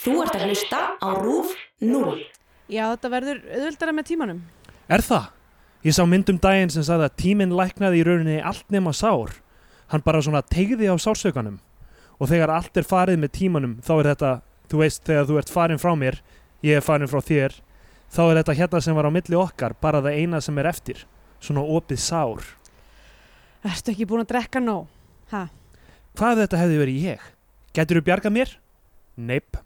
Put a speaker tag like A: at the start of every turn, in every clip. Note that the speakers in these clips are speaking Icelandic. A: Þú ert að hlusta á RÚF 0.
B: Já, þetta verður auðvöldara með tímanum.
C: Er það? Ég sá myndum daginn sem sagði að tíminn læknaði í rauninni allt nema sár. Hann bara svona tegði á sársökanum. Og þegar allt er farið með tímanum, þá er þetta, þú veist, þegar þú ert farin frá mér, ég er farin frá þér, þá er þetta hérna sem var á milli okkar, bara það eina sem er eftir. Svona opið sár.
B: Ertu ekki búin að drekka nóg? Ha?
C: Hvað ef þetta hefði verið ég? Gætur þú bjargað mér? Neip.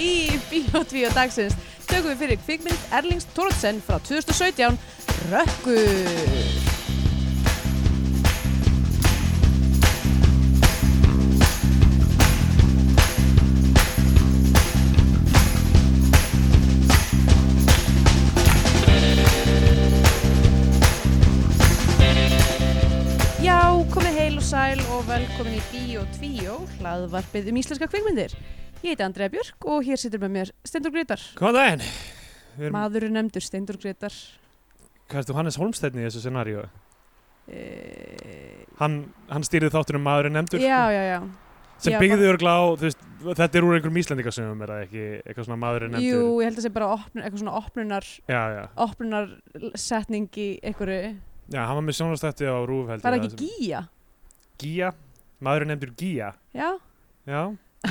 B: Í Bíotvíó dagsins tökum við fyrir kvikmynd Erlings Thorotsen frá 2017, Rökkur. Já, komið heil og sæl og velkomin í Bíó 2, hlaðvarpið um íslenska kvikmyndir. Ég heiti Andrea Björk og hér situr með mér Steindur Grétar.
C: Hvað það en? Við erum,
B: Maður er nefndur Steindur Grétar.
C: hvað ertu Hannes Holmstedni í þessu scenaríu?
B: E...
C: Hann, hann stýrði þáttunum maður er nefndur.
B: Já, já, já.
C: sem
B: Já,
C: byggði örgla á þú veist, þetta er úr einhverjum íslendingasöfum er það ekki eitthvað svona maður er nefndur
B: Jú, ég held að það sé bara opnun, eitthvað svona opnunar,
C: já, já,
B: opnunarsetning í einhverju.
C: já, hann var með sjónastætti á Rúf heldur
B: Var það ekki gíja?
C: Gía, maður er nefndur Gía
B: Já,
C: já,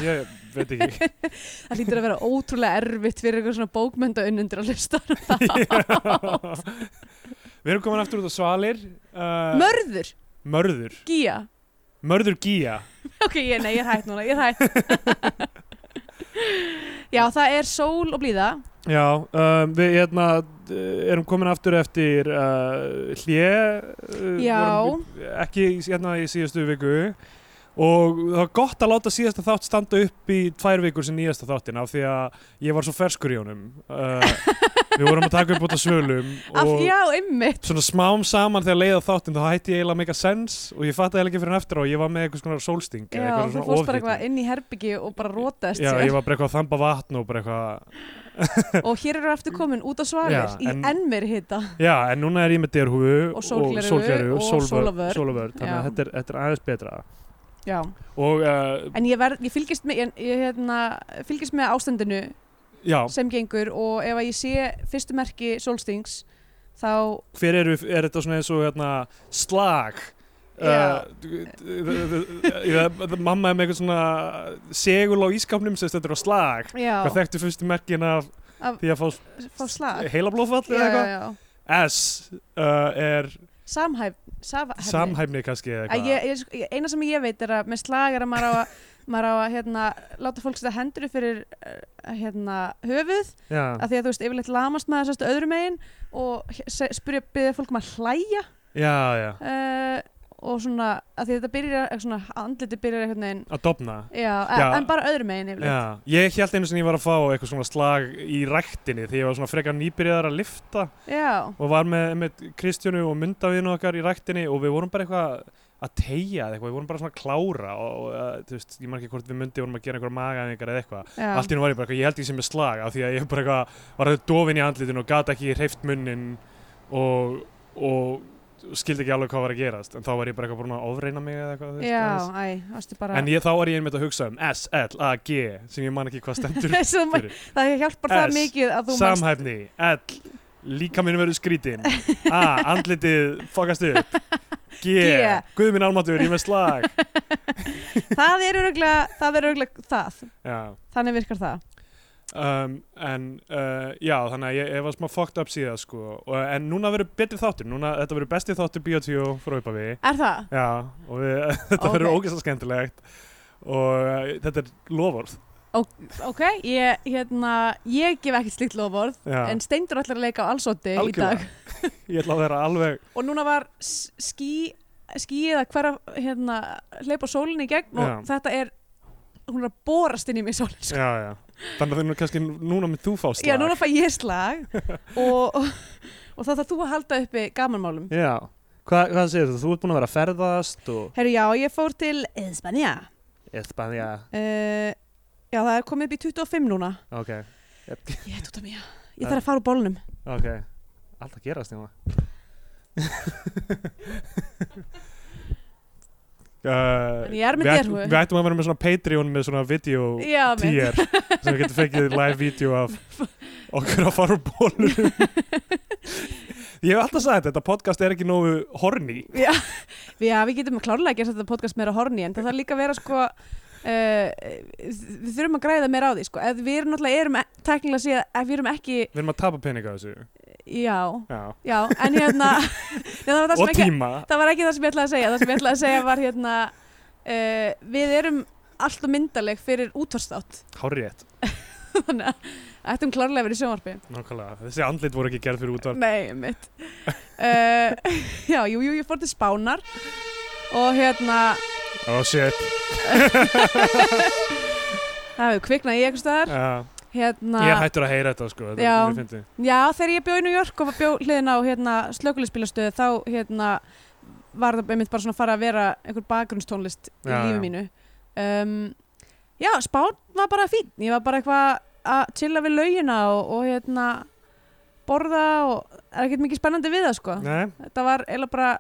C: ég veit ekki
B: það lítur að vera ótrúlega erfitt fyrir eitthvað svona bókmöndaunundur að hlusta. á það.
C: við erum komin aftur út á Svalir uh,
B: Mörður,
C: mörður,
B: gíja.
C: mörður Gía
B: Ok, ég, nei, ég er hægt núna, ég er hægt. Já, það er sól og blíða.
C: já, um, við hérna uh, erum komin aftur eftir uh, hlje uh,
B: Já.
C: vorum við- ekki í- hérna í síðastu viku og það var gott að láta síðasta þátt standa upp í tvær vikur sem nýjasta þáttin af því að ég var svo ferskur í honum uh, við vorum að taka upp út á svölum
B: Af,
C: og
B: já, ymmið.
C: svona smám saman þegar leiða þáttin þá hætti ég eiginlega að make a sense og ég fattaði eiginlega ekki fyrir en eftir á ég var með eitthvað svona sólsting eða
B: Já,
C: eitthvað
B: þú fórst
C: svona
B: bara
C: ofhiti.
B: eitthvað inn í herbyggi og bara rótaðist
C: Já, ég
B: sér.
C: var bara eitthvað að þamba vatn og bara eitthvað
B: Og hér eru aftur komin út á svalir
C: Já,
B: í
C: en-
B: enn meiri hita.
C: Já, en núna er ég með derhúfu
B: Og sólgleraugu
C: og,
B: og
C: sólvörn
B: sólavörn.
C: sólavörn, þannig að
B: Já.
C: þetta er, þetta er aðeins betra
B: Já,
C: og uh,
B: en ég, verð, ég, fylgist, með, ég, ég hérna, fylgist með ástandinu
C: já,
B: sem gengur og ef að ég sé fyrstu merki sólstings þá
C: hver eru, er þetta svona eins og hérna, slag
B: Já.
C: Uh, d- d- d- d- d- mamma er með eitthvað svona segul á ískapnum sem stendur á slag
B: já,
C: hvað þekktu fyrstu merkin af
B: Af-
C: því að fá
B: fá slag
C: heilablóðfall
B: já,
C: eða
B: já,
C: eitthvað
B: já.
C: S uh, er
B: Samhæf, saf,
C: samhæfni kannski eða
B: Að
C: eitthvað
B: ég, ég, ég, eina sem ég veit er að með slag er að maður á að, maður á að hérna, láta fólk setja hendur upp fyrir eh, hérna, höfuð
C: já,
B: af því að þú veist, yfirleitt lamast maður sérst öðrum megin og he- se- spyrja, byrja fólk um að hlæja
C: já, já,
B: uh, og svona, af því að þetta byrjar eh, svona, andliti byrjar einhvern veginn
C: að dofna
B: já, já.
C: Já.
B: en bara öðrum megin yfirleitt
C: Já, ég held einu sem ég var að fá eitthvað svona slag í ræktinni því ég var svona frekar nýbyrjaðar að lifta
B: já,
C: og var með, með Kristjánu og myndavíðinu okkar í ræktinni og við vorum bara eitthvað að tegja eða eitthvað, við vorum bara svona að klára og, og uh, þú veist, ég margir hvort við myndi vorum að gera einhverja magaðingar eða eitthvað
B: já.
C: allt í nú var ég bara eitthvað, ég held ég sem er slag af því að ég bara eitthvað var að dofin í andlitinu og gata ekki hreift munnin og, og skildi ekki alveg hvað var að gerast en þá var ég bara eitthvað búin að ofreina mig eða eitthvað þú veist,
B: Já,
C: aðeins.
B: æ, ástu bara
C: en ég, þá var ég einmitt að hugsa um S-L-A-G sem ég man ekki hvað stendur
B: Svo ma-
C: fyrir.
B: Það hjálpar það
C: S,
B: mikið að þú manst
C: Samhæfni, ell, líkaminn verður skrítin A, andlitið fokast upp G,
B: G.
C: guð minn almatur, ég er með slag
B: Það er öruglega það, er örugglega það.
C: Já,
B: Þannig virkar það
C: um, en uh, já, þannig að ég, ég var smá fucked up síðan sko og, En núna verður betri þáttur, núna þetta verður besti þáttur Bíotvíó frá uppafi
B: Er það?
C: Já, og við, þetta
B: Ok.
C: verður ógeðslega skemmtilegt og uh, þetta er lovorð
B: Ok, ég, hérna, ég gef ekkert slíkt lofvörð
C: Já,
B: en Steindur ætlar að leika á allsóti í
C: Algjörlega.
B: dag
C: ég ætla að vera alveg
B: og núna var s- skí skíið að hverja hérna, hleypa sólinni í gegn og
C: Já.
B: þetta er hún er að borast inn í mig sólin sko.
C: Já, já, þannig að þau nú kannski núna með þú fá slag
B: Já, núna fæ ég slag og, og, og það þarf þú að halda uppi gamanmálum
C: Já, Hva, hvað segir þú? Þú ert búin að vera að ferðast og
B: Herru, já, ég fór til Espanja
C: Espanja,
B: uh, Já, það er komið upp í 25 núna
C: ok,
B: Ég heit út af mér Ég þarf að fara úr bólnum
C: ok, allt hérna. að gerast nema.
B: En ég er með
C: Uh, við, ættum,
B: derhúfu.
C: við ættum að vera með svona Patreon með svona video
B: Já, með
C: tier sem við getum fengið live video af okkur að fara úr bólur Ég hef alltaf sagt þetta podcast er ekki nógu horny
B: Já, við, já, við getum klárlega að gera þetta podcast meira horni en það þarf líka að vera sko uh, við þurfum að græða meira á því sko. Ef við erum náttúrulega, erum teknilega að segja ef við erum ekki,
C: Við erum að tapa peninga á þessu
B: já
C: Já.
B: já, en hérna Nei, það, var það, sem
C: og
B: ekki,
C: tíma
B: það var ekki það sem ég ætlaði að segja það sem ég ætlaði að segja var hérna uh, við erum alltaf myndaleg fyrir útvarstátt
C: Hárrétt,
B: þannig að ættum klárlega að vera í sjónvarpi
C: nákvæmlega Þessi andlit voru ekki gerð fyrir útvar
B: Nei, mitt uh, Já, jú, jú, ég fór til Spánar og hérna
C: Ó Oh, shit
B: það hefur kviknað í einhvers staðar
C: Já.
B: hérna,
C: Ég er hættur að heyra þetta sko þetta
B: Já.
C: er mjög fyndið.
B: Já, þegar ég bjó í New York og bjó hliðin á hérna, slökulispílastöðu þá hérna, var það einmitt bara svona að fara að vera einhver bakgrunnstónlist í
C: Já, já.
B: lífi mínu um, Já, Spán var bara fín ég var bara eitthvað að chilla við laugina og, og hérna borða og það er ekkert mikið spennandi við það sko
C: Nei,
B: þetta var eiginlega bara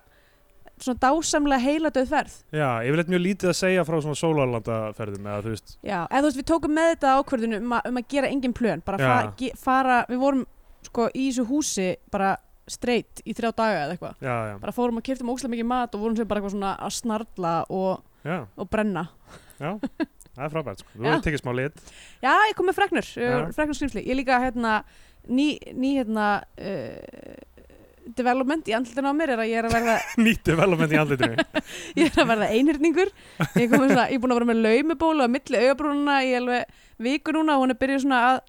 B: svona dásamlega heila ferð
C: Já, yfirleitt mjög lítið að segja frá svona sólarlandaferðum eða þú veist
B: Já, eða þú veist, við tókum með þetta ákvörðinu um, að- um að gera engin plön, bara
C: Já.
B: fa ge, fara, við vorum sko í þessu húsi bara streitt í þrjá daga eða eitthvað,
C: Já, já,
B: bara fórum að keftum ókslega mikið mat og vorum sem bara eitthvað svona að snarla og,
C: já,
B: og brenna.
C: það er frábært sko. Þú
B: Já.
C: hefur tekið smá lit
B: Já, ég kom með freknur,
C: Já.
B: ja. freknur skrimsli, ég líka hérna, ný, ný hérna, uh, development í andlutinu á mér er að ég er að verða,
C: Nýttu velamenn í andlitinu
B: ég er að verða einhyrningur, ég, kom með svona, ég er búin að vera með laumiból og að milli augabrúnuna í alveg viku núna og hún er byrjuð svona að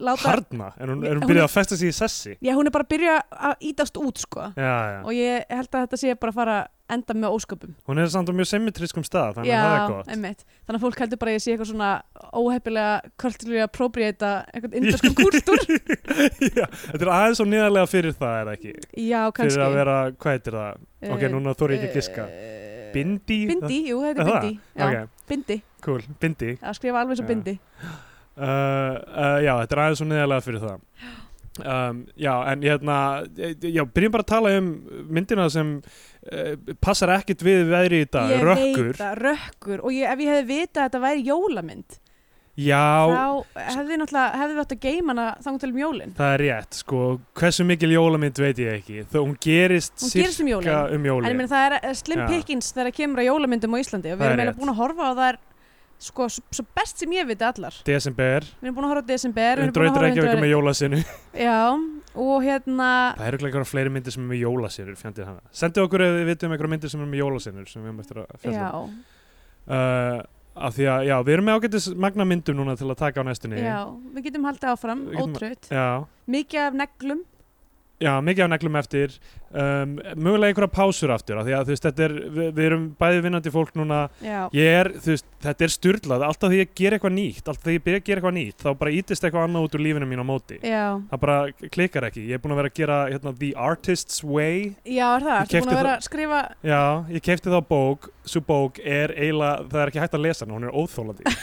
B: láta
C: Harna, en hún, er hún
B: Hún-
C: byrjað að festa sig í sessi
B: Já, hún er bara að byrja að ítast út sko
C: Já, já,
B: og ég held að þetta sé bara að fara að enda með ósköpum
C: hún er samt á mjög symmetriskum stað þannig að það er gott
B: einmitt. Þannig að fólk heldur bara að ég sé eitthvað svona óheppilega kvöldilega appropriata einhvern indaskum kúltúr
C: Já, Þetta er aðeins og nýðarlega fyrir það er það ekki
B: Já, kannski Eh,
C: Fyrir að vera, hvað heitir það? Ok, núna þóri ég ekki að giska Bindi?
B: Bindi, jú, þetta
C: Er
B: er
C: það?
B: bindi Já,
C: Ok,
B: Bindi,
C: cool, bindi
B: að skrifa alveg svo
C: Já.
B: bindi
C: uh, uh, já, þetta er aðeins og neðarlega fyrir það um, já, en hérna eh, já, byrjum bara að tala um myndina sem uh, passar ekkit við veðri í dag,
B: Ég veit
C: rökkur
B: það, rökkur og ég, ef ég hefði vitað að þetta væri jólamynd
C: já,
B: þá hefði náttúrulega, hefði við átt að geima hana þangum til um jólin
C: það er rétt sko, hversu mikil jólamynd veit ég ekki þó hún gerist
B: Hún gerist um jólin.
C: sirka um
B: En ég
C: jólin
B: meina það er eh, slim
C: Já.
B: pickings þegar það kemur að jólamyndum á Íslandi og við
C: Það er
B: erum eiginlega
C: rétt.
B: búin að horfa á þær sko, s- svo best sem ég viti allar
C: desember, um
B: Við erum búin að horfa á Desember við erum búin að
C: undraut
B: horfa á
C: reykjavík
B: Undraut-
C: með jólasinu
B: Já, og hérna
C: það eru eitthvað fleiri myndir sem er með jólasinur fjandið hana, sendu okkur ef við vitum einhverja myndir sem er með jólasinur sem við erum eftir að fjalla um.
B: Já,
C: uh, af því að, já, við erum með ágætis magna myndum núna til að taka á næstunni
B: já, við getum haldið áfram,
C: Við getum-
B: ótröð
C: já,
B: Mikið af neglum
C: já, mikið af neglum eftir um, mögulega einhverja pásur aftur af því að þú veist, þetta er, við, við erum bæði vinnandi fólk núna,
B: Já,
C: ég er, þú veist þetta er styrlað, alltaf því ég ger eitthvað nýtt alltaf því ég byrja að gera eitthvað nýtt, þá bara ítist eitthvað annað út úr lífinu mín á móti
B: já,
C: það bara klikkar ekki, ég er búin að vera að gera hérna, The Artist's Way
B: já, er það Ertu
C: Ég
B: búin
C: keypti
B: að vera að skrifa
C: Já, ég keipti þá bók, svo bók er eiginlega, það er ekki hægt að lesa hana, hún er óþólandi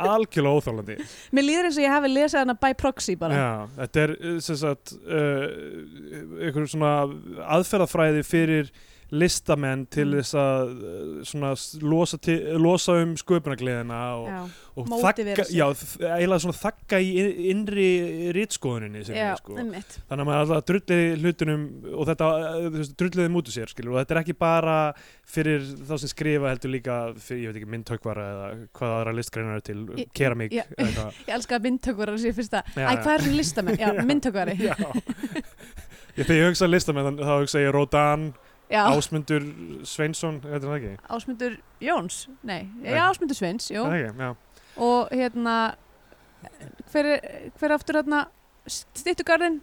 C: algjörlega óþólandi
B: Mér líður eins og ég hafi lesið hana by proxy bara
C: Já, þetta er uh, sem sagt uh, einhverjum svona aðferðafræði fyrir listamenn til
B: Mm.
C: þess að uh, svona s- losa, til, losa um sköpunagliðina og,
B: Já,
C: og
B: mótivera
C: þakka,
B: sig.
C: já, þ- eiginlega svona þakka í in- innri rítskoðuninni sem
B: já,
C: er sko.
B: einmitt
C: Þannig að maður alltaf drulliði hlutunum og þetta uh, þú veist, drulliði mútu sér skilur og þetta er ekki bara fyrir þá sem skrifa heldur líka fyrir, ég veit ekki, myndtökvara eða hvað aðra listgreinar eru til,
B: Í-
C: keramík
B: já.
C: eða eitthvað.
B: Ég elska að myndtökvara sé fyrsta
C: Já,
B: Æ, hvað er hún listamenn? Já,
C: Já.
B: myndtökvari
C: Já. Ég, þegar ég hugsa listamenn þann- þá hugsa ég Rodan,
B: Já,
C: Ásmundur Sveinsson, þetta er það ekki.
B: Ásmundur Jóns? Nei,
C: Nei.
B: já, Ásmundur Sveins, jú
C: Er Það ekki, já.
B: og hérna hver, er- hver er aftur hérna stýttugarðin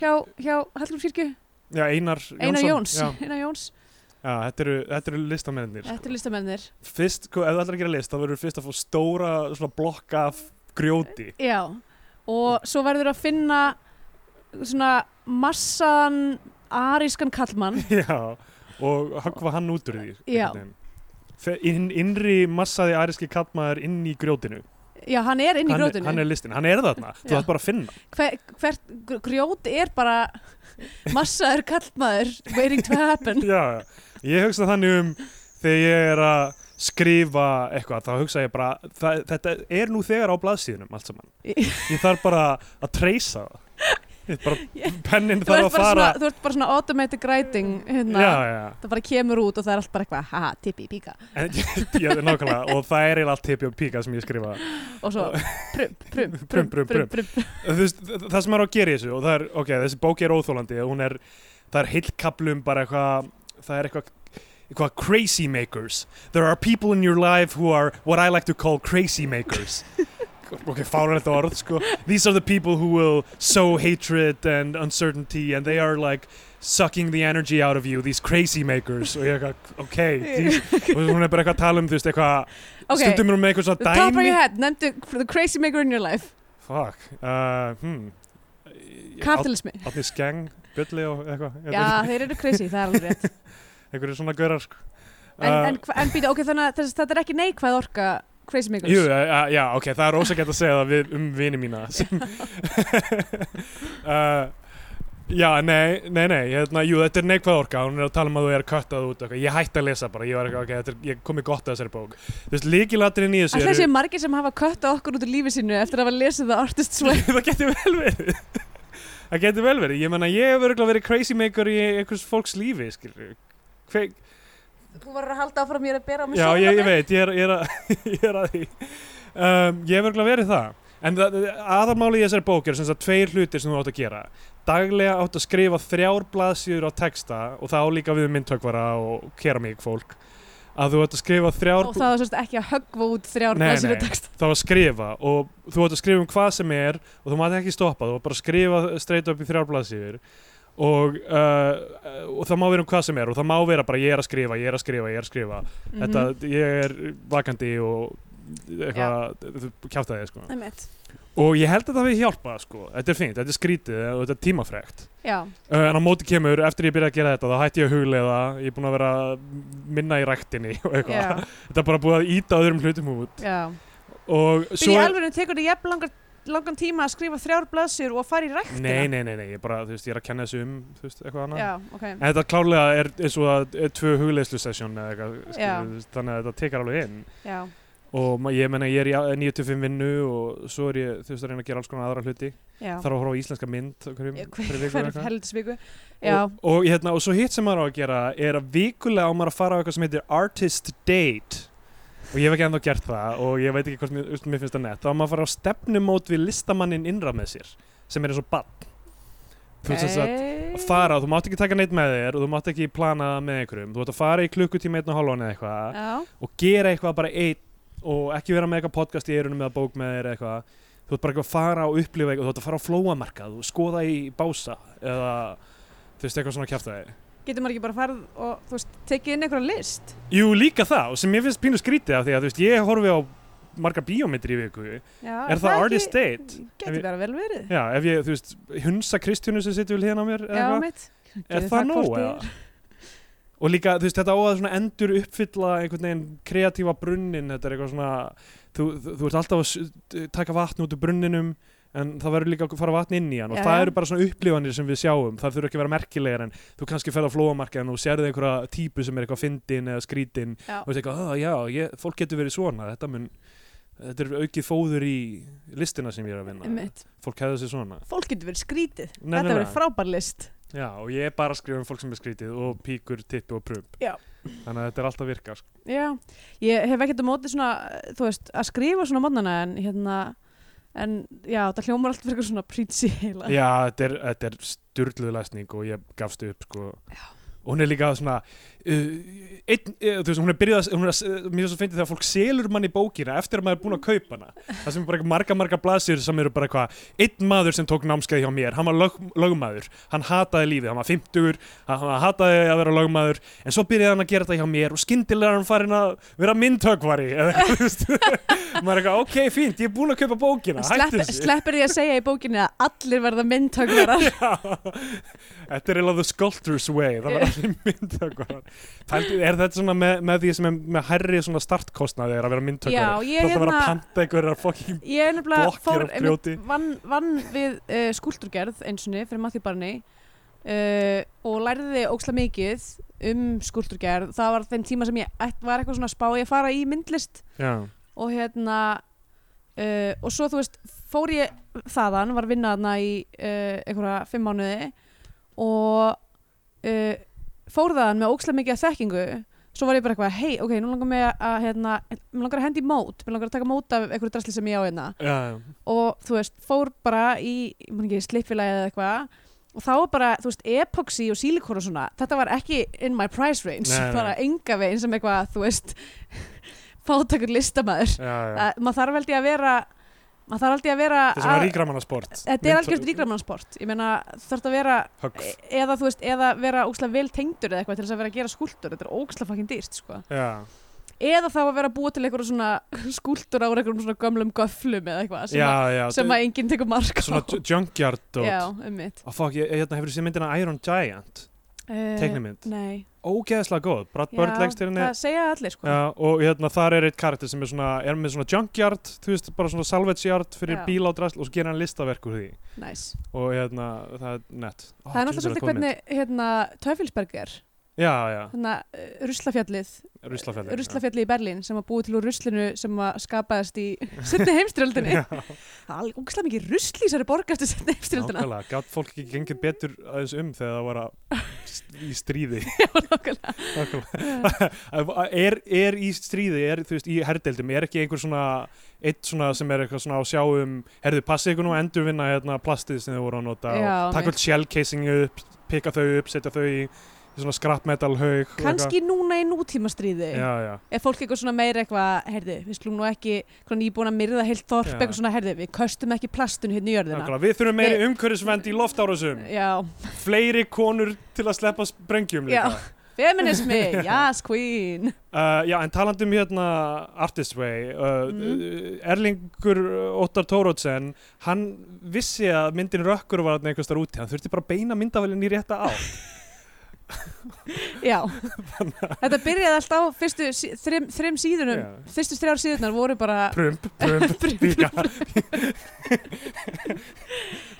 B: hjá, hjá Hallgrímskirkju
C: Já, Einar Jónsson.
B: Einar Jóns,
C: Já,
B: Einar Jóns
C: já þetta, eru, þetta eru listamennir.
B: þetta er listamennir
C: Fyrst, sko, ef þú ætlar að gera list, þá verður fyrst að fá stóra svona blokka af grjóti.
B: já, og svo verður að finna svona massan arískan kallmann
C: Já, og höggva hann út úr því.
B: Já.
C: einhvern veginn. Fe- Inn, innri massaði æriski kattmaður inn í grjótinu.
B: já, hann er inn í
C: hann,
B: grjótinu
C: Hann er listin, hann er þarna. Þú
B: Já.
C: ætti bara að finna.
B: Hver, hvert gr- grjót er bara massaður kallmaður waiting to happen
C: Já, ég hugsa þannig um þegar ég er að skrifa eitthvað þá hugsa ég bara, það, þetta er nú þegar á blaðsíðunum allt saman ég þarf bara að treysa það Ég bara,
B: Ég-
C: pennin
B: þú, ert
C: þarf
B: bara
C: að fara
B: svona, þú ert bara svona automated writing hérna.
C: já, já,
B: það bara kemur út og það er allt bara eitthvað haha, tippi, píka
C: en, já, nákvæmlega og það er eiginlega allt tippi og píka sem ég skrifa
B: og svo prum, prum,
C: Prum,
B: prum,
C: prum,
B: prum,
C: prum.
B: prum, prum.
C: Þú veist, það sem er að gera í þessu og það er, ok, þessi bók er óþólandi hún er, það er heilkaplum bara eitthvað, það er eitthvað eitthvað crazy makers there are people in your life who are what I like to call crazy makers ok, fárænlegt orð, sko these are the people who will sow hatred and uncertainty and they are like sucking the energy out of you these crazy makers og ég er eitthvað, ok these, og hún er bara eitthvað að tala um, þú veist, eitthvað
B: ok,
C: stundum er hún með eitthvað
B: the
C: svona
B: top of
C: dæmi
B: your head nefndu the crazy maker in your life
C: fuck, uh, hmm Ég-
B: kapitalismi,
C: Átni Skeng, Bjölli og eitthvað
B: já þeir eru crazy, það er alveg rétt
C: einhverju svona gaurar sko.
B: en,
C: Uh,
B: en, hva- en býta, ok, þannig að þess- þetta er ekki neikvæð orka crazy makers
C: Jú, uh, já, ok, það er ósækjætt að segja það við, um vini mína sem, uh, Já, nei, nei, nei hérna, Jú, þetta er neikvæð orka, hún er að tala um að þú er köttað út og eitthvað. Ég hætti að lesa bara, ég var eitthvað, ok, þetta er, ég komi gott að þessari bók Þú veist, líkilatrinn í þessu
B: Alltaf séu
C: eru-
B: margir sem hafa kötta okkur út úr lífi sínu eftir að hafa lesið það artist sweat
C: Það getur vel verið Það getur vel verið, ég menna, ég hef örgulega verið crazy maker í einhvers fólks lífi, skilur Hver,
B: Þú var að halda áfram mér að bera á mig
C: Já, ég, ég veit, ég er, ég er, að, ég er að því um, Ég hef örgulega verið það En það- aðalmáli í þessari bók er sem sagt tveir hlutir sem þú átt að gera Daglega átt að skrifa þrjár blaðsýður á texta og þá líka við um myndtökvara og keramík fólk að þú átt að skrifa þrjár
B: Og það var svolítið ekki að höggva út þrjár
C: Nei,
B: blaðsíður
C: nei.
B: texta.
C: þá að skrifa og þú átt að skrifa um hvað sem er og þú mátt ekki stoppa, þú átt bara að skrifa straight up í þrjár blaðsýður og, uh, og það má vera um hvað sem er og það má vera bara ég er að skrifa, ég er að skrifa, ég er að skrifa þetta,
B: Mhm.
C: ég er vakandi og eitthvað, kjátt að þið sko
B: Einmitt.
C: og ég held að það við hjálpa sko, þetta er fínt, þetta er skrítið og þetta er tímafrekt
B: Já,
C: uh, en á móti kemur, eftir ég byrja að gera þetta þá hætti ég að hugleiða, ég er búin að vera minna í ræktinni
B: já,
C: og eitthvað þetta er bara búið að íta öðrum hlutum út
B: já.
C: og
B: Svo... Í
C: svo
B: alveg tekur þið jafn langar, langan tíma að skrifa þrjár blaðsíður og fara í ræktina.
C: nei, nei, nei, nei, ég bara, þú veist, ég er að kenna þessu um þú veist, eitthvað annað
B: Já, ok.
C: en þetta klárlega er eins og að er tvö hugleiðslu sesjón eða eitthvað,
B: Já.
C: skilur, þú veist, þannig að þetta tekar alveg inn
B: Já,
C: og ma- ég menna ég er í a- 9-5 vinnu og svo er ég þú veist að reyna að gera alls konar aðra hluti
B: já.
C: þarf að horfa á íslenska mynd á hverjum,
B: Ég-
C: hverjum viku
B: Hverju
C: eða eitthvað.
B: heldutisvíku. Já,
C: og, og, hérna, og svo hitt sem maður á að gera er að vikulega á maður að fara á eitthvað sem heitir Artist Date og ég hef ekki ennþá gert það og ég veit ekki hvort mér, mér finnst það nett þá á maður að fara á stefnumót við listamannin innra með sér sem er eins og bann þú veist þess að
B: Eh.
C: að fara, þú mátt ekki taka neitt með þér og þú mátt ekki plana það með einhverjum þú átt að fara í klukkutíma einn og hálfan eða eitthvað
B: Já,
C: og gera eitthvað bara einn og ekki vera með eitthvað podcast í eirunum eða bók með þér eða eitthvað þú ert bara eitthvað að fara og upplifa eitthvað þú ert að fara á flóamarkað og skoða í bása eða þú veist eitthvað svona kjæft
B: getur maður ekki bara farið og, þú veist, tekið inn einhverja list?
C: Jú líka það og sem ég finnst pínu skrítið af því að þú veist ég horfi á marga bíómyndir í viku
B: Já,
C: er Ah, það artist date? Ef
B: Getur
C: ég-
B: bara vel verið.
C: Já, ef ég, þú veist, hunsa Kristjánu sem situr við hliðan á mér eða
B: Já,
C: eitthvað.
B: mitt.
C: er
B: Gerðu
C: það nóg
B: hvort
C: eða?
B: eð er.
C: Og líka, þú veist, þetta á að svona endur uppfylla einhvern veginn kreatífa brunnin, þetta er eitthvað svona, þú, þú, þú ert alltaf að s- taka vatn út úr brunninum, en það verður líka að fara vatn inn í hann og
B: Já,
C: það
B: já.
C: eru bara svona upplifanir sem við sjáum, það þurfa ekki að vera merkilegar en þú kannski ferð á flóamarkaðin og sérðu einhverja típu sem er eitthvað fyndin eða skrítin
B: Já.
C: og veist eitthvað, "Ah, já, ég, fólk getur verið svona, þetta mun, þetta er aukið fóður í listina sem ég er að vinna,
B: Einmitt.
C: fólk hefði sér svona.
B: Fólk getur verið skrítið.
C: Nei,
B: Þetta
C: nei,
B: verið
C: nei.
B: frábær list.
C: Já, og ég er bara að skrifa um fólk sem er skrítið og píkur, tippi og prump.
B: Já.
C: Þannig að þetta er alltaf að virka, sko.
B: Já, ég hef ekkert á móti svona, eh, þú veist, að skrifa svona mótnana en hérna, en já, það hljómar allt fyrir svona preachy heila.
C: Já, þetta er, þetta er styrluð læsning og ég gafst upp, sko. Já. Og hún er líka svona, uh, einn, uh, þú veist, hún er byrjað, að- hún er, að s- mér er svo fyndið þegar fólk selur manni bókina eftir að maður er búin að kaupa hana. Það sem er bara eitthvað marga, marga blasir sem eru bara eitthvað, einn maður sem tók námskeið hjá mér, hann var lög, lögmaður, hann hataði lífið, hann var 50, hann, hann hataði að vera lögmaður, en svo byrjaði hann að gera þetta hjá mér og skyndilega er hann farin að vera myndhögvari, eða eitthvað, þú veist. maður er eitthvað, ok, fínt, ég er búin að kaupa bókina,
B: Slepp,
C: hættu þessu.
B: sleppir því að segja í bókinni að allir verða myndtökvarar.
C: Já, þetta er eiginlega the sculptor's way það var allir myndtökvarar Pældu- er þetta svona með, með því sem er með herri svona startkostnaði er að vera
B: já,
C: myndtökvarar
B: ég
C: það er að vera að
B: hérna,
C: panta einhverjar fucking
B: ég er nefnilega
C: blokkir af grjóti.
B: eh, vann van við uh, skúlturgerð eins og niður fyrir Matthew Barney uh, og lærði óksla mikið um skúlturgerð það var þeim tíma sem ég ætt- var eitthvað svona að spá ég að fara í myndlist
C: já,
B: og hérna uh, og svo þú veist fór ég þaðan var að vinna þarna í uh, einhverja fimm mánuði og uh, fór þaðan með óksla mikið af þekkingu svo var ég bara eitthvað hei ok, nú langar mig að hérna, mér langar að hendi í mót mér langar að taka mót af einhverju drasli sem ég á hérna
C: já, já,
B: og þú veist, fór bara í ég man ekki, slipfélagi eða eitthvað og þá var bara, þú veist, epoxy og sílikon og svona, þetta var ekki in my price range
C: Nei, nei.
B: bara enga veginn sem eitthvað, þú veist fátakur listamaður
C: já, já.
B: það, maður þarf held ég að vera maður þarf held ég að vera
C: þetta er svona
B: að-
C: ríkramannasport
B: þetta er algjört ríkramannasport ég meina, þú þarf að vera
C: högg,
B: e- eða þú veist, eða vera ókslega vel tengdur eða eitthvað til þess að vera að gera skúltur, þetta er ókslega fucking dýrst, sko
C: já,
B: eða þá að vera að búa til einhverjum svona skúltur á einhverjum svona gömlum göflum eða eitthvað sem
C: já,
B: að
C: já
B: sem að enginn tekur mark á
C: svona ju- junkyard dót.
B: Já, um mitt
C: og fokk, ég, ég- hérna hefur sér myndina Iron Giant
B: Eh.
C: teiknimynd,
B: Nei,
C: ógeðslega góð Brad Bird leggst hérna til henni
B: það segja allir sko
C: Já, og hérna þar er eitt karakter sem er svona er með svona junkyard, þú veist, bara svona salvage yard
B: Já.
C: fyrir bíla og drasl og svo gerir hann listaverk úr því
B: Nice.
C: og hérna, það er nett Ó,
B: Það er náttúrulega
C: djöfull
B: svolítið
C: góð mynd.
B: hvernig hérna, Töfilsberg er
C: Já, já,
B: þannig að Ruslafjallið
C: ruslafjalli
B: Ruslafjallið í Berlín sem að búi til úr ruslinu sem að skapaðist í setni heimstyrjöldinni Það er alveg ógæslega mikið rusl í þessari borg eftir setni heimstyrjöldina
C: Nákvæmlega, gátt fólk ekki gengið betur aðeins um þegar það var að st- í stríði
B: Nákvæmlega.
C: Nákvæmlega. er, er í stríði, er, þú veist, í herdeldum er ekki einhver svona, eitt svona sem er eitthvað svona á sjáum, herðu, passið ykkur nú að endurvinna hérna plastið sem þið voru að nota
B: Já,
C: og taka
B: mitt.
C: öll shell casingu upp, pikka þau upp, setja þau í í svona skrapmetal haug og
B: Kannski núna í nútímastríði
C: eitthvað. Já, já,
B: ef fólk eitthvað svona meira eitthvað herði, við slum nú ekki, hvernig ég er búin að myrða heilt þorp
C: Já.
B: eitthvað svona, herði, við köstum ekki plastun hérna í jörðina
C: nákvæmlega. Við þurfum meiri umhverfisvend í loftárásum
B: Já,
C: Fleiri konur til að sleppa sprengjum líka
B: Já. feminismi, yes queen
C: Uh, já, en talandi um hérna Artist Way, uh,
B: Mhm.
C: Erlingur uh, Óttar Tórótsen, hann vissi að myndin Rökkur var þarna einhvers þar úti, hann þurfti bara að beina myndavælinn í rétta á.
B: Já, þetta byrjaði allt á fyrstu sí- þrem, þrem síðunum,
C: Já.
B: fyrstu þrjár síðunar voru bara
C: Prump, prump, líka.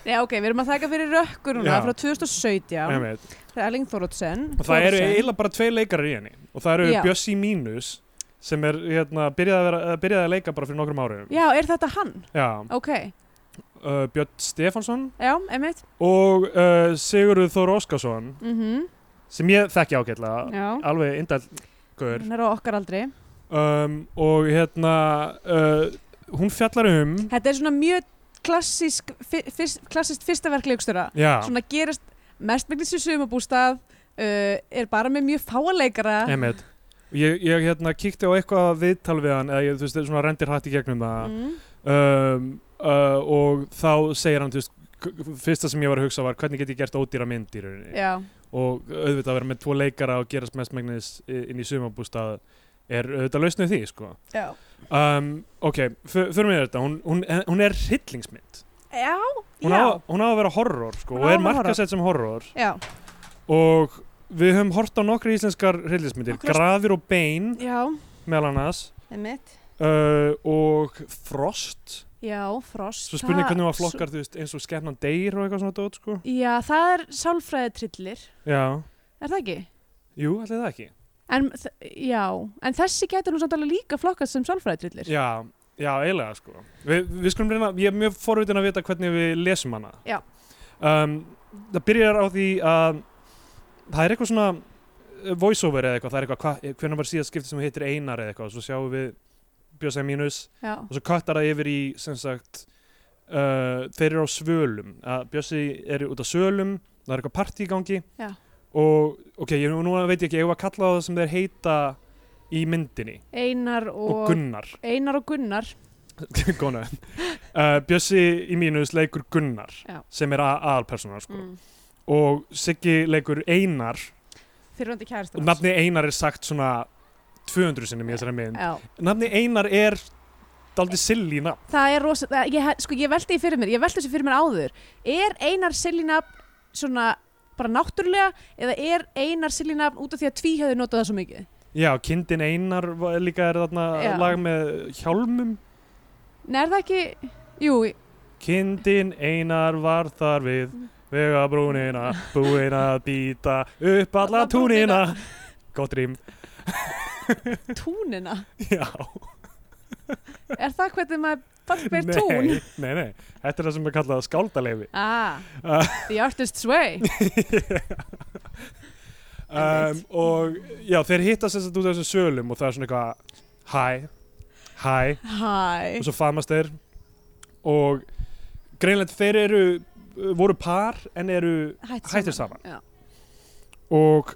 B: Nei, ok, við erum að þakka fyrir rökkur núna
C: Já.
B: frá 2017
C: Einmitt.
B: Það er Erling Þórótsen
C: Og það eru eiginlega bara tvei leikarar í henni og það eru
B: Já.
C: Bjössi Mínus sem er hérna, byrjaði, að vera, byrjaði að leika bara fyrir nokkrum árum.
B: Já, er þetta hann?
C: Já,
B: Ok,
C: uh, Björn Stefánsson
B: já, einmitt
C: og uh, Sigurður Þór Óskarsson
B: mm
C: sem ég þekki ágætlega,
B: Já,
C: alveg indælgur.
B: hann er á okkar aldri
C: um, og hérna uh, hún fjallar um
B: Þetta er svona mjög klassísk fyr, fyrst, klassískt fyrsta verkleikstjóra
C: já,
B: Svona gerist mestmengnis í sumabústað uh, er bara með mjög fáleikara
C: einmitt ég, ég hérna kíkti á eitthvað viðtal við hann eða ég, þú veist, svona rendir hatt í gegnum það
B: mm.
C: um, uh, og þá segir hann, þú veist k- fyrsta sem ég var að hugsa var hvernig get ég gert ódýra mynd í rauninni
B: Já,
C: og auðvitað að vera með tvo leikara og gerast mestmægnis inn í sumabústað er auðvitað lausnið því sko
B: já
C: um, ok, fyrir mig þetta hún, hún, hún er hryllingsmynd
B: Já,
C: hún
B: já
C: á, hún á að vera horror sko
B: Hún á
C: og
B: að
C: er
B: vera horror.
C: markasett sem horror
B: Já,
C: og við höfum hort á nokkri íslenskar hryllismyndir,
B: Nokkrar-
C: Grafir og Bein
B: já,
C: meðal annars
B: einmitt
C: uh, og Frost
B: Já, frost
C: svo spurning
B: það-
C: hvernig maður flokkar þú veist eins og skefnan deyr og eitthvað svona dót sko
B: svo- Já, það er sálfræðitrillir
C: já,
B: Er það ekki?
C: jú, allir það ekki
B: En, þ- já, en þessi getur nú samt alveg líka flokkast sem sálfræðitrillir
C: já, já, eiginlega sko Vi, við skulum reyna, ég er mjög forvitin að vita hvernig við lesum hana
B: Já.
C: um, það byrjar á því að það er eitthvað svona eh, voiceover eða eitthvað, það er eitthvað hva, hvernig var síðast skipti sem þú hittir Einar eða eitthvað og svo sjáum við Björnsæð mínus
B: Já,
C: og svo kattar það yfir í sem sagt uh, þeir eru á svölum að Bjössi er út á svölum það er eitthvað partí í gangi
B: Já.
C: og ok, ég, núna veit ég ekki, ég var að kalla það sem þeir heita í myndinni
B: Einar og,
C: og, Gunnar
B: Einar og Gunnar
C: Góna. uh, Bjössi í mínus leikur Gunnar
B: Já.
C: sem er a- aðalpersónan sko.
B: mm.
C: og Siggi leikur Einar
B: Fyrirvandi kærastur
C: og nafni Einar er sagt svona 200 sinnum í þessari mynd
B: Já,
C: nafni Einar er daldið silly nafn
B: það er rosa það, ég, he- Sko, ég velti því fyrir mér, ég velti þessu fyrir mér áður Er Einar Selinafn svona bara náttúrulega eða er Einar Selinafn út af því að tvíhjöðu notað það svo mikið?
C: Já, kindin Einar var- líka er þarna
B: Já.
C: lag með hjálmum
B: Nei, er það ekki... Jú,
C: Kindin Einar var þar við vegabrúnina, búin að býta upp alla
B: Alla
C: túnina.
B: brúnina.
C: Gott rým.
B: túnina
C: Já.
B: er það hvernig maður fallber
C: nei,
B: tún
C: Nei, nei. Þetta er það sem er kallað skáldaleifi.
B: ah,
C: Ah.
B: the artist's way
C: um, og já, þeir hittast þess að út af þessum sölum og það er svona eitthvað hæ, hæ
B: hæ
C: og svo famast þeir og greinlega þeir eru voru par en eru hættir saman.
B: Já.
C: og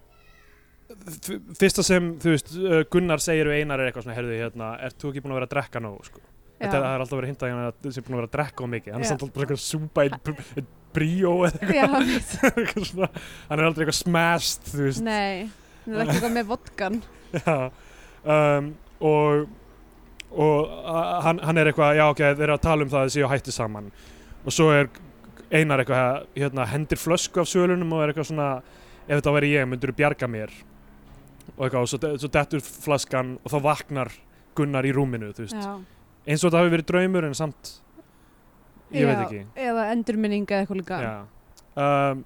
C: f- fyrsta sem þú veist uh, Gunnar segir við Einar er eitthvað svona herðu hérna, ert þú ekki búin að vera að drekka nóg sko? þetta er, það
B: Já.
C: er alltaf verið að hinta hérna að þú sé búin að vera að drekka of mikið hann
B: Já.
C: er samt alltaf bara eitthvað að súpa í br- eitt bríó eða
B: Já, mitt.
C: eitthvað svona hann er aldrei eitthvað smashed þú veist
B: nei það er ekki eitthvað með vodkan
C: Já, um, og, og a- hann, hann er eitthvað, já ok, þeir eru að tala um það að þið séu að hætti saman og svo er Einar eitthvað, hérna, hendir flösku af sölunum og er eitthvað svona, ef þetta væri ég, myndur bjarga mér og eitthvað, og svo, de- svo dettur flaskan og þá vaknar Gunnar í rúminu, þú veist,
B: já.
C: eins og þetta hafi verið draumur en samt, ég veit
B: Já,
C: ekki.
B: eða endurminninga eða eitthvað líka
C: Já. Um,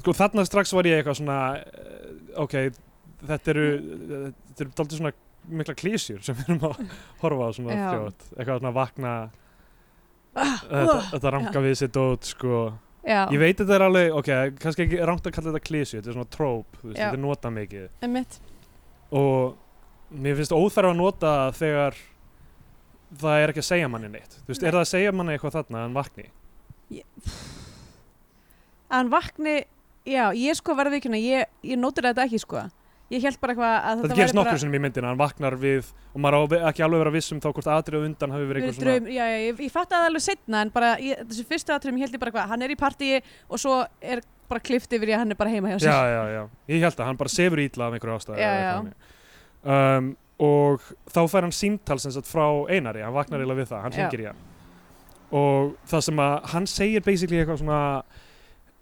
C: sko, þarna strax var ég eitthvað svona eh, ok, þetta eru þetta eru daldið svona mikla klísjur sem við erum að horfa á svona
B: Já.
C: fljótt, eitthvað svona vakna
B: Ah,
C: þetta,
B: uh,
C: þetta ranka við sér dót sko,
B: já.
C: ég veit þetta er alveg ok, kannski ekki rangt að kalla þetta klísju þetta er svona tróp, þú veist,
B: Já.
C: þetta er nota mikið
B: einmitt
C: og mér finnst óþarf að nota það þegar það er ekki að segja manni neitt þú veist,
B: Nei.
C: er það að segja manni eitthvað þarna en vakni
B: að hann vakni, já, ég sko verði ekki ég, ég nótur þetta ekki sko ég held bara eitthvað að
C: Þetta
B: þetta
C: gerist
B: væri
C: nokkur sinnum í myndina, hann vaknar við og maður á ve- ekki alveg að vera viss um þá hvort atrið undan hafi verið
B: verið
C: eitthvað svona
B: draum, já, já, ég, ég fatt að það alveg setna en bara ég, þessu fyrstu aðtrum, ég held ég bara eitthvað hann er í partíi og svo er bara klift yfir ég að hann er bara heima hjá sér
C: Já, já, já, ég held að hann bara sefur ítla af einhverju ástæðu
B: Já,
C: eða
B: já.
C: eitthvað þannig. um, Og þá fær hann símtal sem sagt frá Einari, hann vaknar eiginlega við það,
B: Mm.
C: hann
B: Já.
C: hringir í hann Og það sem að hann segir basically eitthvað svona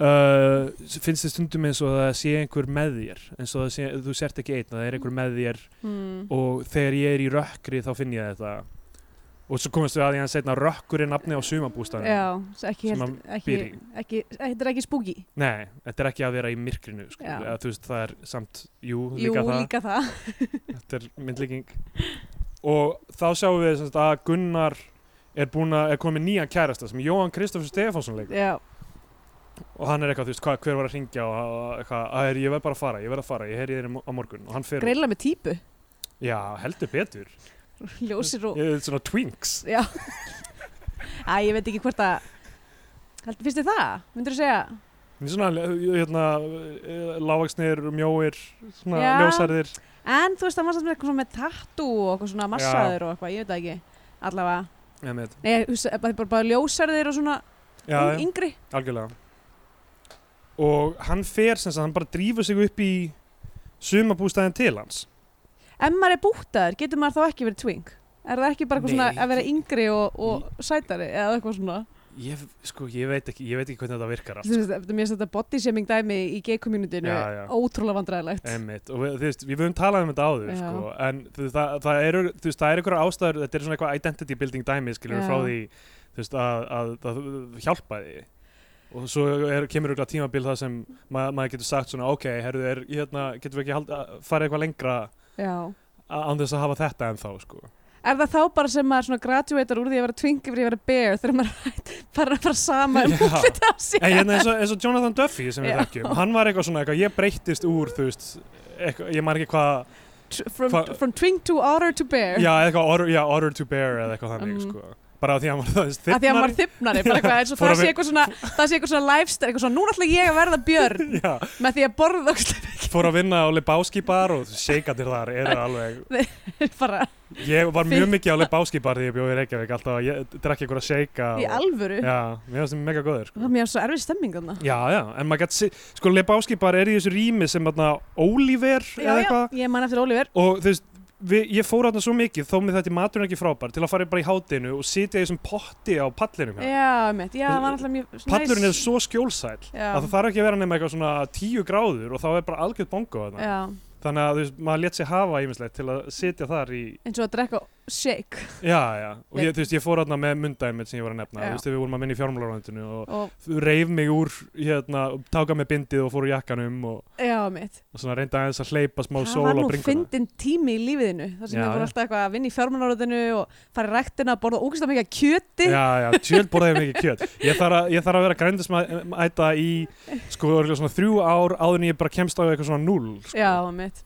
C: uh, Finnst þið stundum eins og það sé einhver með þér Eins og það sé, þú sért ekki einn, að það er einhver með þér
B: hmm.
C: og þegar ég er í rökkri þá finn ég þetta og svo komast við að því hann setna rökkur er nafni á sumabústæðinu
B: já, svo ekki,
C: Sem
B: held, ekki,
C: býr í.
B: ekki, þetta er ekki spúki
C: Nei, þetta er ekki að vera í myrkrinu sko.
B: Já.
C: eða, þú veist, það er samt, jú,
B: jú,
C: líka það
B: líka það
C: þetta er myndlíking og þá sjáum við sem sagt, að Gunnar er búin að, er komið nýjan kærasta sem Jóhann Kristoffer Stefánsson leikur
B: já,
C: og hann er eitthvað, þú veist, hva, hver var að ringja og og eitthvað, að er, ég verð bara að fara, ég verð að fara ég heyri þér í mo- á morgun og hann fer út.
B: greinlega með típu
C: Já, heldur betur
B: ljósir og,
C: Ég- Svona twinks
B: já að ég veit ekki hvort að held, finnst þið það, myndur þú segja
C: Mér finnst svona, eh, hérna, lágvaksnir, mjóir, svona
B: Já.
C: ljósærðir.
B: En þú veist, það var samt með eitthvað svona með tattu og eitthvað svona massaður og eitthvað, ég veit það ekki. Allavega.
C: Já, með,
B: Nei, ég hugsa, bara, bara, bara ljósarðir og svona
C: já,
B: yng- yngri.
C: algjörlega. Og hann fer, sem sagt, hann bara drífur sig upp í sumabústæðin til hans.
B: Ef maður er bútaður, getur maður þá ekki verið twink? Er það ekki bara eitthvað
C: Nei.
B: svona að vera yngri og, og sætari eða eitthvað svona?
C: Ég, sko, ég veit ekki, ég veit ekki hvernig þetta virkar allt. sko.
B: Þú veist, eftir mér finnst þetta body shaming dæmi í gay-communitinu
C: Já, já.
B: ótrúlega vandræðilegt.
C: Einmitt, og við, þú veist, við höfum talað um þetta áður,
B: Já.
C: sko, en þú, veist, það, það eru, þú veist, það eru einhverja ástæður, þetta er svona eitthvað identity building dæmi, skiljum
B: Já.
C: frá því, þú veist, að, að, að, að hjálpa því. Og svo er, kemur auðvitað tímabil það sem ma maður getur sagt svona, ok, herðu, er, hérna, getum við ekki halda, farið eitthvað lengra
B: Já.
C: a- án þess að hafa þetta en þá, sko.
B: Er það þá bara sem maður svona graduator úr því að vera twink yfir í að vera bear þegar maður fara að fara sama um
C: Já.
B: útlitið á sér?
C: En hérna eins og, eins og Jonathan Duffy sem við
B: Já.
C: þekkjum, hann var eitthvað svona eitthvað, ég breyttist úr, þú veist, eitthvað, ég maður ekki hvað,
B: Tr- From,
C: Hva-
B: from twink to otter to bear.
C: já, eitthvað, order, já, order to bear eða eitthvað þannig,
B: Mm.
C: sko. Bara af því að hann var það þess
B: að því að maður þippnari bara eitthvað, eins og
C: Fór
B: það
C: að
B: sé
C: við-
B: eitthvað svona það sé eitthvað svona lifestyle, eitthvað svona núna ætla ég að verða björn
C: Já,
B: með því að borða ógeðslega
C: fór að vinna á Lebowski bar og seikatir þar eru alveg
B: mikið, bara
C: ég var mjög
B: Fínt.
C: mikið á Lebowski bar þegar ég bjóði í Reykjavík alltaf að ég drakk einhverja seika
B: í alvöru
C: Já, mér finnst það mega góður
B: það
C: sko.
B: er mjög svo erfið stemming þarna
C: Já, já, en maður gætt sko Lebowski bar er í þessu rými sem þarna Oliver
B: já,
C: eða
B: já,
C: eitthvað
B: ég man eftir Oliver
C: og þú veist Við, ég fór þarna svo mikið, þó með þetta maturinn ekki frábær til að fara bara í hátinu og sitja í þessum potti á pallinum hérna.
B: já, mitt, já, það var alltaf mjög næs.
C: Pallurinn er svo skjólsæl
B: Já.
C: að það þarf ekki að vera nema eitthvað svona tíu gráður og þá er bara algjörð bongo þarna.
B: já,
C: Þannig að þú veist, maður létt sig hafa ímislegt til að sitja þar í
B: eins og að drekka shake
C: já, já, og ég, þú veist, ég fór aðna með mundaðið mitt sem ég var að nefna,
B: Já.
C: þú veist, við vorum að vinna í fjármálaráðundinu og
B: og
C: reif mig úr, hérna, táka með bindið og fór úr jakkanum og,
B: já mitt
C: og svona reynda aðeins að hleypa smá
B: það
C: sól
B: var
C: á
B: nú
C: bringuna.
B: fyndin tími í lífiðinu þar sem
C: Já,
B: ég voru
C: já.
B: alltaf eitthvað að vinna í fjármennaröðinu og fara í ræktina að borða ógust að mikið kjöti
C: Já, já, tjöld borðaði mikið kjöt ég þarf, að, ég þarf að vera grændismæta í sko, örugglega svona þrjú ár áður en ég bara kemst á eitthvað svona núl sko.
B: Já, mitt.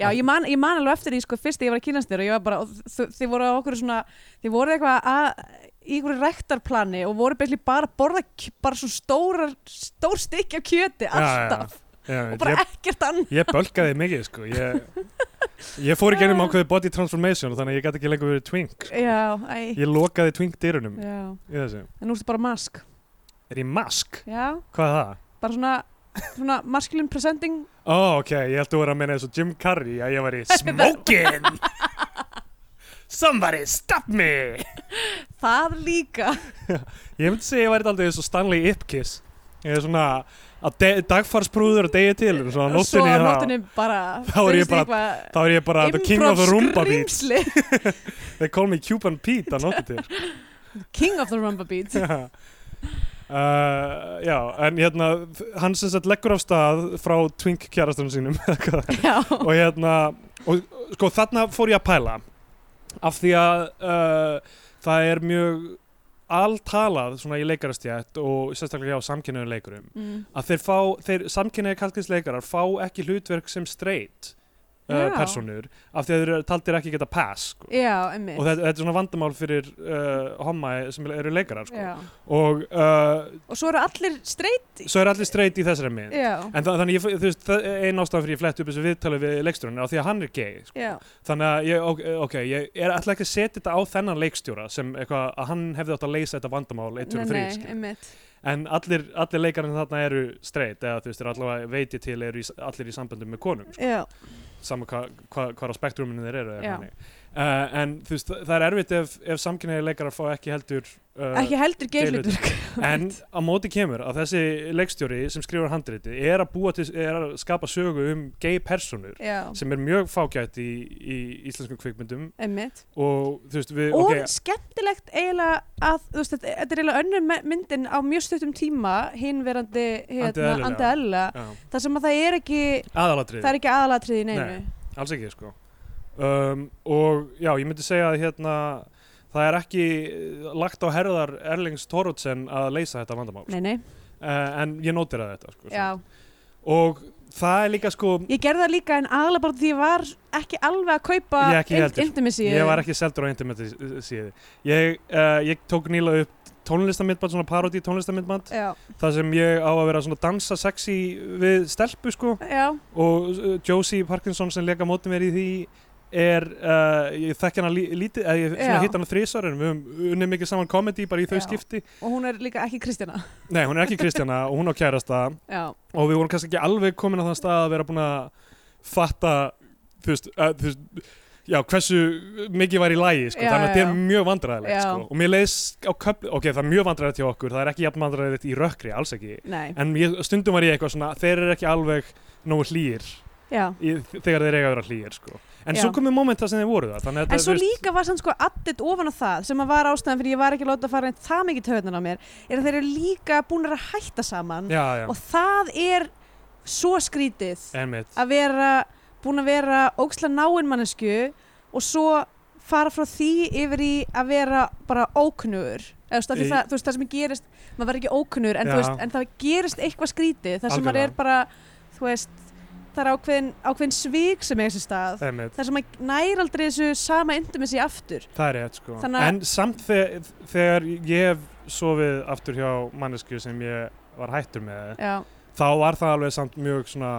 B: Já, ég man, ég man alveg eftir því, sko, fyrst þegar ég var að kynast þér og ég var bara, og þ- þið voru á okkur svona, þið voru eitthvað að, í einhverju rektarplani og voru beinlega bara að borða kj- bara svona stórar, stór stykki af kjöti, alltaf,
C: já,
B: og bara
C: ég,
B: ekkert annað.
C: ég bölkaði mikið sko. ég, ég fór í gennum ákveði body transformation þannig að ég gæti ekki lengur verið twink
B: Já, æ,
C: ég lokaði twink dyrunum
B: já,
C: í þessu.
B: en nú ertu bara mask,
C: er ég mask?
B: já,
C: hvað er það?
B: bara svona, svona masculine presenting,
C: ó ok, ég held að vera að meina eins og Jim Carrey að ég var í smokin somebody stop me
B: það líka.
C: Ég myndi segja að ég væri aldrei eins og Stanley Ipkiss Ég er svona að de- dagfarsprúður að degi til Svona á
B: Svo á
C: nóttinni, þá-
B: nóttinni bara,
C: Þá er ég
B: finnst
C: bara-
B: eitthvað
C: Þá er ég bara the king of the rumba beats
B: improv-skrýmsli.
C: They call me Cuban Pete að nóttu til
B: King of the rumba beats.
C: uh, Já, en hérna Hann sem sett leggur af stað frá twink kjærastunum sínum eða hvað það er.
B: Já.
C: Og hérna og, Sko þarna fór ég að pæla Af því að uh, Það er mjög altalað Svona í leikarastjætt Og sérstaklega hjá samkynnuðum leikurum
B: Mm.
C: að þeir fá, þeir samkynniði kalkinsleikarar fá ekki hlutverk sem straight uh,
B: Já.
C: personur af því að þeir eru taldir ekki geta pass sko.
B: Já, emmitt.
C: og þetta, þetta er svona vandamál fyrir uh, homma sem eru leikarar sko.
B: Já.
C: og uh,
B: Og svo eru allir straight.
C: svo eru allir straight í þessari mynd
B: Já,
C: en þa þannig ég, þú veist, það er ein ástæðan fyrir ég flett upp þessu viðtali við leikstjórun á því að hann er gay sko.
B: já,
C: þannig að ég, ok, okay ég er alltaf ekki að setja þetta á þennan leikstjóra sem eitthvað að hann hefði átt að leysa þetta vandamál 1, 2 og 3 skilur.
B: emmitt.
C: en allir, allir leikarinn þarna eru straight eða þú veist, eru allavega veit ég til eru í, allir í samböndum með konum sko,
B: Já,
C: saman hva, hva, hvar á spektruminu þeir eru eða
B: Já.
C: þannig. uh, en þú veist, það er erfitt ef, ef samkynniði leikarar fá ekki heldur uh,
B: ekki heldur
C: deilur-
B: geilutverk.
C: en á móti kemur að þessi leikstjóri sem skrifur handriti er að, búa til, er að skapa sögu um gay personur
B: Já,
C: sem er mjög fágætt í, í íslenskum kvikmyndum
B: emmitt.
C: og þú veist, við,
B: Og
C: ok,
B: skemmtilegt eiginlega að, þú veist, þetta, þetta er eiginlega önnur me- myndin á mjög stuttum tíma, hinn verandi,
C: Andi
B: hérna,
C: eðlilega.
B: andi eðla,
C: já,
B: þar sem að það er ekki, það
C: aðalatrið
B: er ekki aðalatriði í neinu.
C: Nei. alls ekki sko um, og já, ég myndi segja að hérna það er ekki eh, lagt á herðar Erlings Thorotsen að leysa þetta vandamál uh,
B: Nei, nei,
C: en ég nótir að þetta sko,
B: já.
C: svona. og það er líka sko
B: Ég gerði það líka en aðalega bara því ég var ekki alveg að kaupa
C: Ég ekki heldur.
B: intimacy.
C: ég var ekki seldur á interneti síði ég, uh, ég tók nýla upp tónlistamindband, svona parodi tónlistamindband
B: Já,
C: þar sem ég á að vera svona dansa sexy við stelpu sko
B: já,
C: og uh, Josie Parkinson sem leika móti mér í því er, uh, ég þekki hana lí- lítið eða ég
B: Já.
C: svona hitt hana þrísar en við höfum unnið mikið saman komedi bara í þau
B: Já.
C: skipti
B: og hún er líka ekki Kristjana.
C: nei, hún er ekki Kristjana og hún á kærasta
B: Já,
C: og við vorum kannski ekki alveg komin á þann stað að vera búin að fatta þú veist, að, þú veist já, hversu mikið var í lagi sko,
B: Já,
C: þannig að
B: já,
C: þetta er mjög vandræðilegt
B: Já.
C: sko. og mér leiðis á köfli, ok, það er mjög vandræðilegt hjá okkur, það er ekki jafn vandræðilegt í rökkri, alls ekki
B: nei,
C: en ég, stundum var ég eitthvað svona, þeir eru ekki alveg nógu hlýir
B: já.
C: í, þegar þeir eiga að vera hlýir sko. en
B: Já.
C: svo komið momenta sem þeir voru það þannig að
B: En
C: þetta,
B: svo
C: þú veist,
B: líka var sann sko addit ofan á það sem að var ástæðan fyrir ég var ekki að láta að fara neitt það mikið töðunan á mér er að þeir eru líka búinir að hætta saman
C: já, já,
B: og það er svo skrítið
C: einmitt
B: að vera búin að vera óksla náin mannesku og svo fara frá því yfir í að vera bara óknugur eða þú veist, af því
C: Í-
B: það, þú veist, það sem gerist maður verður ekki óknugur en, þú
C: Já.
B: veist, en það gerist eitthvað skrítið þar sem maður
C: Algjörlega.
B: er bara þú veist, það er ákveðin, ákveðin svík sem er þessi stað
C: einmitt,
B: þar sem að næra aldrei þessu sama intimacy aftur
C: það er rétt sko
B: Þannig að-
C: en samt þegar, þegar ég hef sofið aftur hjá mannesku sem ég var hættur með
B: já,
C: þá var það alveg samt mjög svona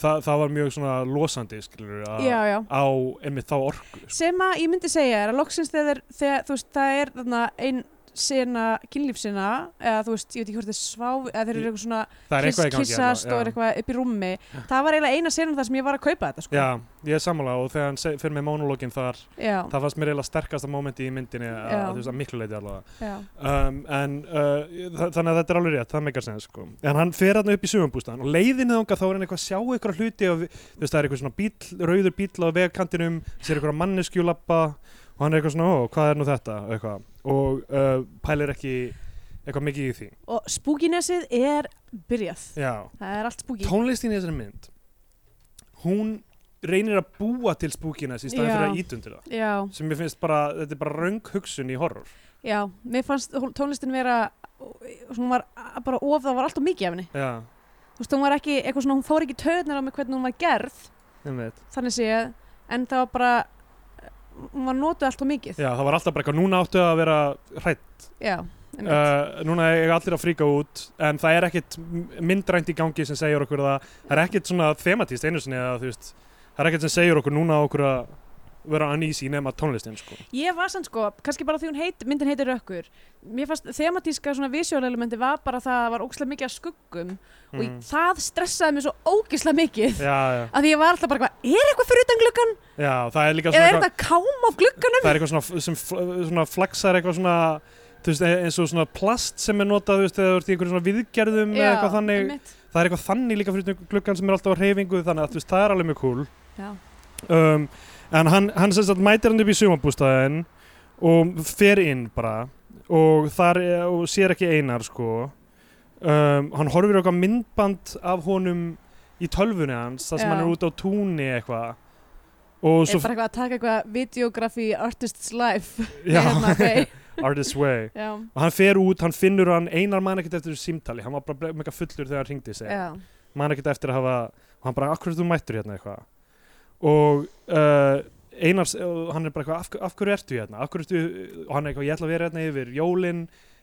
C: það, það var mjög svona losandi skilur að
B: já, já
C: á einmitt þá orku sko.
B: sem að ég myndi segja er að loksins þegar, þegar þú veist það er þarna ein sena, kynlífsina eða þú veist, ég veit ekki hvort þeir svá eða þeir eru eitthvað svona
C: það er eitthvað í gangi hérna,
B: kissast
C: þarna,
B: og er eitthvað upp í rúmi það var eiginlega eina senan þar sem ég var að kaupa þetta
C: já.
B: sko.
C: já, ég er sammála og þegar hann seg- fer með monologin þar
B: já,
C: það fannst mér eiginlega sterkasta momenti í myndinni að,
B: Já.
C: að, þú veist, að miklu leiti allavega
B: já,
C: um, en uh, þa- þannig að þetta er alveg rétt, það meikar sens sko. en hann fer hann upp í sögumbústan og leiðinni þangað þá er hann eitthvað að sjá eitthvað hluti og, við- þú veist það er eitthvað svona bíl, rauður bíl á vegkantinum, sér eitthvað manneskjulappa og hann er eitthvað svona, ó, hvað er nú þetta og eitthvað, og uh, pælir ekki eitthvað mikið í því
B: og spúkinesið er byrjað
C: Já.
B: það er allt spúki
C: tónlistin í þessari mynd hún reynir að búa til spúkinas í staðin
B: Já.
C: fyrir að ítundir það
B: já,
C: sem ég finnst bara, þetta er bara röng hugsun í horror
B: já, mér fannst hól- tónlistin vera hún var a- bara of, það var alltaf mikið af henni
C: Já,
B: þú veist, hún var ekki, eitthvað svona, hún fór ekki töðnir á mig hvernig hún var gerð,
C: einmitt.
B: þannig séð en það var bara hún var notuð alltaf mikið
C: Já, það var alltaf bara eitthvað, núna áttu að vera hrætt
B: já, einmitt.
C: uh, núna eiga allir að fríka út en það er ekkit m- myndrænt í gangi sem segir okkur það, það er ekkit svona thematíst einu sinni að þú veist það er ekkit sem segir okkur núna á okkur að vera uneasy nema tónlistin sko
B: ég var sann sko, kannski bara því hún heit, myndin heitir Rökkur mér fannst thematíska svona visjólelementi var bara það að það var ógislega mikið af skuggum og ég,
C: Mm.
B: það stressaði mér svo ógislega mikið
C: já, já,
B: að því ég var alltaf bara eitthvað, er eitthvað fyrir utan gluggan
C: já, það er líka
B: eða
C: svona
B: er þetta kám af gluggan
C: það er eitthvað svona, f- sem fl svona flaxar eitthvað svona þú veist, e- eins og svona plast sem er notað þú veist, eða þú ert í einhverjum svona viðgerðum Mm, eða eitthvað þannig,
B: einmitt.
C: það er eitthvað þannig líka fyrir utan gluggan sem er alltaf á reyfingu þannig að þú veist, það er alveg mjög cool
B: já,
C: um, en hann, hann sem sagt mætir hann upp í sumabústæðin og fer inn bara og þar er- og sér ekki einar sko um, hann horfir á eitthvað myndband af honum í tölvunni hans þar sem
B: Já.
C: hann er út á túni eitthvað og
B: er
C: svo
B: bara eitthvað að taka eitthvað videography artist's life
C: já,
B: hérna, ok.
C: Artist's Way
B: já,
C: og hann fer út, hann finnur hann einar man ekkert eftir þessu símtali, hann var bara ble- mega fullur þegar hann ringdi sig
B: já,
C: man ekkert eftir að hafa og hann bara, akkur er þú mættur hérna eitthvað og uh, Einar, og hann er bara eitthvað, af, hver- af hverju ertu hérna af hverju ertu, og hann er eitthvað, ég ætla að vera hérna yfir jólin,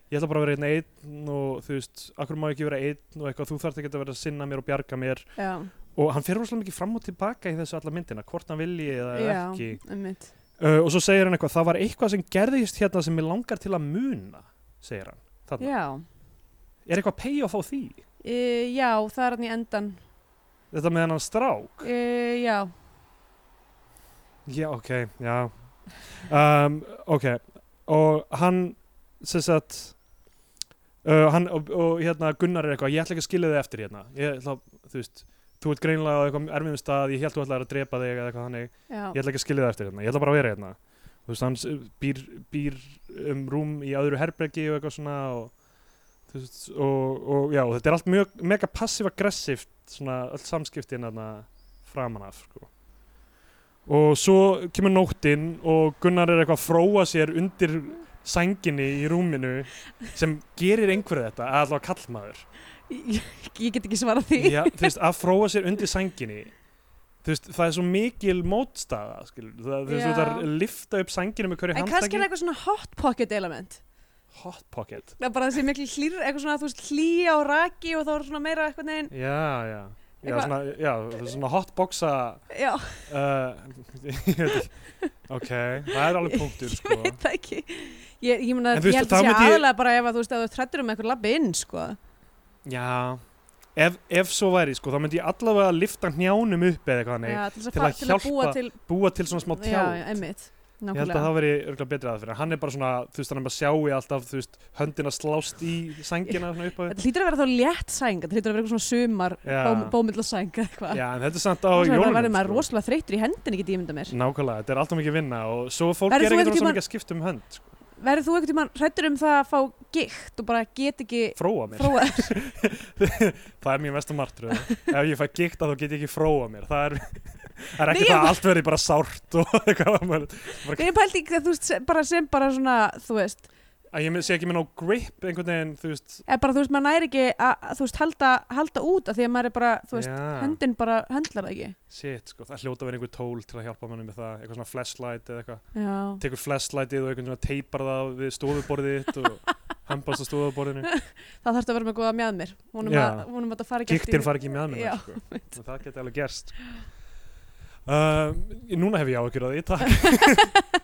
C: ég ætla bara að vera hérna einn og þú veist, af hverju má ég ekki vera einn og eitthvað, þú þarft ekki að vera að sinna mér og bjarga mér
B: já,
C: og hann fer rosalega mikið fram og tilbaka í þessu alla myndina, hvort hann vilji eða
B: já,
C: ekki
B: einmitt
C: uh, og svo segir hann eitthvað, það var eitthvað sem gerðist hérna sem ég langar til að muna segir hann, þarna,
B: já,
C: er eitthvað payoff á því
B: e, já, það er hann í endan
C: þetta með hann strák
B: e, já,
C: Já, ok, já um, Ok, og hann sem sagt uh, hann, og, og hérna Gunnar er eitthvað ég ætla ekki að skilja þig eftir hérna ég, ætla, þú veist, þú ert greinlega á eitthvað erfiðum stað ég held þú ætlaðir að drepa þig eða eitthvað þannig
B: já,
C: ég ætla ekki að skilja þig eftir hérna, ég ætla bara að vera hérna þú veist, hann s- býr, býr um rúm í öðru herbergi og eitthvað svona og, þú veist, og, og já, þetta er allt mjög, mega passiv-aggressivt svona öll samskiptin þarna framan af sko. og svo kemur nóttin og Gunnar er eitthvað að fróa sér undir sænginni í rúminu sem gerir einhverju þetta að allavega kallmaður
B: Ég, ég get ekki svarað því
C: já, þú veist, að fróa sér undir sænginni þú veist, það er svo mikil mótstaða skilur, það, þú veist,
B: Já.
C: þú þarf að lifta upp sænginu með hverju
B: En kannski er
C: handtaki
B: það eitthvað svona hot pocket element
C: hot pocket
B: Það er bara þessi miklu hlýr, eitthvað svona þú veist hlýja og raki og þá er svona meira eitthvað neginn
C: já, já Já,
B: Eitthvað-
C: svona, já, það er svona hotboxa
B: Já,
C: uh, ég veit ekki. ok, það er alveg punktur sko.
B: ég veit það ekki Ég, ég, muna,
C: En
B: ég
C: þú veist,
B: held
C: þá
B: að sé
C: myndi ég-
B: aðalega bara ef að þú veist að þú trættur um eitthvað labbi inn sko.
C: Já, ef, ef svo væri sko, þá myndi ég allavega lifta hnjánum upp eða eitthvað þannig,
B: Já, til,
C: til
B: að
C: að
B: fa- til að búa
C: hjálpa
B: til
C: búa til svona smá tjá.
B: Já, já, einmitt
C: ég held að
B: Nákvæmlega
C: það veri örgulega betra aðferð. Hann er bara svona, þú veist, hann er bara sjáu alltaf, þú veist, höndina slást í sængina svona upp á
B: Þetta hlýtur að vera þá létt sæng Þetta hlýtur að vera eitthvað svona sumar
C: Já.
B: bóm, bómillasæng eða eitthvað
C: Já, en þetta er samt á
B: Þannig að það verður
C: jólunum. sko.
B: maður rosalega þreyttur í hendin ekki dýmynda mér
C: Nákvæmlega, þetta er alltaf mikið vinna og svo fólk
B: Verður
C: er
B: þú
C: ekkert
B: einhvern
C: rosalega
B: tímann-
C: mikið að skipta um hönd, sko.
B: Verður þú eitthvað tímann hrættur um það að fá gikt og bara get ekki
C: fróa mér.
B: fróa
C: það er mjög mesta martröð. Ef ég fæ gikta þá get ég ekki fróa mér. Það er, það er
B: Nei,
C: ekki
B: ég
C: það að
B: bara-
C: allt verði bara sárt og eitthvað. annað.
B: Nei, ég pældi ekki að þú veist se- bara sem bara svona, þú veist
C: Að ég sé ekki með nóg grip einhvern veginn, þú veist.
B: eða bara þú veist, maður næri ekki að, að þú veist, halda, halda út af því að maður er bara, þú veist,
C: Já.
B: höndin bara höndlar það ekki
C: Shit, sko, það hljóta að vera einhver tól til að hjálpa manni með það, eitthvað svona flashlight eða eitthvað.
B: Já,
C: Tekur flashlightið og einhvern veginn teipar það við stofuborðið þitt og hambast á stofuborðinu.
B: það þarf að vera með góða mjað mér vonum,
C: Já.
B: að, vonum að það fari ekki eftir-
C: Giktin far ekki með
B: Já,
C: mér, sko. En það geti alveg gerst. Ehm, Uh, núna hef ég áhyggjur að því, takk.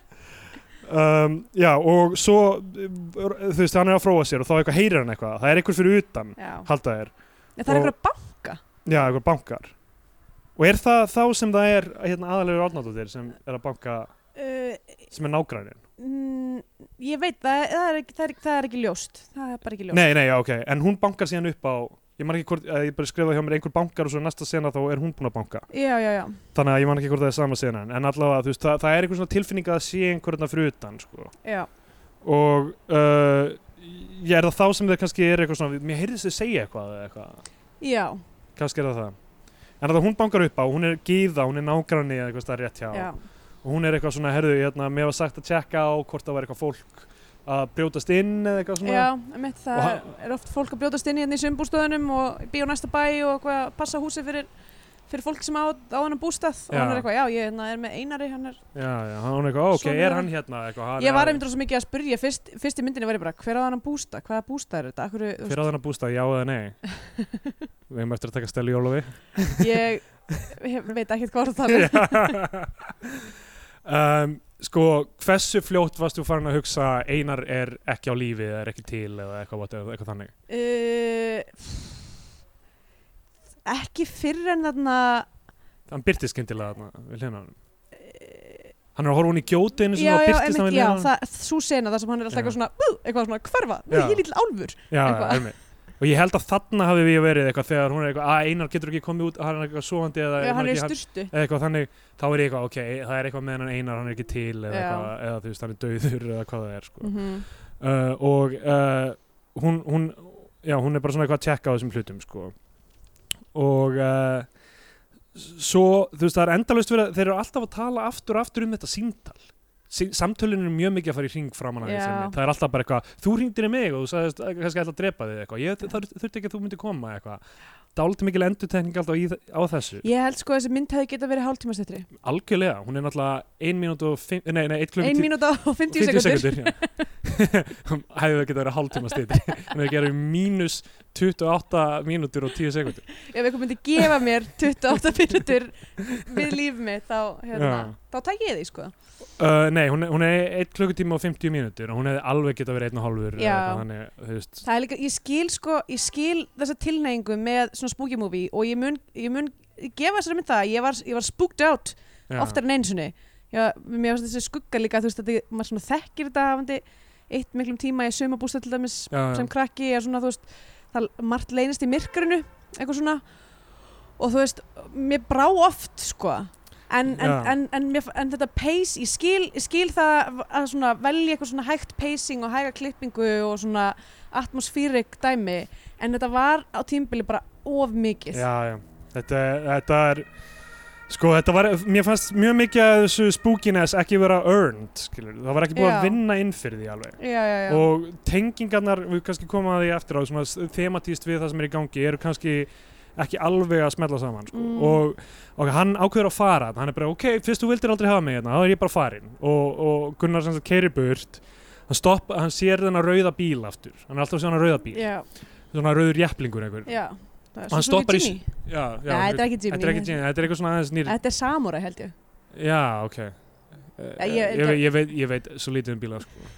C: um, já og svo þú veist hann er að fróa sér og þá eitthvað heyrir hann eitthvað það er einhver fyrir utan
B: já.
C: halda þér,
B: En það er
C: Og-
B: einhverja banka
C: já einhver bankar og er það þá sem það er hérna, aðalegur átnáttóttir sem er að banka
B: uh,
C: sem er nágrænin
B: mm, Ég veit, það, það, er ekki, það, er, ekki- það er ekki ljóst Það er bara ekki ljóst
C: nei nei já ok, en hún bankar síðan upp á ég man ekki hvort, eh, ég bara skrifaði hjá mér einhver bankar og svo næsta sena þá er hún búin að banka
B: Já, já, já,
C: þannig að ég man ekki hvort það er sama sena en allavega þú veist það, það er einhver svona tilfinning að það sé einhverjna fyrir utan sko.
B: já
C: og uh, ég er það þá sem þau kannski er eitthvað svona mér heyrðist þau segja eitthvað eða eitthvað
B: Já,
C: kannski er það það en það hún bankar upp á, hún er gíða, hún er nágranni eða eitthvað stað rétt hjá
B: já,
C: og hún er eitthvað svona, herðu, hérna, mér var sagt að tjekka á hvort það var eitthvað fólk að brjótast inn eða eitthvað svona
B: já emitt, Það
C: Og hann-
B: er oft fólk að brjótast inn í hérna í sumbústöðunum og býja á næsta bæ og hvað, passa húsi fyrir, fyrir fólk sem á, á hennar bústað og
C: Já.
B: hann er eitthvað, já, ég hérna, er með Einari hann er
C: já, já, hann er eitthvað, "Ó, ok,
B: Svona er
C: er hann hérna eitthvað, hann
B: Ég var
C: er-
B: einmitt rosa mikið að spyrja fyrst, fyrst í myndinni var ég bara hver á þannan bústa, hvaða bústa er þetta Akkur,
C: fyrir að þannig bústað, já eða nei við hefum eftir að taka steli í Ólofi
B: ég, ég veit ekkert hvað það er
C: um, sko, hversu fljótt varst þú farin að hugsa einar er ekki á lífi eða er ekki til eða eitthvað, eitthvað, eitthvað þannig
B: uh, Ekki fyrr en þarna
C: hann byrtist skyndilega þarna við hliðina á honum.
B: uh,
C: hann er að horfa hún í gjótinu
B: Já,
C: sem
B: já,
C: byrtist
B: einmitt, já, það, sú sena þar sem hann er alltaf
C: Já.
B: eitthvað svona, uh, eitthvað svona hverfa, nú
C: Já.
B: ég er lítill álfur
C: já,
B: eitthvað.
C: einmitt. og ég held að þarna hafi við verið eitthvað þegar hún er eitthvað að einar getur ekki komið út hann er eitthvað svoandi eða
B: Já,
C: man
B: hann er í
C: ekki-
B: sturtu
C: eða eitthvað þannig þá er ég eitthvað ok, það er eitthvað með hann einar hann er ekki til eða,
B: Já.
C: eitthvað, eða þú veist hann er döður eða hvað það er sko.
B: mm
C: uh, og uh, hún, hún, já, hún er bara svona eitthvað að tjekka á þessum hlutum sko. og uh, s- svo, þú veist, það er endalaust verið að þeir eru alltaf að tala aftur og aftur um þetta símtal Sí- samtölin eru mjög mikið að fara í hring framan að
B: Já.
C: þessinni, það er alltaf bara eitthvað þú hringdir í mig og þú sagðist eh, kannski ætla að drepa þig eða eitthvað, ég þur- þurfti ekki að þú myndir koma eða eitthvað, dálítið mikil endurtekning alltaf í, þ- á þessu,
B: Ég held sko að þessi mynd hefði getað verið hálftímastættri
C: algjörlega hún er náttúrulega 1 minút og 5, nei, nei, 1 klukk
B: Ein mínúta og 50 sekundur
C: já. hefði það getað verið hálftíma stýti en það gerir mínus 28 mínútur og 10 sekundur
B: ef einhver myndi gefa mér 28 mínútur við líf mitt þá, hérna,
C: Já.
B: þá tæk ég því sko
C: uh, nei, hún, er- hún er 1 klukkutíma og 50 mínútur og hún hefði alveg getað verið 1 og halvur
B: Já.
C: þannig, þú veist
B: það er líka, ég skil sko, ég skil þessa tilneyingu með svona spooky movie og ég mun, ég mun gefa sér mynd það ég var, ég var spooked out
C: já.
B: oftar en einsunni Já, mér finnst þessi skugga líka þú veist að þið, maður svona þekkir þetta hafandi eitt miklum tíma í sömabústa til dæmis
C: já, já.
B: sem krakki er svona þú veist það margt leynist í myrkrinu eitthvað svona og þú veist, mér brá oft sko en, en,
C: Já.
B: en, en, mér, en þetta pace, ég skil, ég skil það að svona velja eitthvað svona hægt pacing og hæga klippingu og svona atmosfýrik dæmi en þetta var á tímbili bara of mikið
C: já, já. Þetta, þetta er sko, þetta var, mér fannst mjög mikið að þessu spookiness ekki vera earned skilur, það var ekki búið
B: Já.
C: að vinna inn fyrir því alveg
B: já, já, já.
C: og tengingarnar, við kannski komum að því eftir á svona s- thematíst við það sem er í gangi eru kannski ekki alveg að smetla saman sko.
B: Mm.
C: og, og hann ákveður að fara hann er bara ok, fyrst þú vildir aldrei hafa mig hérna þá er ég bara farin og, og Gunnar sem sagt keiri burt hann, stopp, hann sér þennan rauða bíl aftur hann er alltaf að sjá hann rauða bíl
B: já,
C: svona rauður jepplingur einhver
B: já. Það er
C: Hann
B: svo- svo
C: stoppar í
B: Jimmy.
C: já, já,
B: Nei, þetta er ekki Jimmy
C: þetta er ekki Jimmy, þetta er eitthvað svona aðeins nýr
B: Þetta er Samura held ég
C: já, ok
B: Ja,
C: ég,
B: ég-
C: ég, ég, ég, veit, ég veit svo lítið um bíla sko.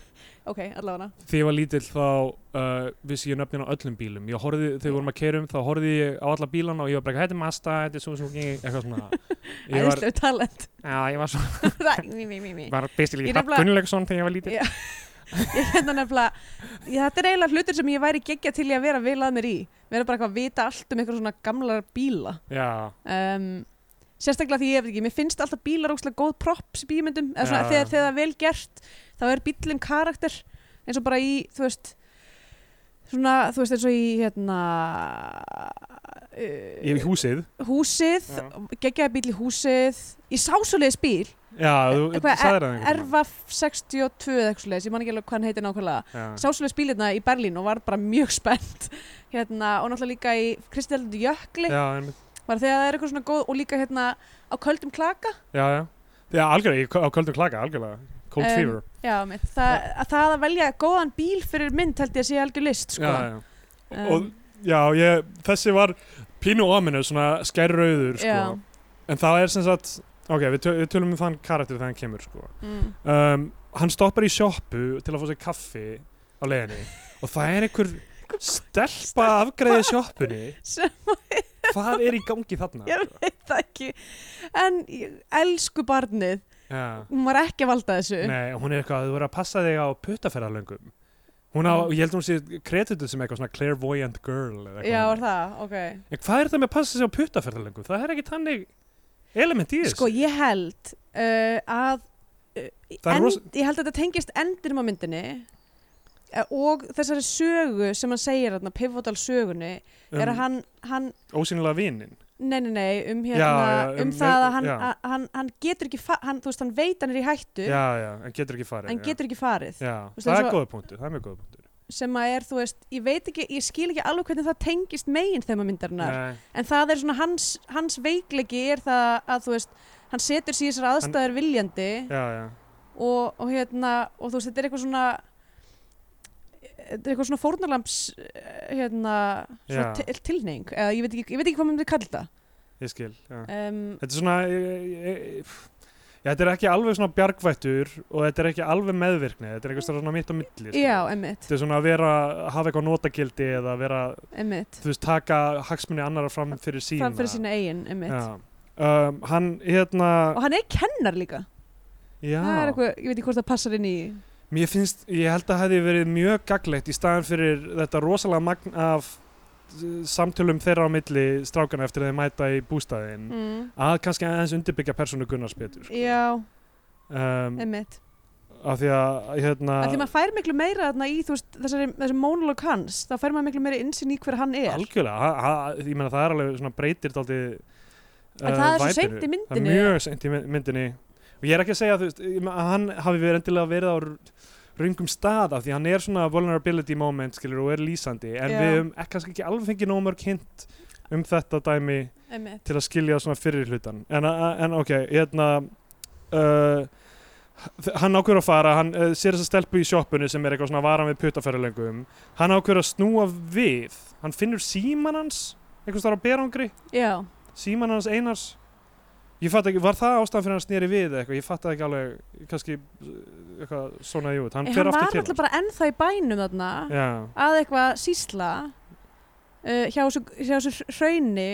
B: Ok, allavega
C: þegar ég var lítill þá uh, vissi ég nöfnin á öllum bílum ég horfði, þegar við vorum að keyra um þá horfði ég á alla bílana og ég var bara þetta er Mazda, þetta er Suzuki eitthvað svona ég var,
B: Æðislegu talent
C: já, ég var, svo,
B: Ræ, mí, mí, mí, mí.
C: var basically
B: Ég
C: Hrafn
B: nefnilega-
C: Gunnlaugsson þegar ég var lítill
B: Já. ég hérna nefnilega ég, þetta er eiginlega hlutur sem ég væri geggja til í að vera vel að mér í vera bara eitthvað að vita allt um eitthvað svona gamlar bíla
C: já,
B: um, sérstaklega því ég veit ekki mér finnst alltaf bílar ógslag góð props í bímyndum eða svona
C: Já, já.
B: þegar, þegar það er vel gert þá er bílinn karakter eins og bara í þú veist svona þú veist eins og í hérna uh,
C: ég hef húsið
B: húsið
C: Já.
B: geggjaði bíl í húsið ég sá svoleiðis bíl
C: já, þú
B: Eitthvað
C: sagðir það einhvern
B: Erfa 62 eða eitthvað svoleiðis, ég man ekki alveg hvað hann heitir nákvæmlega
C: tímann. Já.
B: sásulega spilirna í Berlín og var bara mjög spennt hérna, og náttúrulega líka í Kristjaldur Jökli
C: já, einmitt.
B: var þegar það er eitthvað svona góð og líka hérna á köldum klaka
C: já, já já, algjörlega, ég- á köldum klaka, algjörlega cold
B: Em,
C: fever
B: já, mitt, það, að það að velja góðan bíl fyrir mynd held ég að sé algjör list sko.
C: já, já.
B: Em,
C: og já, ég, þessi var pínu áminu, svona skærrauður sko.
B: já,
C: en það er sem sagt ok, við, töl, við tölum um þann karakter þegar hann kemur sko.
B: mm.
C: um, hann stoppar í sjoppu til að fá sér kaffi á leiðinni og það er einhver stelpa afgreðið sjoppunni
B: Sem
C: hvað er í gangi þarna
B: Ég
C: sko?
B: það ekki en ég- elsku barnið
C: Já.
B: hún var ekki að valda þessu
C: Nei, hún er eitthvað að þú verður að passa þig á puttaferðalöngum hún á, ég held að hún sé kredituð sem eitthvað svona clairvoyant girl eða eitthvað
B: já,
C: þannig.
B: er það, ok
C: En hvað er þetta með að passa sig á puttaferðalöngum? Það er ekki þannig element í þessu.
B: Sko, ég held uh, að
C: Það er
B: en,
C: rosa-
B: ég held að þetta tengist endinum á myndinni eh, og þessari sögu sem hann segir þarna, pivotal sögunni er að hann, hann
C: Um, Ósýnilega vinin.
B: nei, nei, nei, um
C: Já,
B: hérna
C: já,
B: um,
C: um-
B: það að hann,
C: já.
B: að, hann, hann getur ekki fa- hann, þú veist, hann veit hann er í hættu
C: Já, já, en getur ekki farið.
B: hann getur ekki farið
C: Já, já.
B: Þú veist,
C: það
B: eins
C: er
B: og-
C: góða punktur, það er mjög góða punktur.
B: sem að er, þú veist, ég veit ekki ég skil ekki alveg hvernig það tengist megin þeim að myndarinnar
C: Nei,
B: en það er svona hans, hans veikleiki er það að þú veist hann setur sér í þessar aðstæður viljandi
C: já, já.
B: og, og hérna og þú veist þetta er eitthvað svona þetta er eitthvað svona fórnarlamps eh, hérna
C: Já.
B: svona til, tilning eða ég veit ekki, ég veit ekki hvað maður myndi kalla þetta
C: Ég skil, já.
B: um,
C: Þetta er svona, e- e- e- pff. já, þetta er ekki alveg svona bjargvættur og þetta er ekki alveg meðvirkni, þetta er eitthvað svona mitt á milli. sko.
B: já, emmitt,
C: Þetta er svona að vera, hafa eitthvað notagildi eða vera,
B: emmitt
C: þú veist, taka hagsmunni annara fram fyrir sína.
B: fram fyrir sína eigin, emmitt
C: Já. Um, hann, hérna,
B: og hann er kennar líka
C: já.
B: það er eitthvað, ég veit ekki hvort það passar inn í
C: Mér finnst, ég held að það hefði verið mjög gaglegt í staðan fyrir þetta rosalega magn af eh, samtölum þeirra á milli strákana eftir að þeir mæta í bústæðin
B: mm,
C: að kannski aðeins undirbyggja persónu Gunnars betur sko.
B: já,
C: um,
B: emmitt
C: af því að hérna,
B: að því maður fær miklu meira þarna í þú veist, þessari, þessari monolog hans þá fær maður miklu meira innsinn í hver hann er
C: algjörlega ha- ha- ég meina það er alveg svona breytir daldið
B: En það er svo seint í myndinni.
C: það er mjög seint í my- myndinni og ég er ekki að segja þú veist, ég meina, að hann hafi verið endilega verið á röngum stað af því hann er svona vulnerability moment skilur og er lýsandi en
B: Já.
C: við höfum ekki- kannski ekki alveg fengið nóg mörg hint um þetta dæmi
B: emmitt,
C: til að skilja svona fyrir hlutan en, a- en ok, hérna uh, h- hann ákveður að fara hann uh, sér þess að stelpu í sjoppunni sem er eitthvað svona varan við puttaferðalöngum hann ákveður að snúa við hann finnur síman hans einhvers þar á berangri,
B: já
C: síman hans einars ég fatt ekki, var það ástæðan fyrir hann snýri við eða eitthvað, ég fatt ekki alveg kannski uh, eitthvað svona jú hann
B: Eh,
C: fer
B: hann var
C: aftur til
B: alltaf
C: hans
B: bara ennþá í bænum þarna
C: já,
B: að eitthvað sísla uh, hjá þessu- hjá þessu hraunni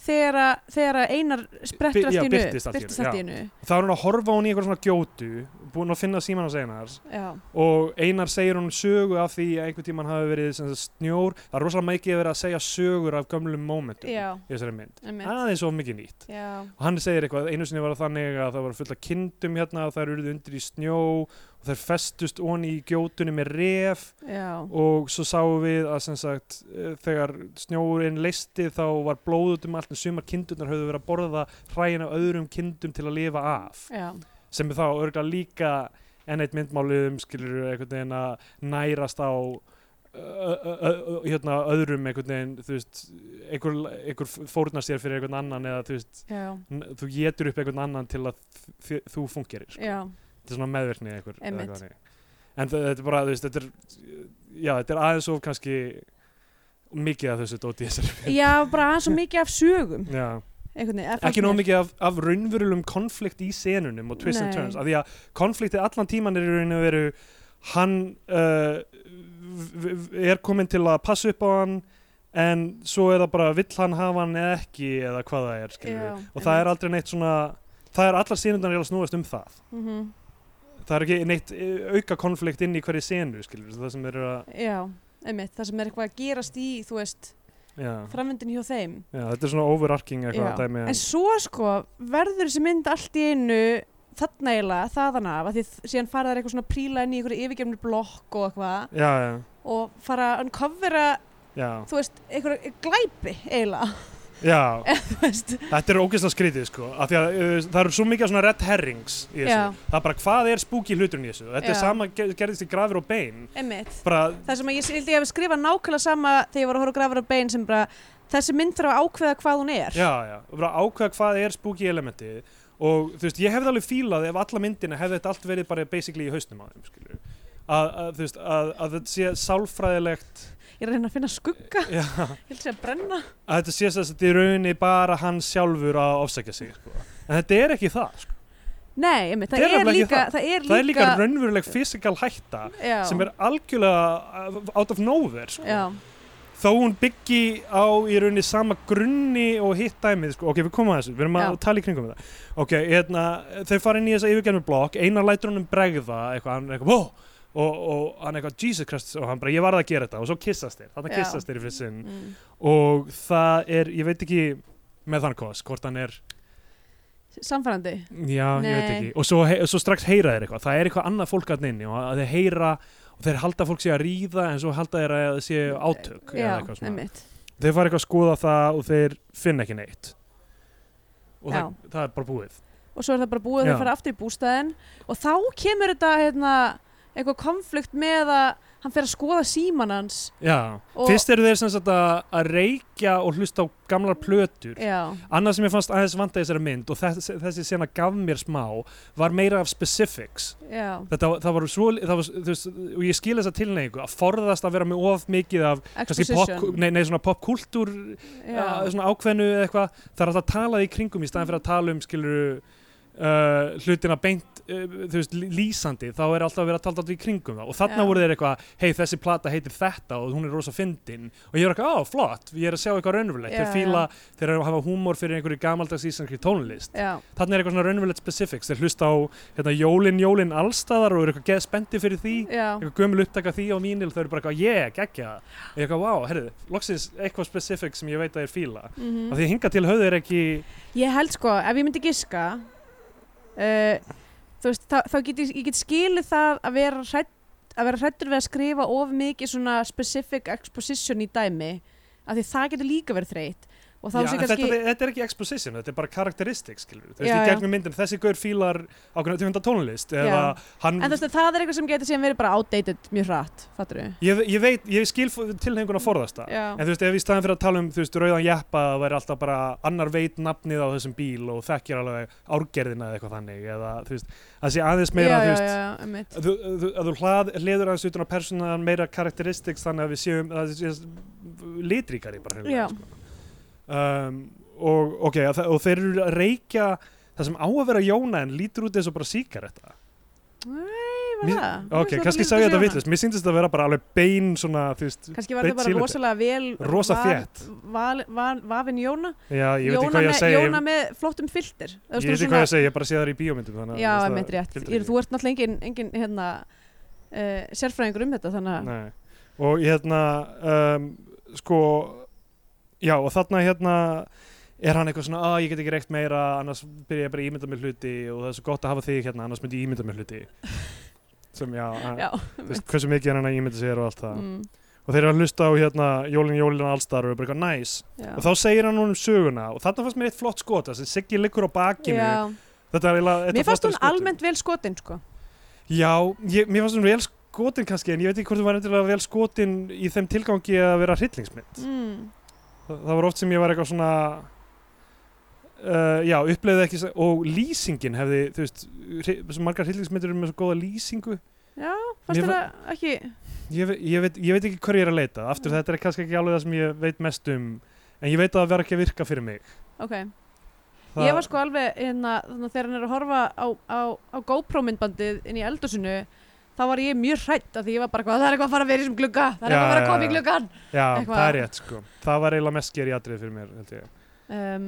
B: þegar, að- þegar að einar
C: Bi-
B: sprettur allt í
C: já,
B: einu
C: birtist allt í einu,
B: allt í
C: já.
B: einu
C: þá er hann að horfa á hún í eitthvað svona gjótu búin að finna síman hans einars
B: já.
C: og Einar segir hún sögu af því að einhvern tímann hafi verið sem sagt, snjór það er rosalega mikið verið að segja sögur af gömlum mómentum
B: Já,
C: í þessari mynd
B: einmitt.
C: aðeins of mikið nýtt
B: já,
C: og hann segir eitthvað, einu sinni var það þannig að það var fullt af kindum hérna og þær eruðu undir í snjó og þær festust onni í gjótunni með ref
B: já,
C: og svo sáum við að sem sagt eh, þegar snjóurinn leisti þá var blóðut um allt en sumar kindurnar höfðu verið að borða hræin af öðrum kindum til að lifa af
B: já,
C: sem er þá örgulega líka enn eitt myndmálið um skilur einhvern veginn að nærast á ö- ö- ö- ö- hérna öðrum einhvern veginn þú veist einhver, einhver fórnar sér fyrir einhvern annan eða þú veist
B: já,
C: n- þú getur upp einhvern annan til að þi- þú fungerir sko.
B: já,
C: þetta er svona meðverkni einhver eða
B: Einmitt.
C: eitthvað þannig. en þe- þetta er bara þú veist þetta er já þetta er aðeins of kannski mikið af þessu dóti í þessari mynd.
B: já, bara aðeins svo mikið af sögum
C: já
B: einhvern veginn,
C: ekki nóg mikið af, af raunverulegum konflikt í senunum og twist and
B: Nei.
C: turns af því að konfliktið allan tíman er í raun og veru hann uh, v- v- er kominn til að passa upp á hann en svo er það bara vill hann hafa hann eða ekki eða hvað það er skilur
B: Já,
C: og það er
B: einmitt.
C: aldrei neitt svona það er allar senundar að snúast um það
B: mm -hmm.
C: það er ekki neitt eh, auka konflikt inn í hverju senu skilur það sem eru að
B: já, einmitt, það sem er eitthvað að gerast í, þú veist,
C: já,
B: framvindin hjá þeim
C: já, þetta er svona overarking
B: Já.
C: eitthvað dæmi um.
B: En svo sko verður þessi mynd allt í einu þarna eiginlega, þaðan af að því þ- síðan fara þær eitthvað svona príla inn í einhverju yfirgefnu blokk og eitthvað
C: já, já,
B: og fara að uncovera,
C: já,
B: þú veist, einhverju glæpi eiginlega,
C: já.
B: þú veist
C: Þetta er ógeðslega skrítið sko, af því að uh, það eru svo mikið af svona red herrings í þessu,
B: Já.
C: það er bara hvað er spooky hluturinn í þessu, þetta er
B: Já.
C: sama ge- gerðist í grafir og bein,
B: Einmitt.
C: bara,
B: Það sem að ég vildi ég hafi skrifað nákvæmlega sama þegar ég var að horfa á grafur á bein sem bara þessi mynd þarf að ákveða hvað hún er
C: já, já, og bara ákveða hvað er spooky elementið og þú veist, ég hefði alveg fílað ef alla myndina hefði þetta allt verið bara basically í hausnum á þeim, skilju, að, að þú veist, að, að þetta sé sálfræðilegt,
B: ég er að reyna að finna skugga
C: Já,
B: ég held að segja brenna
C: að þetta sé þess að þetta er rauninni bara hann sjálfur að ofsækja sig sko. en þetta er ekki það sko.
B: nei, einmitt, það,
C: Það er
B: er
C: nefnilega ekki
B: líka,
C: það.
B: það er líka
C: það er líka raunveruleg fysikal hætta
B: já,
C: sem er algjörlega uh, out of nowhere sko.
B: já,
C: þó hún byggi á í rauninni sama grunni og hitt dæmið sko. ok, við komum að þessu, við erum að
B: Já.
C: tala í kringum það ok, hérna, þau fara inn í þessa yfirgerðum blokk, einar lætur honum bregða eitthvað, hann er eitthvað, wow! og, og hann er eitthvað, Jesus Christ, og hann bara, ég varð að gera þetta og svo kissast þeir, þannig
B: Já.
C: kissast þeir í fyrst sinn
B: mm.
C: og það er, ég veit ekki með þann kost, hvort hann er
B: samfærandi
C: Já, ég veit
B: Nei.
C: ekki og svo, hei- svo strax heyra þeir eitthvað, það er eitthvað annað fólk að inni og að þeir heyra og þeir halda að fólk sé að ríða en svo halda þeir að það sé átök eða
B: já,
C: eitthvað svona.
B: einmitt
C: þeir fara eitthvað að skoða það og þeir finna ekki neitt og það, það er bara búið
B: og svo er það bara búið að
C: Já.
B: þau fara aftur í bústæðin og þá kemur þetta hérna, eitthvað konflikt með að hann fer að skoða síman hans
C: Já,
B: Og-
C: fyrst eru þeir sem sagt að, að reykja og hlusta á gamlar plötur
B: já,
C: annað sem ég fannst aðeins vanda í þessari mynd og þessi, þessi sena gaf mér smá var meira af specifics
B: já,
C: Þetta, var- það var svo, það var, þú veist, og ég skil þessa tilneigu að forðast að vera með of mikið af kannski pop,
B: exposition
C: nei, nei, svona popkultúr uh,
B: já,
C: svona ákveðnu eða eitthvað það er alltaf að tala því í kringum í staðan fyrir að tala um skilur uh, hlutina beint uh, þú veist, lí- lýsandi þá er alltaf að vera að tala alltaf í kringum það og þarna
B: Já.
C: voru þeir eitthvað, hei þessi plata heitir þetta og hún er rosa fyndin og ég er eitthvað, á flott, ég er að sjá eitthvað raunverulegt
B: Já,
C: þeir fíla, þeir eru að hafa húmor fyrir einhverju gamaldags íslenskri tónlist
B: já,
C: þarna er eitthvað svona raunverulegt specifics þeir hlusta á hérna, jólin, jólin allstaðar og eru eitthvað geð spendi fyrir því
B: já
C: eitthvað gömul upptaka af því á mínil þau eru bara eitthvað yeah, geggja ég eitthvað wow, herðu, loksins eitthvað specific sem ég veit að þeir fíla mm.
B: mhm.
C: af því hinga til höfðu er ekki
B: ég held sko, ef ég myndi giska uh, þú veist, þá, þá get ég, ég get skilið það að vera hrætt að vera hrættur við að skrifa of mikið svona specific exposition í dæmi af því það getur líka verið þreytt og þá
C: já,
B: sé
C: en
B: kannski
C: þetta, þetta er ekki exposition, þetta er bara karakteristik skilur, þú veist,
B: Já,
C: í
B: já.
C: gegnum myndin þessi gaur fílar ákveðna tegunda tónlist eða
B: Já.
C: hann,
B: En þú veist að það er eitthvað sem getur síðan verið bara outdated mjög hratt, fattur við?
C: ég, ég veit, ég skil tilhenguna forðasta
B: Mm. Já.
C: En þú veist, ef í staðan fyrir að tala um, þú veist, rauðan jeppa það væri alltaf bara annar veit nafnið á þessum bíl og þekkir alveg árgerðina eða eitthvað þannig, eða þú veist, að sé aðeins meira,
B: já,
C: þú
B: já,
C: veist,
B: já, já, einmitt.
C: að þú, að þú, að þú hlað, hliður aðeins utan á persónan meira karakteristiks þannig að við séum að það sé litríkari bara
B: Já.
C: hreinlega, sko. um, og, okay, að, þa- og þeir eru að reykja það sem á að vera Jóna en lítur út eins og bara síkaretta
B: Nei, var
C: Mér-
B: það?
C: ok, kannski sagði ég þetta vittlust mér syndist þetta að vera bara alveg bein svona, þú veist,
B: Kannski var
C: Beinn
B: þetta bara
C: sílandi.
B: rosalega vel
C: Rosa
B: val-
C: þétt.
B: val- val- Vafin Jóna
C: já, ég veit ekki
B: Jóna
C: hvað ég
B: með,
C: að segja
B: Jóna
C: ég,
B: með flottum filter Þú
C: ég
B: veist,
C: veit
B: þú
C: ekki hvað ég að segja, ég bara sé það í bíómyndum þannig, að
B: Já,
C: þú veist, það
B: einmitt rétt
C: gildir
B: Ég-
C: ekki.
B: Þú ert náttúrulega engin, engin hérna, uh, sérfræðingur um þetta þannig að
C: Nei. og hérna um, sko já og þarna hérna er hann eitthvað svona að ég get ekki reykt meira annars byrja ég bara að ímynda mér hluti og það er svo gott að hafa þig hérna annars myndi ég ímynda mér hluti sem já, já.
B: Já,
C: Veist, hversu mikið er hann að ímynda sér og allt það
B: mm,
C: og þeir eru að hlusta á hérna Jólin Jólin allstar og eru bara eitthvað næs
B: já.
C: og þá segir hann honum söguna og þarna fannst mér eitt flott skot þessi Siggi liggur á bakinu
B: Já.
C: þetta er eiginlega eitt
B: Mér
C: af
B: fannst
C: flottari
B: hún
C: skotum.
B: almennt vel skotin sko.
C: Já, ég, mér fannst hún vel skotin kannski en ég veit ekki hvort hún var endilega vel skotin í þeim tilgangi að vera hryllingsmynd.
B: mm.
C: Þa, það var oft sem ég var eitthvað svona uh, já, uppleiði ekki sem- og lýsingin hefði, þú veist hri- svo margar hryllingsmyndir eru með svo góða lýsingu
B: Já,
C: Mér
B: fannst
C: fa-
B: þetta ekki
C: ég, ve- ég, veit, ég veit ekki hver ég er að leita aftur
B: Mm.
C: þetta er kannski ekki alveg það sem ég veit mest um en ég veit að það verður ekki að virka fyrir mig
B: Ok,
C: það,
B: ég var sko alveg hérna, þannig að þegar hann er að horfa á, á, á GoPro myndbandið inn í eldusinu þá var ég mjög hrætt af því ég var bara eitthvað, það er eitthvað að fara að vera í þessum glugga það er
C: Já,
B: eitthvað að fara að
C: já,
B: koma í
C: já.
B: gluggan
C: Já,
B: eitthvað-
C: það er rétt sko það var eiginlega mest sker í atrið fyrir mér held ég
B: um,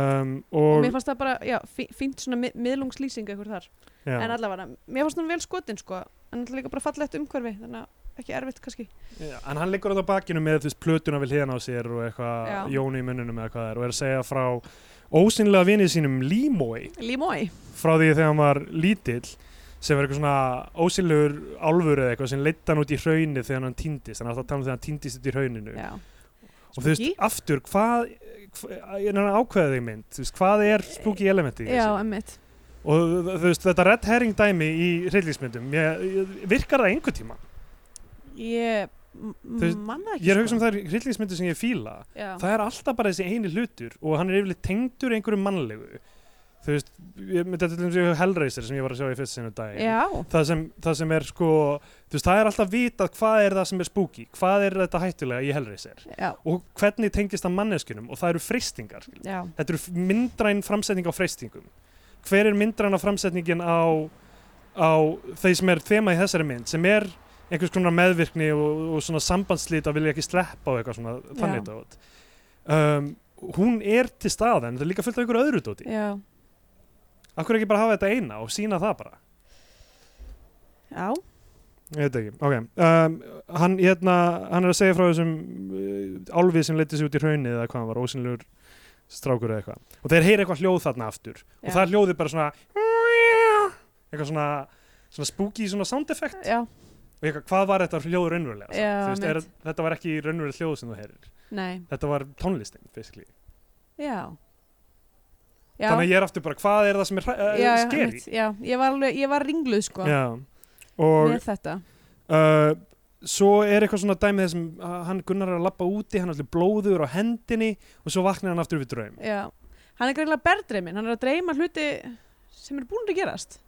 C: um,
B: og
C: og,
B: mér fannst það bara, já, fí- fínt svona mi- miðlungslýsing eitthvað þar,
C: já.
B: en allavega mér fannst hún vel skotin sko, en alltaf líka bara fallegt umhverfi þannig að ekki erfitt kannski
C: Já, en hann liggur á bakinu með þú veist plötuna við hliðan á sér og
B: Já.
C: eitthvað Jóni í mununum eða hvað það er og er að segja frá ósynlega vinið sínum Límói
B: Límói,
C: frá því þegar hann var lítill sem var eitthvað svona ósynlegur álfur eða eitthvað sem leitt hann út í hraunið þegar hann týndist hann er alltaf að tala um þegar hann týndist út í hrauninu
B: já,
C: og þú veist
B: Spooky.
C: aftur hvað hva, en hann ákveðið þig mynd þú veist, hvað er spooky elementi í
B: já,
C: þessu?
B: emmitt
C: og þú veist þetta red herring dæmi í hryllingsmyndum ég, ég, virkar það einhver tíma
B: ég m-
C: veist,
B: manna ekki sko.
C: ég er að hugsa um þær hryllingsmyndir sem ég fíla
B: það
C: það er alltaf bara þessi eini hlutur og hann er yfirleitt tengdur einhverju mannlegu Þú þú veist, ég myndi að til dæmis ég Hellraiser sem ég var að sjá í fyrst sinu dag
B: Já,
C: það sem, það sem er sko þú veist, það er alltaf vitað hvað er það sem er spooky hvað er þetta hættulega í Hellraiser
B: já,
C: og hvernig tengist það manneskunum og það eru freystingar skilur.
B: já,
C: þetta eru f- myndræn framsetning á freystingum hver er myndræna framsetningin á, á þeir sem er þema í þessari mynd sem er einhvers konar meðvirkni og, og svona sambandslít að vilja ekki sleppa og eitthvað svona þannig dót um, hún er til staðan það er líka fullt af ykkur öðru dóti
B: já,
C: akkur ekki bara hafa þetta eina og sína það bara
B: já,
C: Ég veit ekki, ok um, hann, hérna, hann er að segja frá þessum uh, álfið sem leytið sér út í hraunið eða hvað hann var, ósynlegur strákur eða eitthvað og þeir heyra eitthvað hljóð þarna aftur
B: Já.
C: og það er hljóðið bara svona eitthvað svona, svona spooky svona sound effect
B: já,
C: og eitthvað, hvað var þetta hljóð raunverulega samt?
B: Já,
C: Þú veist, er,
B: einmitt.
C: þetta var ekki raunverulega hljóð sem þú heyrir
B: nei,
C: þetta var tónlistin, basically
B: já. Já,
C: þannig að ég er aftur bara, hvað er það sem er hra-
B: já,
C: uh,
B: já,
C: skeri
B: einmitt, já, ég var alveg, ég var ringluð sko
C: já. og
B: með þetta.
C: Uh, svo er eitthvað svona dæmi þessum uh, hann Gunnar er að labba úti, hann er allir blóður á hendinni og svo vaknar hann aftur við draum
B: Já, hann er greinlega berðdreiminn, hann er að dreyma hluti sem eru búin að gerast,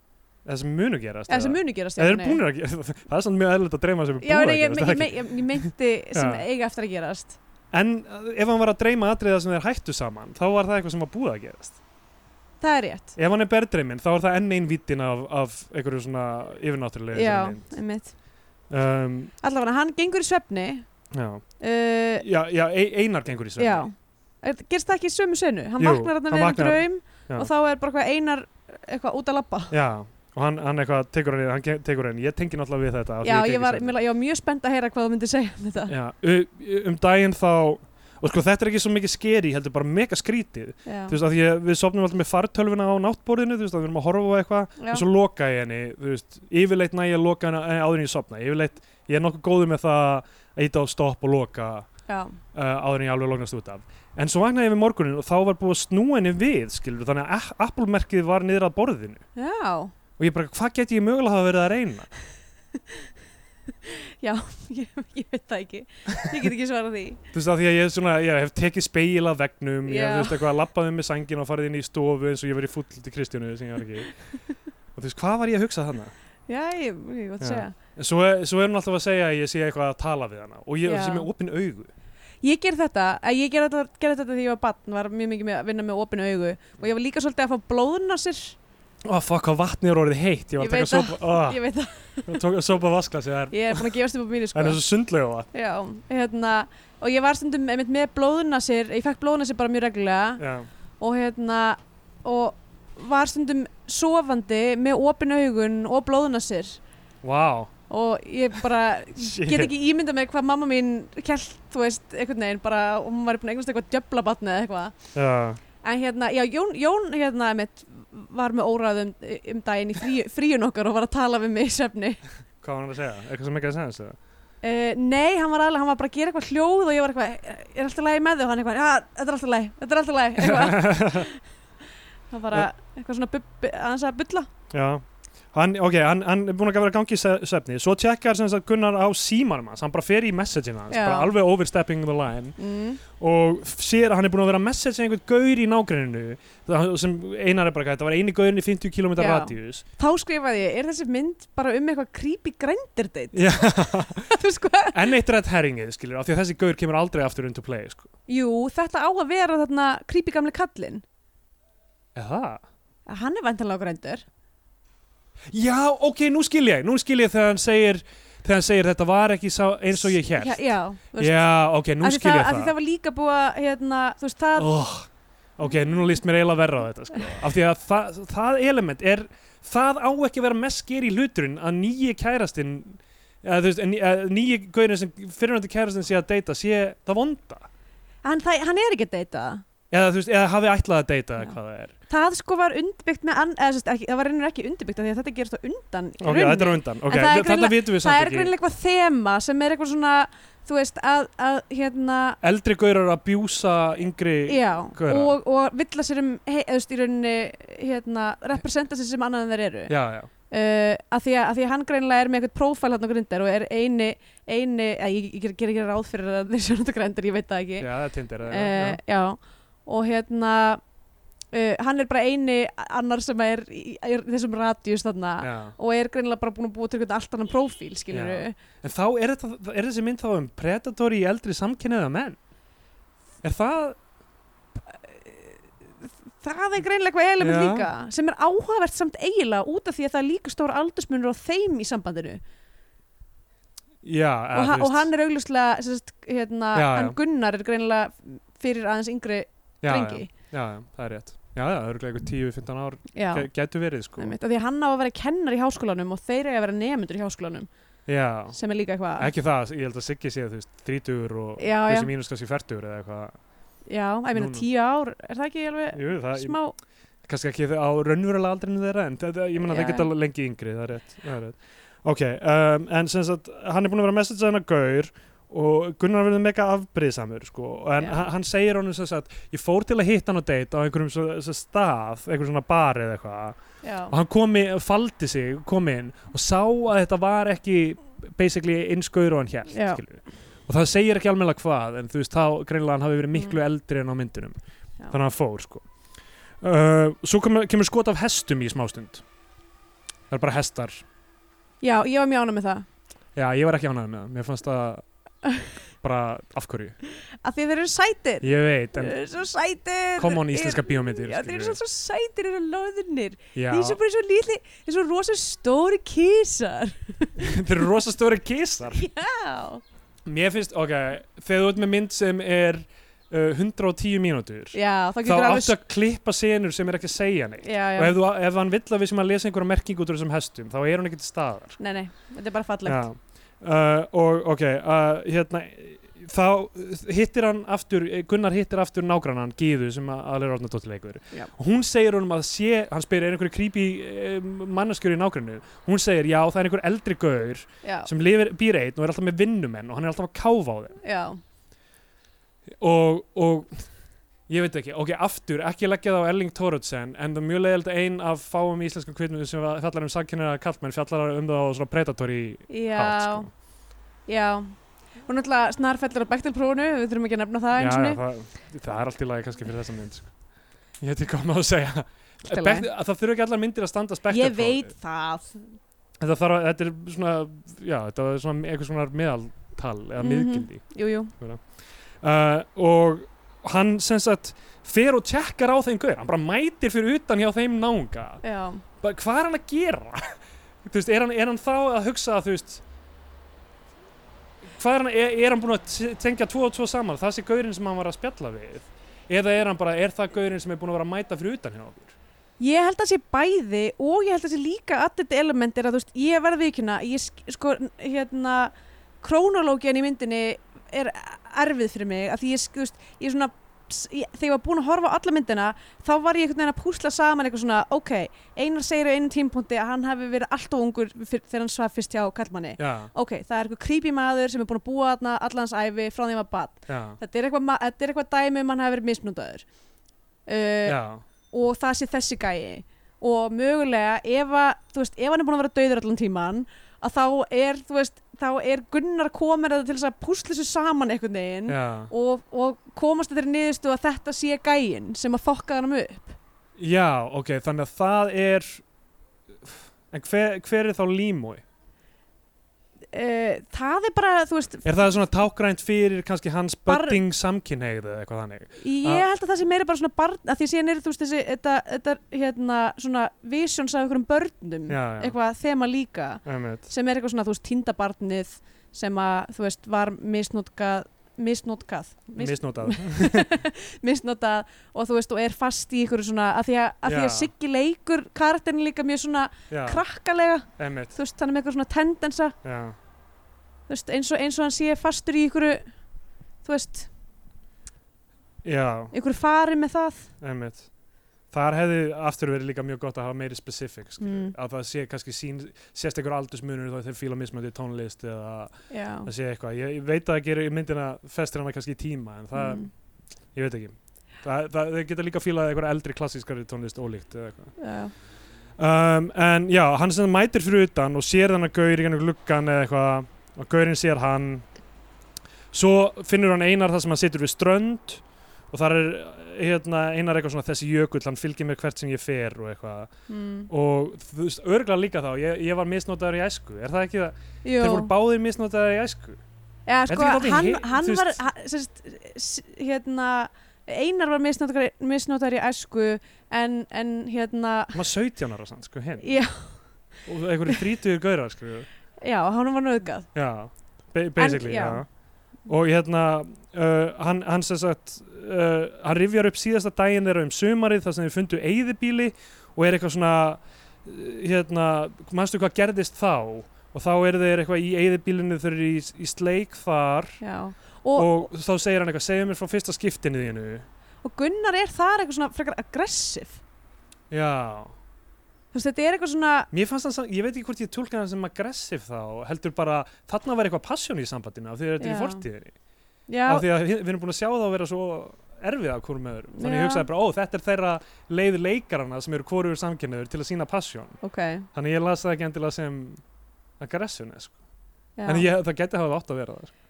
C: það sem munu gerast
B: eða sem munu gerast.
C: eða
B: já,
C: er
B: nei.
C: búnir að gera það er svona mjög eðlilegt að dreyma sem er
B: Já,
C: búnir
B: nei,
C: að
B: ég,
C: gerast
B: ég,
C: er
B: ég,
C: það
B: ég, ég, ég meinti sem
C: Já.
B: eiga eftir að gerast.
C: ekki? en uh, ef hann var að dreyma atriða sem þeir hættu saman þá var það eitthvað sem var búið að gerast
B: Það er rétt.
C: ef hann er berðdreyminn þá er það enn ein vítin af, af einhverju svona yfirnáttúrulega
B: Já, einmitt.
C: um,
B: Allavega, hann gengur í svefni.
C: já.
B: Uh,
C: Já, já, e- einar gengur í
B: já.
C: sögni
B: Er- Gerst það ekki í sömu senu? Hann
C: Jú,
B: vaknar þarna
C: hann
B: við um
C: vaknar.
B: draum
C: Já.
B: og þá er bara eitthvað einar eitthvað út að labba.
C: já. og hann, hann eitthvað tekur hann, í- hann ge- tekur hann ég tengi náttúrulega við þetta af því
B: Já, ég
C: tek í
B: var,
C: svefni.
B: mér, la- ég var mjög spennt að heyra hvað þú myndir segja um þetta.
C: Já, u- um daginn þá og sko þetta er ekki svo mikið skeri heldur bara mega skrítið
B: Já,
C: þú veist að ég, við sopnum alltaf með fartölvuna á náttborðinu þú veist að við erum að horfa á eitthvað
B: já,
C: og svo loka ég henni þú veist yfirleitt næ ég að loka henni eh, áður en ég sopna yfirleitt ég er nokkuð góður með það að íta á stopp og loka
B: já,
C: uh, áður en ég alveg lognast út af en svo vaknaði ég við morgunin og þá var búið að snúa henni við skilur þannig að App- Apple-merkið var niður að borðinu
B: já,
C: og ég bara hvað get ég mögulega hafa verið að reyna
B: ég, ég veit það ekki. Ég get ekki svarað því.
C: Þú veist að því að ég, er svona, ég hef tekið speil af vegnum, ég hef
B: Já.
C: þú veist eitthvað að labbaði með sangin og farið inn í stofu eins og ég verið fúll til Kristjánu sem ég var ekki. Og þú veist, hvað var ég að hugsa þarna?
B: Já, ég, ég gott
C: Já.
B: að segja.
C: En Svo, svo er hún alltaf að segja að ég sé eitthvað að tala við hana og ég
B: Já.
C: sé með opin augu.
B: Ég ger þetta, að ég ger þetta, ger þetta því ég var barn, var mjög mikið með að vinna með opinu augu og ég var líka svolítið að fá blóðnasir,
C: Ó, fuck, hvað vatnið er orðið heitt, ég var
B: Ég
C: að taka
B: veit
C: sopa, ó,
B: ég veit það,
C: ég tók að sopa vaskla sig,
B: ég er búin að gefast upp á mínu
C: það
B: sko.
C: er svo sundlega vatn.
B: Já, hérna, og ég var stundum einmitt með blóðnasir, ég fekk blóðnasir bara mjög reglulega
C: Já,
B: og hérna, og var stundum sofandi með opinu augun og blóðnasir
C: wow,
B: og ég bara
C: shit.
B: get ekki ímyndað mér hvað mamma mín kælt, þú veist, einhvern veginn bara, og hún var búin að eignast eitthvað djöfla batni eða eitthvað
C: Já,
B: En hérna, já, Jón, Jón hérna mitt var með óræðum um daginn í frí, fríun okkar og var að tala við mig í svefni.
C: hvað var hann að segja? Eitthvað sem ekki að segja þessu?
B: Uh, nei, hann var aðlega, hann var bara að gera eitthvað hljóð og ég var eitthvað, er alltaf lægi með þau? Og Hann eitthvað, já, þetta er alltaf lægi, þetta er alltaf lægi, eitthvað. Hann bara, eitthvað svona, bub- aðeins að bulla.
C: Já, hann, ok, hann, hann er búin að vera að gangi í se- svefni, svo tjekkar sem sagt Gunnar á símanum hans, hann bara fer í messaging hans,
B: Já.
C: bara alveg overstepping the line
B: Mm.
C: og f- sér að hann er búin að vera að messaging einhvern gaur í nágrenninu sem einar er bara að þetta var eini gaurin í 50 km
B: Já.
C: radíus
B: Þá skrifaði ég, er þessi mynd bara um eitthvað creepy grændir date?
C: Já.
B: þú sko,
C: enn eitt redd herringið, skilur, af því að þessi gaur kemur aldrei aftur into play, sko.
B: jú, þetta á að vera þarna creepy gamli kallinn.
C: Eða?
B: Hann er vantanlega grændur.
C: Já, ok, nú skil ég, nú skil ég þegar hann segir, þegar hann segir þetta var ekki sá, eins og ég
B: Já,
C: hér.
B: já, þú veist,
C: Já, ok, nú
B: Af því
C: skil ég
B: af því það var líka búið að, hérna, þú veist, það,
C: oh, ok, núna líst mér eiginlega verra á þetta sko. af því að það, það element er það á ekki að vera mest sker í hluturinn að nýji kærastinn eða þú veist, að ný- að nýji gaurin sem fyrirvændi kærastinn sé að deyta sé það vonda
B: hann, það, hann er ekki að deyta það.
C: eða þú veist, eða hafi ætlað að deyta
B: Já.
C: eða hvað það er
B: Það sko var undirbyggt með, an, eða, þú veist, ekki, það var reynir ekki undirbyggt af því að þetta gerist á undan í
C: ok,
B: rauninni.
C: þetta er á undan, ok,
B: En það er
C: þetta
B: greinilega-
C: vitum við
B: Það
C: samt
B: er
C: ekki
B: greinilega eitthvað þema sem er eitthvað svona, þú veist, að, að hérna,
C: eldri gaurar að bjúsa yngri
B: já,
C: gaura.
B: og, og villa sér um, hei, eða, þú veist, í rauninni, hérna, representa sér sem annað en þeir eru.
C: já, já,
B: Uh, að, því að, að því að hann greinilega er með eitthvað prófæl hann og grindar og er eini, eini, eða, ég, ég, ég ger ekki ráð fyrir að þeir sér hann Eh, og grindar, ég veit það ekki.
C: já, það er tindir
B: uh, já. og hérna uh, hann er bara eini annar sem er í, í þessum radíus þarna
C: Já.
B: og er greinilega bara búin að búa til einhvern allt annan prófíl, skilur
C: Já. En þá er, þetta, er þessi mynd þá um predator í eldri samkynniða menn? Er það,
B: það er greinlega eitthvað element
C: Já.
B: líka sem er áhugavert samt eiginlega út af því að það er líka stóra aldursmunur á þeim í sambandinu
C: já,
B: og, ha og hann er augljóslega sem sagt, hérna,
C: Ah, Já,
B: hann
C: já.
B: Gunnar er greinilega fyrir aðeins yngri
C: já,
B: drengi
C: Já, já, já, það er rétt. Já, já, það eru eitthvað 10-15 ár
B: já,
C: gæ- gætu verið, sko.
B: einmitt, af því að hann á að vera kennar í háskólanum og þeir eiga að vera nefnundur í háskólanum
C: Já,
B: sem er líka eitthvað
C: Ah. ekki það, ég held að Siggi sé, þú veist, 30 og
B: já, já,
C: þessi mínus kannski 40 eða eitthvað.
B: já, ég meina
C: Nú, nú.
B: tíu ár er það ekki alveg
C: Jú, það,
B: Eh, smá
C: kannski ekki á raunverulega aldrinu þeirra, en það, ég meina
B: Já,
C: það geta lengi yngri, það er rétt. Það er rétt. Ok, um, en sem sagt, hann er búin að vera að messagea hennar gaur og Gunnar verður mega afbrýðsamur, sko, en
B: Já.
C: yeah. hann segir honum sem sagt, ég fór til að hitta hann á date á einhverjum svo, svo stað, einhverjum svona bar eða eitthvað,
B: já,
C: og hann komi, faldi sig, kom inn og sá að þetta var ekki basically innskaur og hann hjælt
B: Já.
C: og það segir ekki almennilega hvað en þú veist þá greinlega hann hafi verið miklu eldri en á myndunum
B: Mm. Já.
C: þannig að hann fór sko uh, svo kemur, kemur skot af hestum í smástund það er bara hestar
B: já, ég var mjög ánum með það
C: já ég var ekki ánægð með það, mér fannst það bara af hverju
B: af því að þeir eru sætir
C: ég veit,
B: þeir
C: en
B: eru svo sætir
C: kom on
B: Ég-
C: íslenska bíómyndir
B: Já, þeir eru svo, svo sætir, þeir eru loðnir
C: já,
B: Þeir eru bara svo lítli, þeir eru svo rosa stóri kísar
C: þeir eru rosa stóri kísar
B: Já
C: mér finnst, ok, þegar þú ert með mynd sem er uh, 110 mínútur
B: Já, þá
C: þá
B: getur
C: áttu að klippa senur sem er ekki að segja neitt
B: Já, já,
C: og ef, þú, ef hann vill að við sem að lesa einhverja merkingu út úr þessum hestum þá er hún ekki til staðar
B: nei, nei, þetta er bara fallegt
C: Já. uh, og ok uh, hérna, þá hittir hann aftur eh, Gunnar hittir aftur nágrannan Gíðu sem aðlega orðna dottileikur
B: Já.
C: og hún segir honum að sé hann spyr er einhverju creepy uh, manneskjur í nágrannu hún segir já það er einhver eldri gaur
B: Já,
C: sem lifir, býr einn og er alltaf með vinnumenn og hann er alltaf að káfa á þeim
B: já,
C: og, og ég veit ekki, ok, aftur ekki leggja það á Erling Thorutsen en það er mjög leiðild ein af fáum íslenskum kvinnum sem var- fjallar um samkynnaða kallmenn fjallar um það á svona predatory
B: já,
C: hátt sko.
B: já Og náttúrulega snarfellur á Bechtel-prófunu, við þurfum ekki að nefna það
C: já,
B: eins
C: já,
B: og
C: það, það er allt í lagi kannski fyrir þessa mynd sko. ég veit ekki hvað maður að segja
B: Allt í lagi.
C: Bekt, að það þurfa ekki allar myndir að standa spektra
B: Ég veit það
C: þetta, þarf, að- þetta er svona, já, þetta er svona eitthvað svona meðaltal eða
B: Mhm.
C: miðgildi
B: Jú, jú,
C: uh, og hann sem sagt fer og tjekkar á þeim guður, hann bara mætir fyrir utan hjá þeim nánga
B: já,
C: bara, hvað er hann að gera þú veist, er hann, er hann þá að hugsa að þú veist hvað er hann, er, er hann búin að t- tengja tvo og tvo saman, það sé gaurinn sem hann var að spjalla við eða er hann bara, er það gaurinn sem er búin að vera að mæta fyrir utan hjá okkur
B: Ég held að sé bæði og ég held að sé líka að þetta element er að þú veist, ég verði viðkynna, ég sk- sko, hérna, krónológian í myndinni er erfið fyrir mig, að því ég, sk- þú veist, ég svona, ps- ég, þegar ég var búin að horfa á alla myndina, þá var ég einhvern veginn að púsla saman eitthvað svona, ok, Einar segir á einu tímpunkti að hann hafi verið alltof ungur fyr, þegar hann svaf fyrst hjá kallmanni.
C: já,
B: Ok, það er eitthvað creepy maður sem er búin að búa þarna allans æfi frá því að maður bat.
C: já,
B: Þetta er eitthvað, ma- þetta er eitthvað dæmi um að hann hafi verið misnundaður. Uh,
C: já
B: og það sé þessi gæi og mögulega ef, að, þú veist, ef hann er búin að vera dauður allan tíman að þá er, þú veist, þá er Gunnar komin að til þess að púsla þessu saman einhvern veginn
C: já,
B: og, og komast þetta niðurstu að þetta sé gæin sem að fokka hann upp
C: já, ok þannig að það er en hver, hver er þá límói?
B: uh, það er bara, þú veist
C: Er það svona tákgrænt fyrir kannski hans
B: Bar-
C: budding samkynneið eða eitthvað þannig?
B: ég
C: Ah.
B: held að það sé meira bara svona barn að því síðan er þú veist þessi, þetta, þetta hérna, svona visions af einhverjum um börnum
C: Já, já.
B: Mm. eitthvað þema líka
C: Einmitt.
B: sem er eitthvað svona, þú veist, tindabarnið sem að, þú veist, var misnotkað misnotkað, mis,
C: Misnotað.
B: misnotað og þú veist, og er fast í ykkur svona, að því að, að, því að
C: Já.
B: Siggi leikur karakterin líka mjög svona
C: Já,
B: krakkalega,
C: einmitt.
B: þú veist, hann er með eitthvað svona tendensa,
C: Já.
B: þú veist, eins og, eins og hann sé fastur í ykkur þú veist,
C: Já,
B: ykkur fari með það
C: einmitt. Þar hefði aftur verið líka mjög gott að hafa meiri specifics,
B: Mm.
C: að það sé kannski sín, sést einhver aldursmunur þá þeir fíla mismöndi tónlist eða
B: já,
C: það sé eitthvað. Ég, ég veit að það gerir myndina festir hana kannski í tíma en það,
B: Mm.
C: ég veit ekki. Það, það, þeir geta líka fílað einhver eldri klassískari tónlist ólíkt eða eitthvað.
B: já,
C: Um, en já, hann sem mætir fyrir utan og sér þannig gaur í gennum gluggan eða eitthvað og gaurinn sér hann svo finnur hann einar þar sem hann situr við strönd og þar er hérna, einar eitthvað svona þessi jökull, hann fylgir mér hvert sem ég fer og eitthvað
B: mm.
C: og þú veist, örgla líka þá, ég, ég var misnotaður í æsku er það ekki það,
B: Jú.
C: þeir voru báðir misnotaður í æsku
B: Eða,
C: Þetta
B: sko,
C: er ekki dálítið
B: hann,
C: hitt,
B: hann
C: þú
B: var
C: veist?
B: hann, sérst, s- hérna Einar var misnotar, misnotar í æsku en, en hérna
C: hann var 17 ára sann, sko, hinn
B: já,
C: og einhverju þrítugur gaurar, sko
B: já, hann var nöðgað
C: Já, ba- basically,
B: já.
C: já. Og hérna, uh, hann, hann sem sagt, uh, hann rifjar upp síðasta daginn þeirra um sumarið þar sem þeir fundu eyðibíli og er eitthvað svona, uh, hérna, manstu hvað gerðist þá? Og þá eru þeir eitthvað í eyðibílinu, þeir eru í, í sleik þar
B: já.
C: og,
B: Og,
C: þá segir hann eitthvað, segðu mér frá fyrsta skiptinu þínu.
B: og Gunnar er þar eitthvað svona frekar aggressiv
C: Já.
B: þú veist, þetta er eitthvað svona
C: Mér fannst hann, sam- ég veit ekki hvort ég tólka hann sem aggressiv þá, heldur bara, þarna var eitthvað passjón í sambandinu af því að þetta er í
B: Já.
C: fortíðinni.
B: já,
C: af því að við við erum búin að sjá það að vera svo erfið af hvorum öðrum þannig
B: Já.
C: ég hugsaði bara, ó, þetta er þeirra leið leikarana sem eru hvorugur samkynniður til að sína passion
B: ok
C: þannig ég las það ekki endilega sem aggressiveness sko.
B: já.
C: en ég, það geti hafa átt að vera það sko.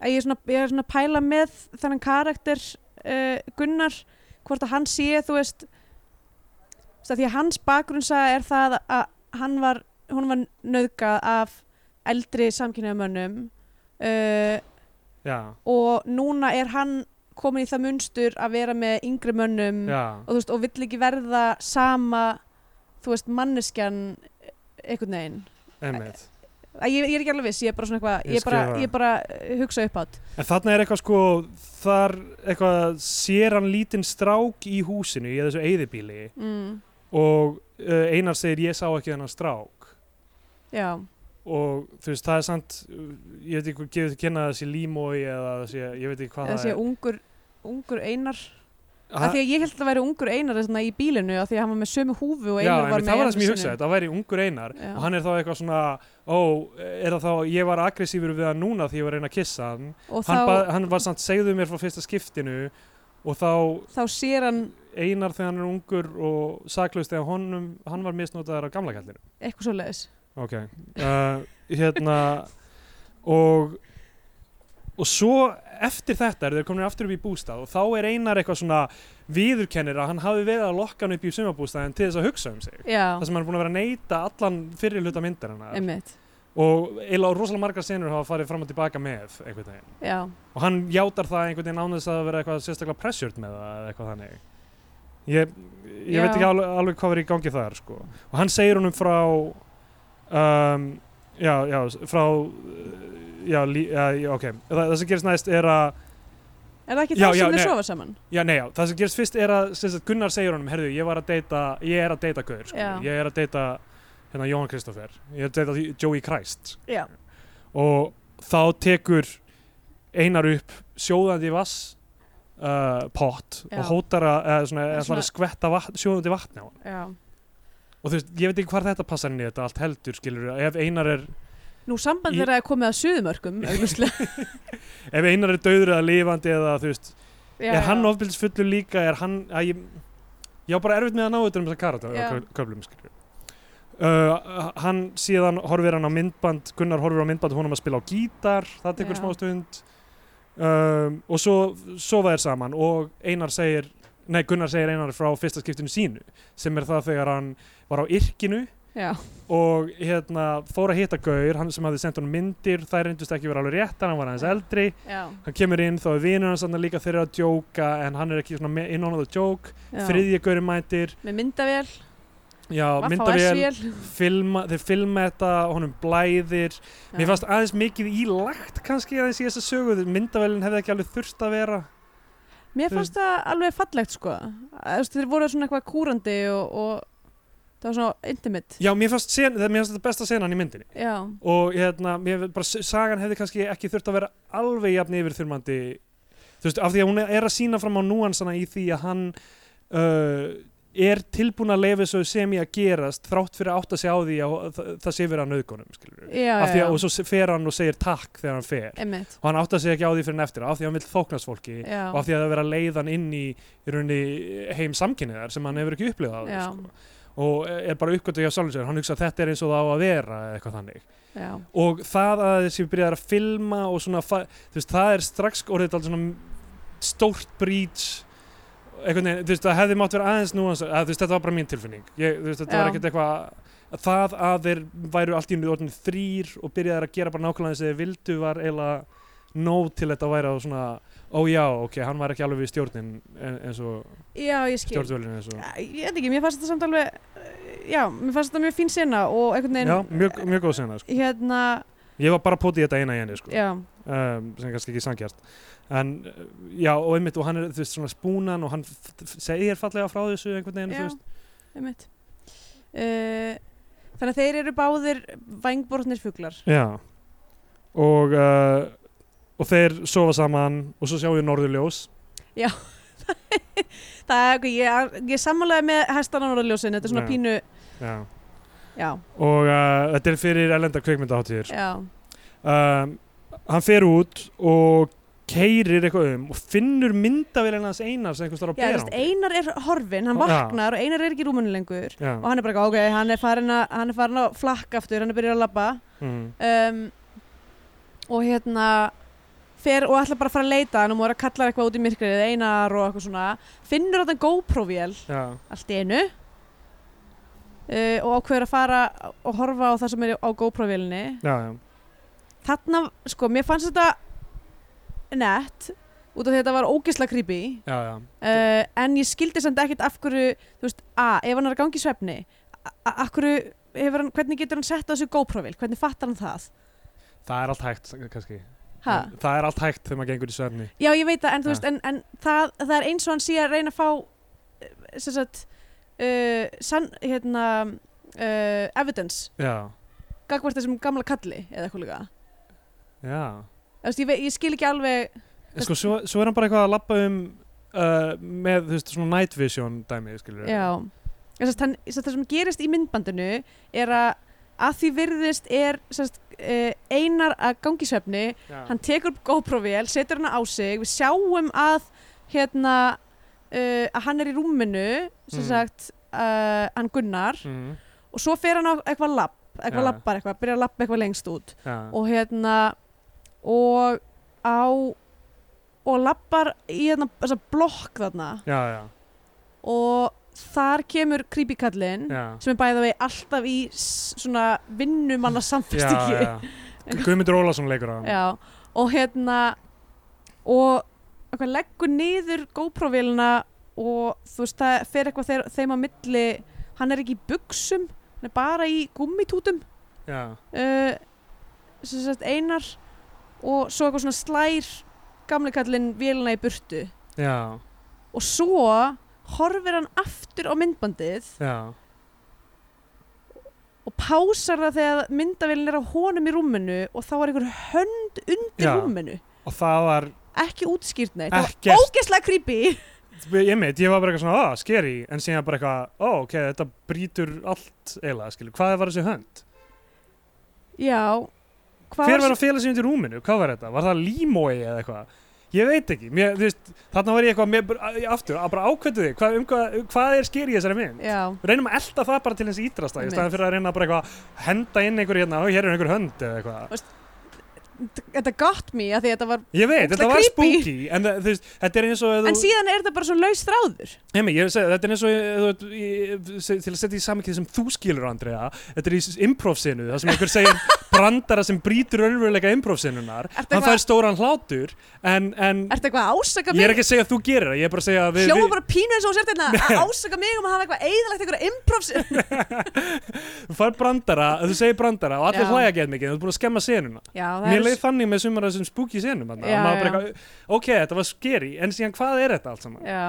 B: Að ég, er svona, ég er svona að pæla með þennan karakter uh, Gunnar hvort að hann sé þú veist þú veist, af því að hans bakgrunsa er það að hann var, hún var nöðgað af eldri samkynnaðumönnum uh,
C: já,
B: og núna er hann komin í það munstur að vera með yngri mönnum
C: já,
B: og þú veist og vill ekki verða sama þú veist manneskjan einhvern veginn
C: einmitt
B: Að ég, ég er ekki alveg viss, ég er bara svona eitthvað
C: Ég
B: ég, bara,
C: skil það.
B: ég bara eh, hugsa upp átt
C: en þarna er eitthvað sko þar eitthvað sér hann lítinn strák í húsinu í þessu eyðibíli
B: mm,
C: og uh, Einar segir ég sá ekki þennan strák
B: já
C: og þú veist, það er samt uh, ég veit ekki hvað gefið til kynna að það sé límói eða það sé, ég veit ekki hvað
B: eða
C: það
B: sé
C: er
B: ungur, ungur einar
C: Ha-
B: af því að ég held að það væri ungur einar þarna í bílinu af því að hann var með sömu húfu og
C: Já,
B: einar var
C: einmitt,
B: með
C: það var það sem ég
B: einu
C: hugsaði,
B: sinni.
C: þetta væri ungur einar
B: Já.
C: og hann er þá eitthvað svona, ó, er það þá ég var aggressífur við hann núna því ég var að reyna að kissa hann
B: og
C: hann,
B: þá,
C: ba, hann var samt, segðu mér frá fyrsta skiptinu og þá
B: þá sér hann
C: einar þegar hann er ungur og saklaust þegar honum, hann var misnotaður af gamla kallinu
B: eitthvað svo leiðis
C: ok, uh, hérna og og svo eftir þetta eru þeir komin aftur upp í bústað og þá er einar eitthvað svona viðurkennir að hann hafi verið að lokka hann upp í sumabústaðin til þess að hugsa um sig
B: já,
C: það sem hann er búin að vera að neyta allan fyrir hluta myndar hennar
B: einmitt
C: og eiginlega rosalega margar senur hafa farið fram og tilbaka með einhvern veginn
B: já,
C: og hann játar það einhvern veginn án þess að vera eitthvað sérstaklega pressured með það eða eitthvað þannig ég, ég
B: Já.
C: veit ekki alveg, alveg hvað er í gangi þar sko. og hann segir honum frá um, já, já, frá uh, já, lí, já, ok það, það sem gerist næst er að
B: er það ekki
C: Já,
B: það
C: já,
B: sem
C: nei.
B: þau sofa saman
C: Já, nei, já, það sem gerist fyrst er að sem sagt, Gunnar segir honum, herðu, ég var að deyta ég er að deyta Gaur, sko.
B: Já.
C: ég er að deyta hérna Jóhann Kristoffer, ég er að deyta Joey Christ
B: já,
C: og þá tekur Einar upp sjóðandi vass uh, pott
B: Já.
C: og hótar að, eða svona, eða
B: Svona-
C: svona, skvetta vatn, sjóðandi vatni á hann
B: já
C: og þú veist, ég veit ekki hvar þetta passar inn í þetta allt heldur, skilur, ef Einar er
B: nú samband
C: Ég-
B: þeirra er komið að suðumörkum augljóslega.
C: ef Einar er dauður eða lifandi eða þú veist,
B: já,
C: er hann ofbildisfullur líka er hann, að ég ég á bara erfitt með að ná þetta um þessa
B: Já.
C: karat köflum skilur Uh, hann síðan horfir hann á myndband Gunnar horfir á myndband honum að spila á gítar það tekur
B: Já.
C: smá stund um, og svo sofa þeir saman og Einar segir nei Gunnar segir Einar frá fyrsta skiptinu sínu sem er það þegar hann var á yrkinu
B: já,
C: og hérna fór að hitta Gaur hann sem hafði sendt hann myndir þær reyndust ekki vera alveg réttar, hann var aðeins eldri
B: já,
C: hann kemur inn þá er vinur hans þarna líka þeirra að djóka en hann er ekki svona me- in on the joke
B: já.
C: þriðja gauri mætir
B: með myndavél,
C: já,
B: vaff á
C: myndavél,
B: S-vél
C: filma, þeir filma þetta honum blæðir mér fannst aðeins mikið ílagt kannski aðeins í þessa sögu myndavélin hefði ekki alveg þurft að vera
B: Mér
C: Þú
B: fannst það alveg fallegt sko Að, þú veist, Þeir voru svona eitthvað kúrandi og, og það var svona intimate
C: já, mér fannst, sen, mér fannst þetta besta senan í myndinni
B: Já,
C: og hérna, mér finnst bara sagan hefði kannski ekki þurft að vera alveg jafn yfir þurmandi þú veist, af því að hún er að sína fram á núansana í því að hann uh, er tilbúin að leifa svo sem í að gerast þrátt fyrir að átta sig á því að það, það sé verið að nöðgunum, skilur
B: já, já,
C: af því
B: já.
C: að, og svo fer hann og segir takk þegar hann fer
B: Einmitt,
C: og hann átta sig ekki á því fyrir en eftir á, af því að hann vil þóknast fólki
B: já,
C: og af því að það er verið að leiða hann inn í, í rauninni, eh, heim samkynniðar sem hann hefur ekki upplifað
B: Já.
C: áður, sko. og er bara uppgötu hjá sjálfum sér, hann hugsa að þetta er eins og það á að vera eða eitthvað þannig
B: já,
C: og það að þessi byrjar að filma og svona, fa- þú veist, það er strax orðið alltaf svona stórt breach einhvern veginn, þú veist, það hefði mátt vera aðeins nú að, þú veist, þetta var bara mín tilfinning ég, þú veist, þetta
B: Já.
C: var ekkert eitthvað það að þeir væru allt í einu orðin þrýr og byrjaði að gera bara nákvæmlega þess að þeir vildu var eiginlega nóg til þetta væri á svona, ó já, ok, hann var ekki alveg við stjórnin en- eins og
B: já, ég skil
C: stjórnvölin eins og
B: Já, ég veit ekki, mér fannst þetta samt alveg eh, já, mér fannst þetta mjög fín sena og einhvern veginn
C: já, mjög, mjög góð sena, sko
B: hérna,
C: ég var bara að pota í þetta eina í henni, sko
B: já,
C: um, sem er kannski ekki sangjart en uh, já og einmitt og hann er þú veist svona spúnan og hann f- f- segir fallega frá þessu einhvern veginn
B: já,
C: þú veist
B: einmitt uh, þannig að þeir eru báðir vangbortnir fuglar
C: já og uh, og þeir sofa saman og svo sjáum við norðurljós
B: það er, ok, ég, ég sammálaði með hestan á norðljósin, þetta er svona
C: Já.
B: pínu
C: já.
B: já,
C: og uh, þetta er fyrir elenda kveikmyndaháttíðir
B: já,
C: um, hann fer út og keyrir eitthvað um og finnur myndavélina hans einars einhvers þar á
B: já, þú veist,
C: berang
B: Einar er horfin hann
C: Já.
B: vaknar og Einar er ekki í rúmunu lengur
C: já,
B: og hann er bara, eitthvað, ok, hann er farin að hann er farin að flakka aftur, hann er byrjað að labba
C: mm,
B: um, og hérna fer og ætlar bara að fara að leita hann og maður er að kalla eitthvað út í myrkrið einar og eitthvað svona finnur þetta GoPro-vél
C: já,
B: allt í einu uh, og ákveður að fara og horfa á það sem er á GoPro-vélni
C: já, já,
B: þarna, sko, mér fannst þetta nett út af því að þetta var ógisla creepy
C: já, já.
B: uh, en ég skildi samt ekkert af hverju þú veist, a, ef hann er að gangi í svefni a- a- af hverju, hefur hann, hvernig getur hann sett á þessu GoPro-vél, hvernig fattar hann það
C: það er allt hægt kannski
B: ha?
C: En það er allt hægt þegar maður gengur í svefni
B: Já, ég veit það, en þú
C: Ja.
B: veist, en, en það, það er eins og hann sé að reyna að fá eh, sem sagt uh, san, hérna uh, evidence,
C: já,
B: gagvart þessum gamla kalli eða eitthvað líka.
C: já
B: Þú veist, ég, ve- ég skil ekki alveg
C: en sko, svo, svo er hann bara eitthvað að lappa um uh, með, þú veist, svona night vision dæmi, skilur
B: Já, þess að það sem gerist í myndbandinu er að að því virðist er sest, uh, einar að gangi í svefni
C: já.
B: hann tekur upp GoPro-vél, setur hana á sig við sjáum að hérna uh, að hann er í rúminu sem
C: Mm.
B: sagt uh, hann Gunnar
C: Mhm,
B: og svo fer hann á eitthvað lapp eitthvað
C: Já.
B: lappar eitthvað, byrjar að lappa eitthvað lengst út
C: já.
B: og hérna og á og lappar í hérna þessa blokk þarna
C: já, já,
B: og þar kemur creepy kallinn
C: já
B: sem er bæða vegi alltaf í s- svona vinnumanna samfestingi
C: já, já. Guðmundur Ólason leikur á hann
B: Já, og hérna og eitthvað leggur niður GoPro-vélina og þú veist það fer eitthvað þeir, þeim á milli hann er ekki í buksum hann er bara í gummitútum
C: já,
B: uh, sem sagt einar og svo eitthvað svona slær gamli kallinn vélina í burtu
C: já,
B: og svo horfir hann aftur á myndbandið
C: já.
B: og pásar það þegar myndavélin er á honum í rúminu og þá er einhver hönd undir
C: Já.
B: rúminu
C: og það var
B: ekki útskýrt neitt, það var
C: ekkert
B: ógeðslega creepy
C: ég meit, ég var bara eitthvað svona, ah, scary en síðan bara eitthvað, ó, ok, þetta brýtur allt eiginlega, skilur, hvað var þessi hönd?
B: Já hvað
C: hver
B: var
C: var að fela sig undir rúminu, hvað var þetta? Var það límói eða eitthvað? Ég veit ekki, mér, þú veist, þarna var ég eitthvað, mér, bara- aftur, að bara ákvöndu þig, hvað, um, hvað, hvað er skýr í þessari mynd?
B: Já,
C: Reynum að elda það bara til hans ídrasta, í
B: Einmitt.
C: staðan fyrir að reyna bara eitthvað að henda inn einhver hérna, og hér er einhver hönd eða eitthvað.
B: þetta got me að því að þetta var
C: Ég veit,
B: Ógeðslega
C: þetta var
B: creepy.
C: spooky, en það- þú veist, þetta er eins og... ef
B: En
C: þú-
B: síðan er þetta bara svona laus þráður
C: Nei, nei, ég segi, þetta er eins og þú, veit, í- se- til að setja í samvikið sem þú skilur Andrea, þetta er í improv-sinu það sem einhver segir brandara sem brýtur önveruleika improv-sinunar
B: Ertu
C: hann
B: eitthvað-
C: fær stóran hlátur en, en
B: Er þetta eitthvað að ásaka
C: ég
B: mig?
C: er ekki að segja að þú gerir það, ég er bara að segja að við,
B: Hljóma
C: við,
B: bara pínu eins og hún sért hérna að ásaka mig um að hafa eitthvað eðalegt eitthvað improvs
C: við fær brandara að þú segir brandara og allir
B: Já.
C: hlæja gett mikið, þú ert búin að skemma senuna
B: Já, það
C: Mér
B: er
C: leið þannig með sumar af þessum spooky senum þarna,
B: Já,
C: að maður bara
B: já.
C: eitthvað, ok, þetta var skeri, en síðan hvað er þetta allt saman?
B: Já,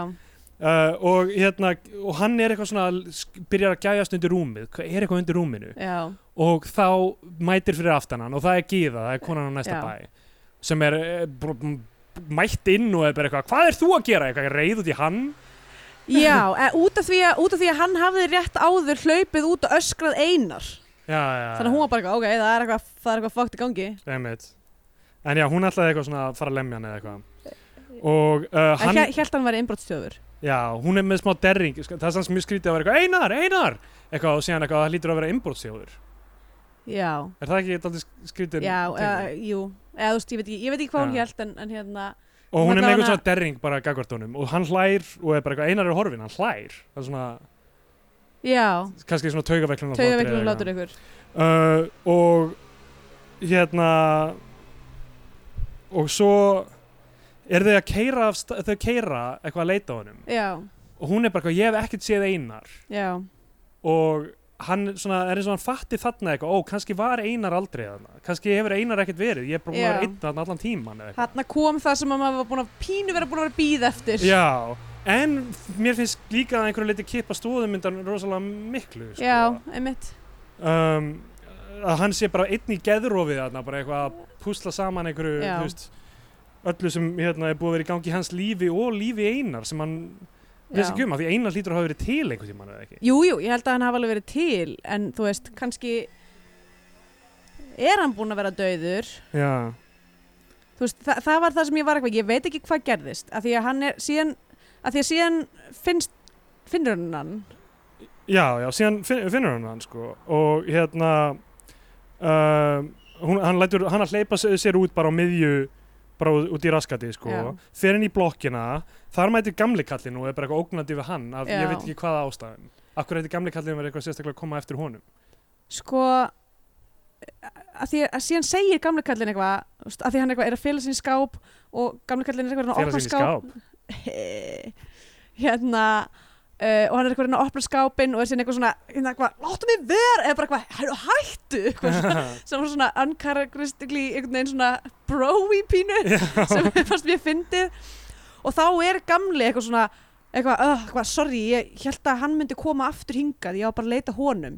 C: Uh, og, hérna, og hann er eitthvað svona, sk- byrjar að gæjast undir rúmið, hvað er eitthvað undir rúminu?
B: já,
C: og þá mætir fyrir aftan hann og það er Gíða, það er konan á næsta
B: Já.
C: bæ sem er eh, br- m- mætt inn og er bara eitthvað, hvað er þú að gera eitthvað reyð út í hann
B: já e, út, af því að, út af því að hann hafði rétt áður hlaupið út og öskrað einar
C: já, já,
B: Þannig að hún var bara eitthvað, ok, það er eitthvað, það er eitthvað fókt í gangi
C: Einmitt. en já, hún ætlaði eitthvað svona að fara að lemja hann eða eitthvað og uh,
B: Hann...
C: hann,
B: Ég held hann var innbrotstjóður
C: já, hún er með smá derring sko, það er sanns mjög skrítið að vera eitthvað, Einar, Einar eitthvað og síðan eitthvað, það lítur að vera innbúrtsjóður
B: Já,
C: er það ekki eitthvað skrítið
B: eh, já, e, jú eða, þú veist, ég, veit ekki, ég veit ekki hvað hún
C: Já.
B: held en, en hérna
C: og hún er með
B: Allavega-
C: eitthvað svona derring bara gagvart honum og hann hlær og er bara eitthvað einar er horfin, hann hlær það er svona,
B: já,
C: kannski svona taugaveiklun
B: tauðaveiklum látur ykkur
C: uh, og hérna og svo er þau að keira af sta- þau keira eitthvað að leita að honum
B: já,
C: og hún er bara eitthvað, ég hef ekkert séð einar
B: já,
C: og hann svona, er eins og hann fatti þarna eitthvað, ó, kannski var einar aldrei þarna, kannski hefur einar ekkert verið ég er bara búin að vera
B: Já.
C: einn þarna allan tíman eða eitthvað.
B: þarna kom það sem að maður var búin að pínu vera búin að vera býð eftir
C: já, en mér finnst líka að einhverju leiti kippa stóðum myndan rosalega miklu sko.
B: já, einmitt
C: um, að hann sé bara einn í geðrófið þarna, bara eitthvað að púsla saman einhverju,
B: Já.
C: þú veist öllu sem hérna, er búið að vera í gangi í hans lífi og lífi einar sem hann
B: Já.
C: vissi ekki um að því einar lítur að hafa verið til einhvern tímann eða ekki
B: Jú, jú, ég held að hann hafa alveg verið til en þú veist, kannski er hann búinn að vera döður
C: já,
B: þú veist, þa það var það sem ég var eitthvað ég veit ekki hvað gerðist, af því að hann er síðan, af því að síðan finnst finnur hann hann
C: já, já síðan finn, finnur hann hann sko og hérna um, hún, hann, lætur, hann að hleypa se- sér út bara á miðju bara ú- út í raskati sko
B: Já.
C: fer inn í blokkina, þar mætir gamli kallinn og er bara eitthvað ógnandi við hann af ég
B: Já.
C: veit ekki hvaða ástæðin akkur eitthvað gamli kallinn verið eitthvað sérstaklega að koma eftir honum
B: sko af því að síðan segir gamli kallin eitthvað, þú veist, af því að hann eitthvað er að fela sín skáp og gamli kallin er eitthvað að
C: Fela
B: opna
C: sín í
B: skáp
C: skáp
B: hérna Uh, og hann er eitthvað að reyna að opna skápinn og er síðan eitthvað svona, hérna eitthvað, láttu mig ver eða bara eitthvað, "Hæ- hættu eitthvað svona, sem var svona uncharacteristically einhvern veginn svona bro-y pínu sem ég fannst mér fyndið og þá er gamli eitthvað svona eitthvað, uh, eitthvað, sorry, ég held að hann myndi koma aftur hingað, ég á bara að leita honum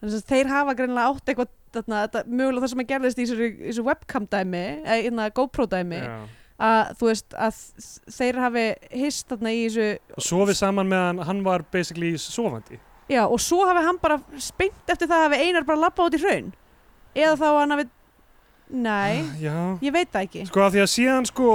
B: þannig að þeir hafa greinilega átt eitthvað þarna, þetta, mögulega það sem að gerðist í þessu, í þessu webcam dæmi, eða hérna GoPro dæmi
C: Já.
B: að þú veist að þeir hafi hist þarna í þessu
C: og sofið saman meðan hann var basically sofandi
B: já, og svo hafi hann bara spengt eftir það hafi Einar bara labbað út í hraun eða þá að hann hafi nei,
C: já.
B: ég veit það ekki
C: sko af því að síðan sko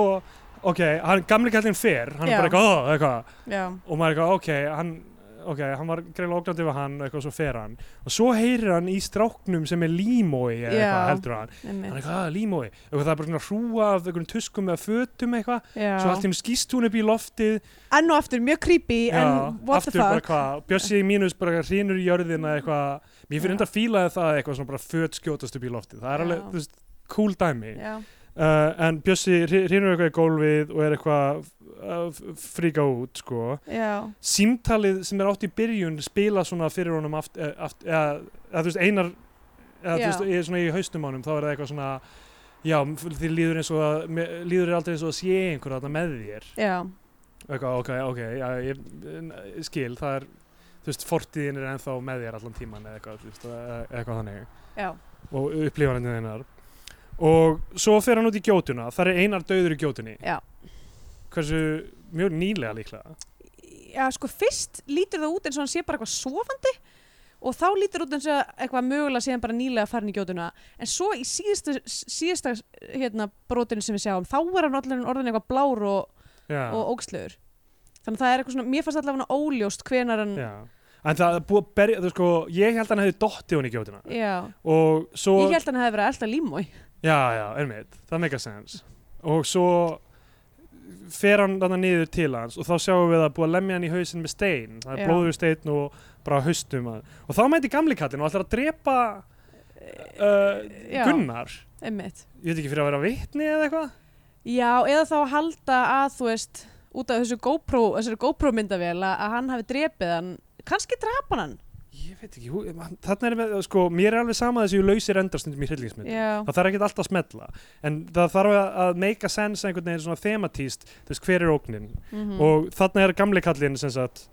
C: ok, hann, gamli kallinn fer hann
B: Já.
C: er bara eitthvað, "Ó", eitthvað
B: já,
C: og maður er eitthvað, ok, hann ok, hann var greinlega ógnandi við hann og eitthvað, svo fer hann og svo heyrir hann í stráknum sem er límói eða
B: Já.
C: eitthvað, heldur hann hann er
B: einmitt
C: eitthvað, "Ah, límói, eitthvað það er bara svona hrúa af einhvern tuskum eða fötum eitthvað svo allt
B: já.
C: í hennu skýst hún upp í loftið
B: enn og aftur, mjög creepy
C: Já,
B: en what
C: aftur
B: the
C: bara
B: fuck Mm.
C: hvað, Bjössi mínus bara hrýnur í jörðina eitthvað, mér fyrir
B: Já.
C: enda að fíla það eitthvað svona bara föt skjótast upp í loftið, það er
B: Já.
C: alveg, þú veist, cool dæmi uh,
B: já,
C: en Bjössi hrýnur eitthvað í gólfið og er eitthvað að uh, fríka út, sko
B: já,
C: símtalið sem er átt í byrjun spila svona fyrir honum aft, eh, aft, eða, eða, þú veist, einar eða, þú
B: Já.
C: veist, í- svona í haustum honum, þá er það eitthvað svona já, þér líður eins og að, mér- líður þér aldrei eins og að sé einhver þarna með þér
B: já,
C: Eitthvað, ok, ok, já, ég, ég skil, það er, þú veist, fortíðin er ennþá með þér allan tíman eða eitthvað, þú veist, eða- eitthvað þannig
B: já
C: og upplifaninu þeinar. Og svo fer hann út í gjótuna, þar er einar döður í gjótunni.
B: Já.
C: Hversu, mjög nýlega líklega.
B: já, sko fyrst lítur það út eins og hann sé bara eitthvað sofandi og þá lítur út eins og eitthvað mögulega síðan bara nýlega farin í gjótuna en svo í síðasta, síðasta hérna, brotinu sem við sjáum, þá er hann allir orðin eitthvað blár og,
C: Já,
B: og ógslegur þannig að það er eitthvað svona, mér fannst allavega óljóst hvenar hann,
C: já. En það er búið að berja, þú sko, ég held að hann hefði dottið hún í gjótuna.
B: já,
C: Og svo...
B: ég held að hann hefði verið alltaf límói
C: Já, já, einmitt, það make a sense og svo fer hann þarna niður til hans og þá sjáum við að búa að lemja hann í hausin með stein það
B: Já.
C: er blóður stein og bara haustum að. og þá mæti gamli kallinn og ætlar að drepa uh,
B: Eh, já.
C: Gunnar
B: einmitt,
C: ég veit ekki fyrir að vera vitni eða eitthvað
B: já, eða þá að halda að þú veist, út af þessu GoPro þessari GoPro myndavél að, að hann hafi drepið hann, kannski drapa hann
C: ég veit ekki, hú- man- þarna er með, sko, mér er alveg sama þessi lausir endar stundum í hryllingsmyndum
B: já,
C: það þarf ekki alltaf að smetla en það þarf að- að make a sense einhvern veginn svona thematíst, þú veist hver er ógnin
B: mm
C: og þarna er gamli kallinn sem sagt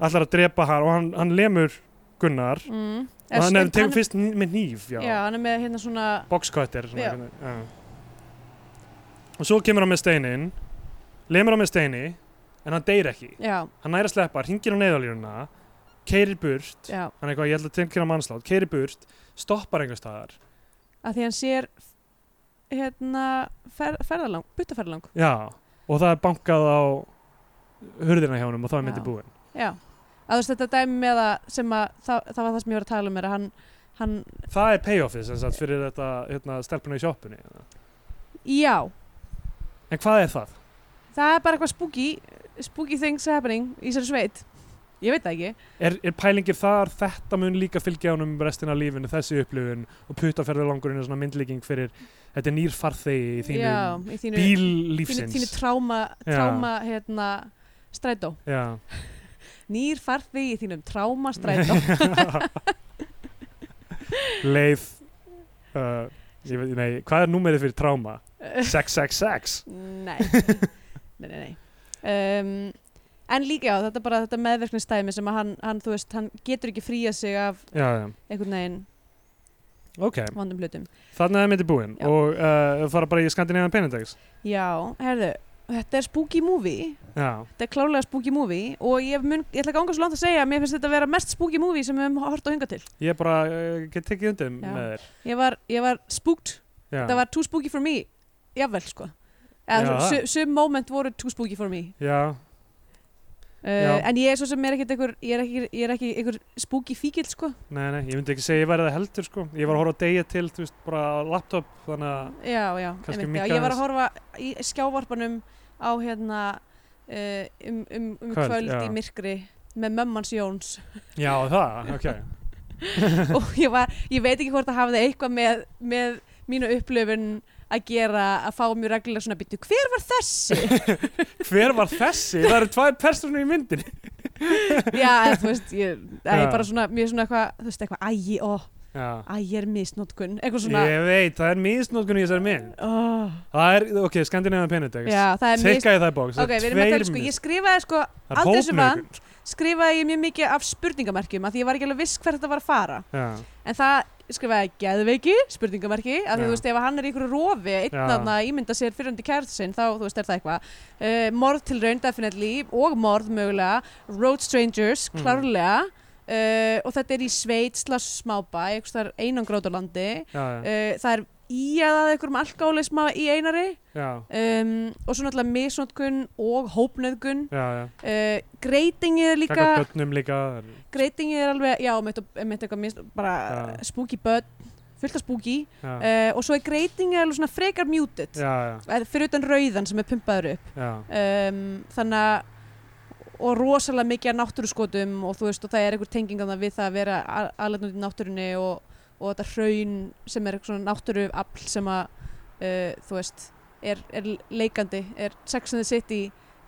C: allar að drepa hann og hann, hann lemur Gunnar
B: mm.
C: og hann er
B: hann,
C: tegur fyrst ný- með nýf já,
B: já, hann er með hérna svona
C: boxcutter svona
B: Já.
C: einhvern veginn, já. og svo kemur hann með steinin lemur hann með steini en hann deyr ekki,
B: já,
C: hann næri að sleppa hringir á neyðalínuna, keirir burt
B: já,
C: hann er eitthvað, ég ætla að tilkynna mannslátt, keirir burt stoppar einhver staðar
B: að því hann sér hérna fer, ferðalang, buttaferðalang
C: já, og það er bankað á hurðina hjá honum og þá er
B: Já.
C: myndi búin
B: já, að þú veist þetta dæmi með að sem að það, það var það sem ég var að tala um er að hann, hann,
C: það er payoffið sem sagt fyrir þetta hérna, stelpuna í sjoppunni
B: já
C: en hvað er það?
B: það er bara eitthvað spooky spooky things happening í sér sveit ég veit það ekki
C: Er, er pælingir þar, þetta mun líka fylgja honum restina af lífinu, þessi upplifun og puttaferðalangurinn er svona myndlíking fyrir þetta er nýr farþegi í þínu
B: já, í þínu,
C: bíl
B: þínu,
C: lífsins
B: þínu tráma,
C: Já.
B: tráma hérna, strætó
C: Já,
B: nýr farði í þínum tráma strætó
C: leið uh, ég veit, nei, hvað er númerið fyrir tráma? 666
B: nei nei, nei, nei. Um, en líka já, þetta er bara þetta meðverkningstæmi sem að hann, hann, þú veist, hann getur ekki fríja sig af
C: Já, já,
B: einhvern veginn
C: ok
B: vondum hlutum
C: Þannig að það myndi búin
B: Já.
C: og uh, fara bara í Skandinavian Penindex
B: já, herðu, þetta er spooky movie
C: Já,
B: þetta er klálega spooky movie og ég, mun, ég ætla að ganga svo langt að segja að mér finnst þetta að vera mest spooky movie sem við höfum hort á hinga til
C: ég bara uh, get tekið undir
B: Já.
C: með þér
B: ég var, ég var spooked
C: Já,
B: þetta var too spooky for me jafnvel sko
C: Já,
B: Eða,
C: það.
B: sum, sum moment voru too spooky for me
C: já,
B: uh,
C: Já.
B: en ég er svo sem er ekkert einhver ég er ekki, ég er ekki einhver spooky fíkil sko
C: nei, nei, ég myndi ekki segja ég verið það heldur sko Ég var að horfa að deyja til, þú veist, bara á laptop þannig að
B: já, já,
C: Kannski
B: einmitt, já,
C: minnka
B: ég var að
C: aðeins.
B: horfa í skjávarpanum á hérna uh, um, um, um
C: Kvöld,
B: kvöld,
C: já.
B: í myrkri með mömmans Jóns
C: Já, það, ok
B: og ég, var, ég veit ekki hvort það hafði eitthvað með, með mínu upplöfun að gera að fá mjög reglulega svona byttu hver var þessi?
C: Hver var þessi? Það eru tvær personur í myndin
B: já, eða, þú veist, ég, eða,
C: Já.
B: ég bara svona, mér svona eitthvað, þú veist, eitthvað, ægi, ó,
C: Já,
B: ægi er misnótkun, eitthvað svona,
C: ég veit, það er misnótkun í þessari mynd
B: ó,
C: Það er, ok, Skandinavian Penindex
B: já, það er mis...
C: Tekka í það bóks,
B: Ok, við erum að tala, sko, ég skrifaði sko,
C: Það er
B: aldrei sem
C: hópnauðgun, sko.
B: skrifaði ég mjög mikið af spurningamerkjum af því ég var ekki alveg viss hvert þetta var að fara
C: Já,
B: en það skrifaði geðveiki spurningamerki, af því
C: Já.
B: þú veist ef hann er í ykkur rofi,
C: Já.
B: einn aðna ímynda sér fyrirhundi kærðsinn, þá þú veist er það eitthvað uh, morð til raun definitely og morð mögulega, road strangers
C: Mm.
B: klárlega uh, og þetta er í Sveit slags smábæ einhvers þar einangrótalandi uh,
C: já, já,
B: það er í að einhverjum alkálisma í einari
C: já,
B: um, og svo náttúrulega misnótkun og hópnöðgun
C: já, já.
B: uh, greitingið er líka
C: Gagga götnum líka
B: greitingið er alveg, já, mitt, mitt eitthvað mis, bara
C: Já.
B: spooky börn fullt af spooky
C: Já, já,
B: uh, og svo er greitingið alveg svona frekar muted
C: já,
B: Eh, fyrir utan rauðan sem er pumpaður upp
C: já.
B: um, þannig að og rosalega mikið af náttúruskotum og þú veist, og það er einhver tenging þarna við það að vera aðlega út í náttúrunni og, og þetta hraun sem er svona náttúruafl sem að uh, þú veist, er, er leikandi er Sex and the City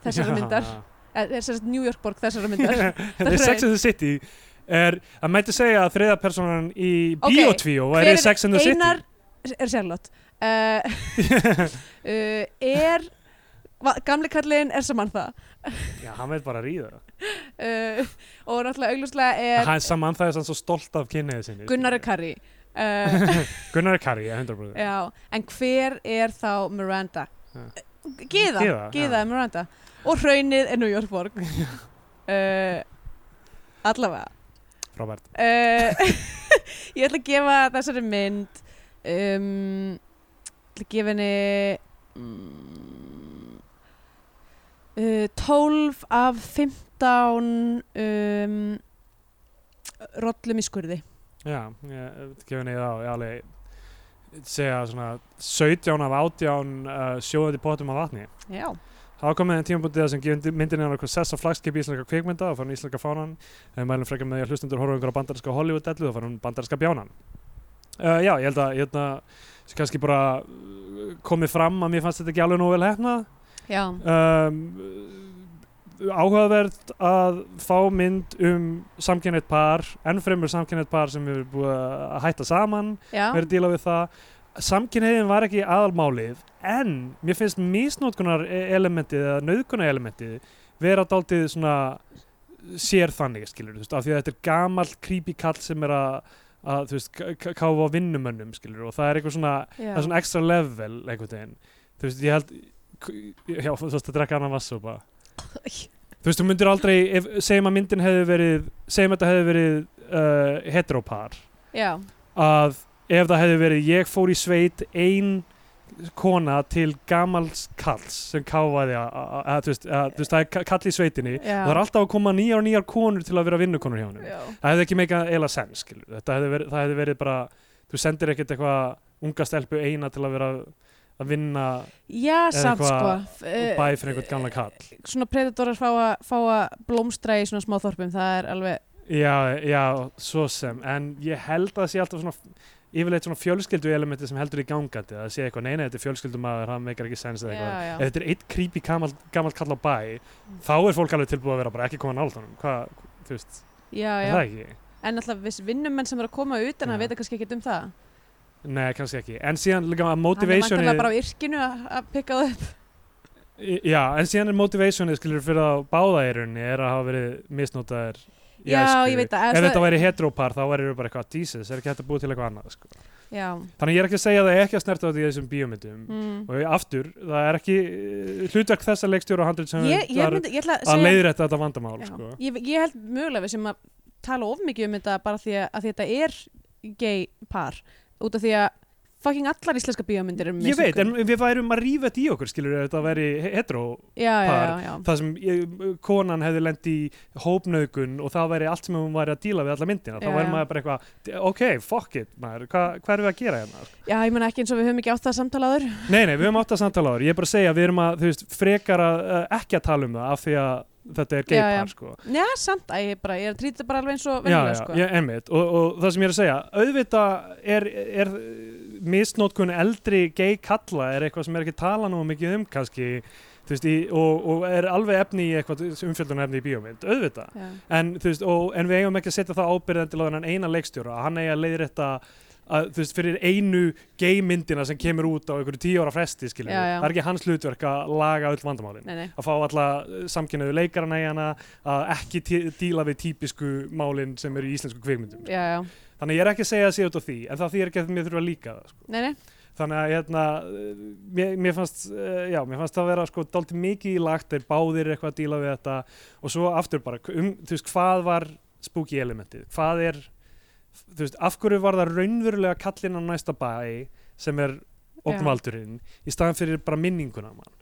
B: þessara myndar, Eh, er, er sérst New York borg þessara myndar
C: Þetta er Sex and the City er, að mætti segja að þriða personan í
B: Ok,
C: Bíotvíó
B: Hver
C: væri Sex and the City
B: Einar er sérlót uh, uh, Er va, Gamli kallin er saman það
C: Já, hann veit bara að ríða
B: uh, Og náttúrulega augljóslega er
C: Hann saman það er sann svo stolt af kynniði sinni sko.
B: Gunnar og Kari uh,
C: Gunnar er Kari, ég 100%
B: Já, en hver er þá Miranda?
C: Já.
B: Gíða,
C: Gyða,
B: Gíða
C: já.
B: er Miranda Og hraunið er New York borg uh, Allavega
C: Robert
B: uh, Ég ætla að gefa þessari mynd um, ætla að gefa henni mm, uh, 12 af 15 um, rollum í skurði
C: Já, ég gefið niður á, ég alveg segja svona 17 af 18 uh, sjóðandi pottum af vatni
B: Já,
C: Það var komið en tímapunktið þar sem gefum myndinni hann okkur sess á flagskip íslenska kvikmynda og fann íslenska fánan en mælum frekar með því að hlustendur horfa á einhverja bandarinska Hollywood-dellu og fann hún bandarinska bjánan uh, Já, ég held að ég held að sem kannski bara uh, komið fram að mér fannst þetta ekki alveg nógu vel hefna
B: já,
C: um, uh, áhugaverð að fá mynd um samkynnet par enn fremur samkynnet par sem við erum búið að hætta saman
B: já.
C: verið að díla við það samkynheiðin var ekki aðalmálið en mér finnst misnótkunar elementið eða nöðkunar elementið vera dálítið svona sér þannig skilur þú veist af því að þetta er gamall creepy kall sem er að, að þú veist k- k- káfa á vinnumönnum skilur og það er eitthvað svona
B: já.
C: það er svona extra level einhvern veginn þú veist ég held já þú veist að drekka annan vassúpa þú veist þú myndir aldrei ef, segjum að myndin hefði verið segjum að þetta hefði verið uh, heteropar
B: já,
C: að ef það hefði verið ég fór í sveit ein kona til gamals kalls sem káfaði að, að, að, þú veist, að þú veist, það er ka- kall í sveitinni
B: Já.
C: og það er alltaf að koma nýjar og nýjar konur til að vera vinnukonur hjá honum
B: já.
C: það hefði ekki meika eila sens skilur. þetta hefði verið, það hefði verið bara þú sendir ekkert eitthvað unga stelpu eina til að vera að vinna
B: Já,
C: Eða
B: samt sko
C: eitthvað
B: F- eh,
C: bæ fyrir einhvern gamla kall
B: Svona predatorar fá að, fá að blómstra í svona smá þorpum Það er alveg,
C: Já, já, svo sem en ég held að það sé alltaf svona yfirleitt svona fjölskyldu elementi sem heldur í gangandi að það sé eitthvað, nei, nei, þetta er fjölskyldumæður hann meikar ekki sens eða
B: Já, Mm.
C: eitthvað
B: já.
C: ef þetta er eitt creepy gamall, gamall kall á bæ þá er fólk alveg tilbúið að vera bara ekki koma nált honum hvað, þú veist,
B: já,
C: er
B: já
C: það ekki
B: En alltaf viss vinnumenn sem eru að koma utan að
C: Já.
B: vita kannski ekkert um það
C: nei, kannski ekki, en síðan líka að
B: Hann er
C: motivationi
B: mæntanlega bara á yrkinu að að pikka það upp
C: já, en síðan er motivationi skilur fyrir að báða í rauninni er að hafa verið misnotaðir í
B: Já,
C: æsku.
B: ég veit það, ef
C: ef
B: það-
C: þetta væri heterópar þá væri bara eitthvað, Jesus, er ekki hægt að búa til eitthvað annað sko.
B: Já,
C: Þannig ég er ekki að segja að það er ekki að snerta á því í þessum bíómyndum
B: mm.
C: og ég- aftur, það er ekki eh, hlutverk þessa leikstjóra og handrið sem
B: ég, ég, myndi, ég ætla að
C: að
B: segja
C: leiðrætta þetta vandamál
B: Já.
C: sko.
B: ég, ég held mögulega við sem að tala of mikið um þetta bara því að, að því þetta er gay par út af því að fucking allar íslenska bíómyndir eru
C: Ég veit, en við værum að rífa þetta í okkur skilur ef þetta væri he- hetero
B: já, já, já,
C: par.
B: já.
C: það sem ég, konan hefði lent í hópnaugun og það væri allt sem hún væri að díla við alla myndina
B: Já,
C: þá væri
B: já.
C: maður bara eitthvað, ok, fuck it maður, hva, hvað erum við að gera hérna?
B: já, ég meina ekki eins og við höfum ekki átt það samtalaður
C: Nei, nei, við höfum átt að samtala á þér, ég er bara að segja við erum að, þú veist, frekar að eh, ekki að tala um það af því að þetta er
B: Já, já.
C: geipar sko.
B: já, samt, æ, ég, bara, ég er að trýta bara alveg eins og
C: já,
B: venjulega,
C: já,
B: sko.
C: já, einmitt og, og það sem ég er að segja, auðvitað er, er eh, misnotkun eldri gay kalla er eitthvað sem er ekki tala nú mikið um kannski þú veist, í, og, og er alveg efni í eitthvað umfjöldunar efni í bíómynd, auðvitað
B: Já.
C: en, þú veist, og, en við eigum ekki að setja það ábyrðan til á þennan eina leikstjóra, að hann eigi að leiðrétta að, þú veist, fyrir einu geymyndina sem kemur út á einhverju tíu ára fresti skilur,
B: Já, já.
C: það er ekki hans hlutverk að laga öll vandamálin
B: Nei, nei.
C: að fá alla samkynnaðu leikarana í hana að ekki tí- díla við típisku málin sem eru í íslensku kvikmyndum
B: Já, já.
C: þannig ég er ekki að segja að sé út á því en það því er ekki að mér þurfa að líka það sko.
B: Nei, nei.
C: þannig að hérna, eh, mér, mér fannst eh, já, mér fannst það vera sko dálítið mikið í lagt þeir báðir eitthvað að díla við þetta og svo aftur bara, um, þú veist, hvað var spooky elementið, hvað er þú veist, af hverju var það raunverulega kallinn á næsta bæ sem er opnvaldurinn, í staðan fyrir bara minninguna mann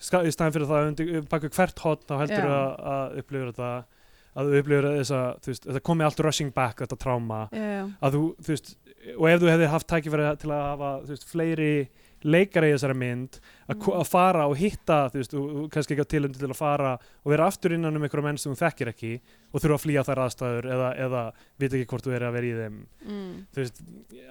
C: Ska, í staðan fyrir það að undir- bak við hvert hot þá heldur
B: Já.
C: að, að upplifur þetta að þú upplifur þess að þú veist, þetta komi allt rushing back, þetta tráma
B: Já, já.
C: að þú, þú veist, og ef þú hefði haft tækifæri til að hafa, þú veist, fleiri leikara í þessari mynd að, ko- að fara og hitta, þú veist, og, og kannski ekki á tilum til að fara og vera aftur innan um einhverja menn sem þú þekkir ekki og þurfa að flýja þær aðstæður eða, eða vita ekki hvort þú er að vera í þeim
B: Mm.
C: þú veist,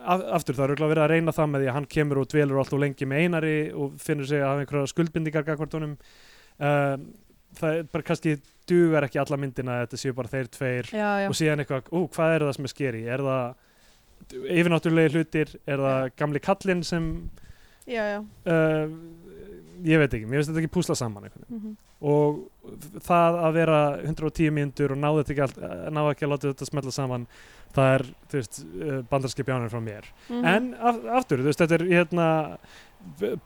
C: af, aftur það er örugglega verið að reyna það með því að hann kemur og dvelur alltaf lengi með einari og finnur sig að hafa einhverja skuldbindingar gagvart honum um, það er bara kannski dugar ekki alla myndina að þetta séu bara þeir tveir
B: já, já.
C: og síðan eitthvað, ú, hvað er það sem er skeri er það yfirnáttúrulegi hlutir er það gamli kallinn sem
B: já, já.
C: uh, ég veit ekki, mér finnst þetta ekki púsla saman einhvern veginn
B: Mm
C: og það að vera 110 mínútur og náðu þetta ekki, allt, náðu ekki að láta þetta smetla saman það er, þú veist, bandarskip jánir frá mér
B: Mhm.
C: en af, aftur, þú veist, þetta er hérna,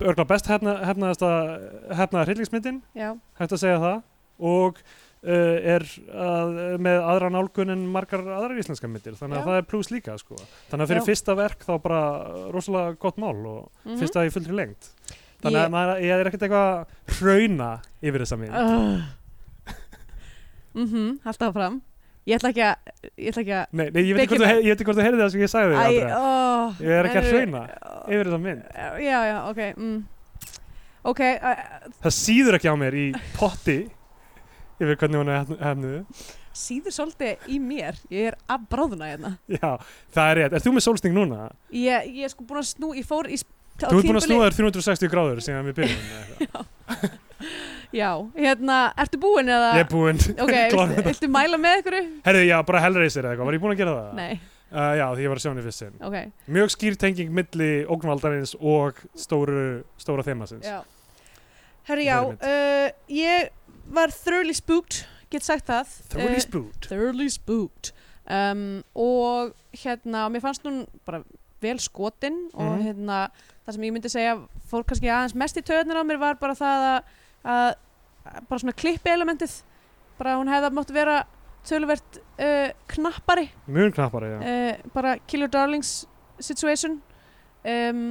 C: örgla best hefna, hefnaðasta hefnaða hryllingsmyndin
B: Já,
C: hægt að segja það og uh, er að, með aðra nálgun en margar aðrar íslenska myndir þannig að
B: Já.
C: það er pluss líka sko. þannig að fyrir
B: Já.
C: fyrsta verk þá bara rosalega gott mál og
B: Mhm.
C: fyrsta í fullri lengt þannig að
B: Ég-
C: maður, ég er ekkert eitthvað að hrauna yfir þessa mynd
B: Uh. Mhm, Haltu áfram Ég ætla ekki að Ég ætla ekki að
C: Nei, nei, ég veit ekki hvort þú
B: Byggjum-
C: he- ég veit ekki hvort þú heyrði það sem ég sagði
B: Æ,
C: þig
B: ó,
C: Ég er ekki að
B: nennirðu-
C: hrauna yfir þessa mynd.
B: Já, já, ok mm. Ok, uh,
C: Það síður ekki á mér í potti yfir hvernig hún er hefnuðu.
B: síður svolítið í mér Ég er að bráðuna hérna
C: Já, það er rétt. Er þú með sólsting núna?
B: Ég, ég er sko búin að snú, ég fór í sp- á
C: Þú ert búin
B: tímabili-
C: að snúa þér 360 gráður síðan við byrjum. eða eitthvað.
B: Já, hérna, ertu búin eða
C: ég er búinn.
B: Ok,
C: klára
B: viltu, viltu mæla með ykkur?
C: Herðu, já, bara Hellraiser eða eitthvað. Var ég búinn að gera það?
B: Nei,
C: Uh, já, því ég var að sjá henni fyrst sinn.
B: ok
C: Mjög skýr tenging milli ógnvaldarins og stóru, stóra þemasins.
B: Já Herri,
C: Í
B: já,
C: þeirri
B: uh, ég var thoroughly spooked, get sagt það
C: Thoroughly
B: Eh,
C: spooked.
B: Thoroughly spooked um, og hérna, mér fannst hún bara vel skotin og
C: Mhm.
B: hérna, það sem ég myndi segja fór kannski aðeins mest í töðunar á mér var bara það að, að að bara svona klippi elementið bara hún hefði mátt vera töluvert uh, knappari
C: Mjög knappari, já.
B: uh, bara kill your darlings situation um,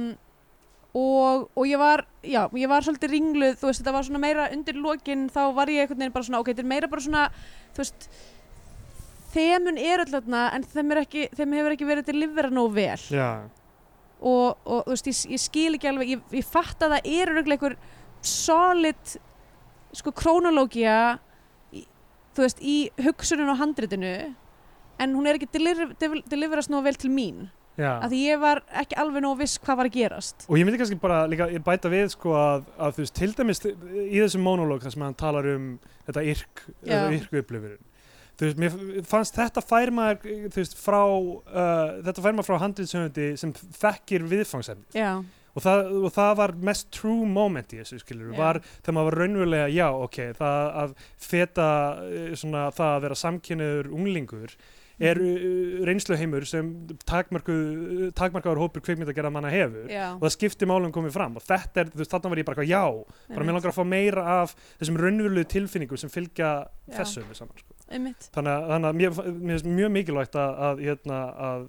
B: og, og ég var já, ég var svolítið ringluð þú veist, þetta var svona meira undir lokin þá var ég einhvern veginn bara svona, ok, þetta er meira bara svona þú veist þemun er öll þarna en þeim, er ekki, þeim hefur ekki verið til livvera nóg vel
C: Já,
B: og, og þú veist, ég, ég skil ekki alveg ég, ég fatt að það eru örugglega einhver solid sko krónológia þú veist, í hugsunum og handritinu en hún er ekki deliver, deliver, deliverast nóg vel til mín
C: já.
B: af því ég var ekki alveg nóg viss hvað var að gerast
C: Og ég myndi kannski bara líka bæta við sko að, að þú veist, til dæmis í þessum monológ þar sem hann talar um þetta yrk,
B: Já.
C: þetta yrku upplifurinn. Þú veist, mér fannst þetta fær maður, þú veist, frá, uh, þetta fær maður frá handriðsöfundi sem þekkir viðfangsefni.
B: já,
C: Og það, og það var mest true moment í þessu, skilur,
B: Já.
C: var þegar maður var raunverulega, já, ok, það að feta, eh, svona, það að vera samkynniður unglingur
B: Mhm.
C: er mm. reynsluheimur sem takmarkuð- takmarkaður hópur kvikmyndagerða manna hefur
B: já
C: og það skipti málum komið fram og þetta er, þú veist, þarna var ég bara eitthvað já, bara mér
B: einmitt,
C: langar að fá meira af þessum raunverulegu tilfinningum sem fylgja
B: Já.
C: þessu öllu saman, sko.
B: einmitt,
C: þannig að, þannig að mér, mér finnst mjög mikilvægt að, að, hérna, að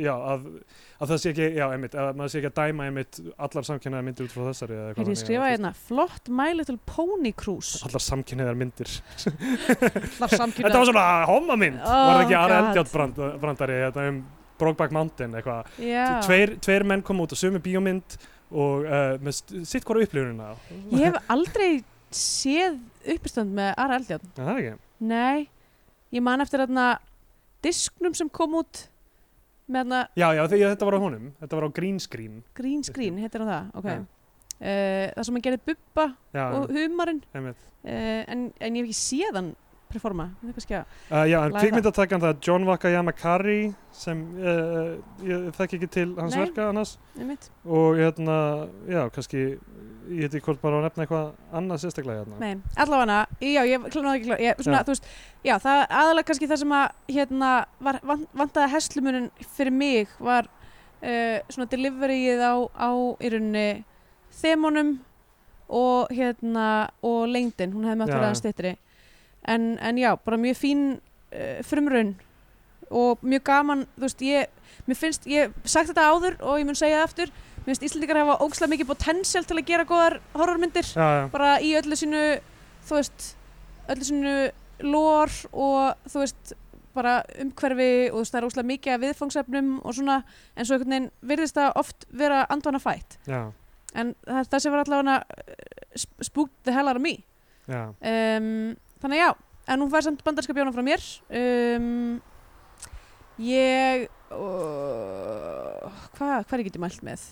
C: já, að, að það sé ekki já, einmitt, að maður sé ekki að dæma einmitt allar samkynnaðar myndir út frá þessari eða
B: hér ég
C: þannig,
B: skrifa
C: eða,
B: hérna flott My Little Pony Cruise
C: þú veist, allar samkynnaðar myndir
B: allar samkynna
C: þetta var svona homamind,
B: Oh,
C: var það ekki aðra
B: God.
C: eldjátt brand, brandari, þetta um Brokeback Mountain eitthvað,
B: já.
C: tveir, tveir menn kom út á sömu bíómynd og uh, með st- sitt hvora upplifunina
B: ég hef aldrei séð uppistönd með Ara Eldjátt
C: Er það ekki?
B: Nei, ég man eftir þarna disknum sem kom út með þarna
C: Já, já, þe- já, þetta var á honum, þetta var á green screen
B: green screen, heitir hann það, ok.
C: Já.
B: Uh, það sem hann gerði bubba
C: Já,
B: og humarinn,
C: einmitt
B: uh, en, en ég hef ekki séð hann performa, það er kannski að,
C: uh, Já, en
B: Laga.
C: kvikmyndatakan það er John Wakayama Kari sem uh, ég þekki ekki til hans
B: Nei.
C: verka annars
B: einmitt,
C: og hérna, já, kannski ég heiti hvort bara á að nefna eitthvað annað sérstaklega hérna
B: nei, allavega já, ég kláði ekki kláði, svona,
C: Já.
B: þú veist, já, það aðalega kannski það sem að, hérna, var, van, vantaði heslumunin fyrir mig var uh, svona deliveryið á, á í rauninni þemunum og hérna og lengdin, hún hefði með
C: Já,
B: aftur
C: já.
B: aðeins stittri en, en já, bara mjög fín uh, frumraun og mjög gaman, þú veist, ég mér finnst, ég hef sagt þetta áður og ég mun segja það aftur, mér finnst Íslendingar hafa ógslag mikið potential til að gera góðar horrormyndir
C: Já, já,
B: bara í öllu sínu þú veist, öllu sínu lór og þú veist bara umhverfi og þú veist það er óslega mikið af viðfangsefnum og svona en svo einhvern veginn virðist það oft vera andvana fætt
C: já,
B: en það, það sem var allavega uh, spooked the hell out of me
C: já
B: um, þannig að já, en hún fær samt bandarska bjóna frá mér um, ég uh, hvað hva er ég getið mælt með?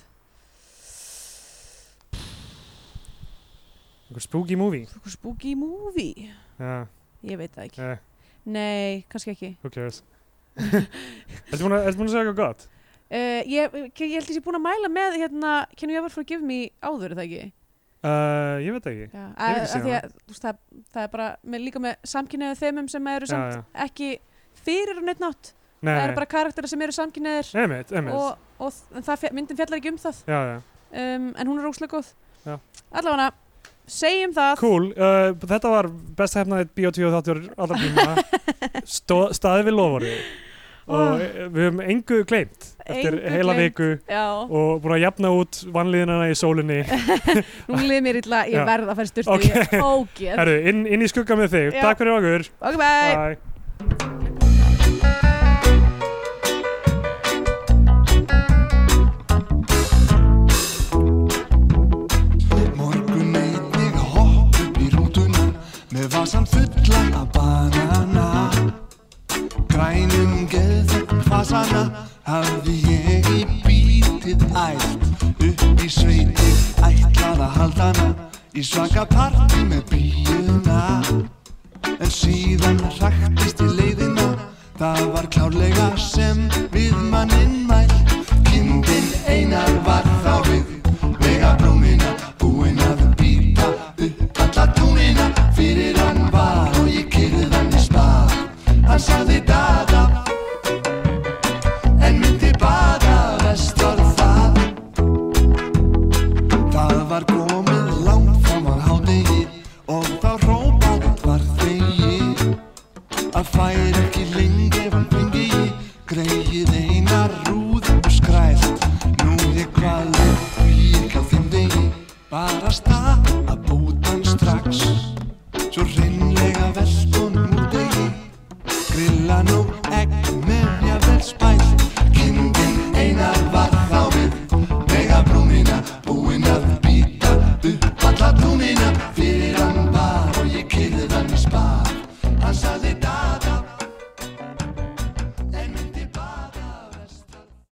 C: Einhver spooky movie
B: Einhver spooky movie?
C: Já,
B: Ég veit það ekki
C: eh,
B: Nei, kannski ekki
C: who cares Ertu búin að ertu búin að segja eitthvað gott?
B: Uh, ég, ég ég held að ég sé búin að mæla með hérna, can you ever forgive me áður, er það ekki?
C: Uh, ég veit það ekki
B: Já,
C: hef ekki
B: að,
C: séð
B: að, að, þú veist, það, það er bara með, líka með samkynniðu þeimum sem eru
C: Já,
B: samt
C: já.
B: ekki fyrir og neitt nátt
C: Nei,
B: það
C: nei,
B: eru bara karakterar sem eru samkynniðir
C: einmitt, einmitt
B: og, og þ- en það, fe- myndin fjallar ekki um það
C: Já, já
B: um, en hún er óslega góð
C: Já.
B: allavega, segjum það
C: Cool, uh, þetta var best hefnaðið Bíotvíu þáttur allra tíma Stó- staðið við lofari
B: Oh.
C: og eh, við höfum engu gleymt eftir
B: Engu
C: heila
B: gleymt.
C: viku
B: Já,
C: og búin að jafna út vannlíðinana í sólinni
B: nú liðið mér illa,
C: Já.
B: ég verð að fara styrtu
C: Ok.
B: ég er ógeð,
C: Herru, inn, inn í skugga með þig,
B: Já.
C: takk fyrir okkur
B: ok bye
C: Bye.
D: Morgun einnig hopp upp í rútuna með vasan fullan af banana Grænum geðvegn fasana hafði ég í bítið ætt upp í sveiti ætlað að haldana í svaka partí með bíuna en síðan hraktist í leiðina það var klárlega sem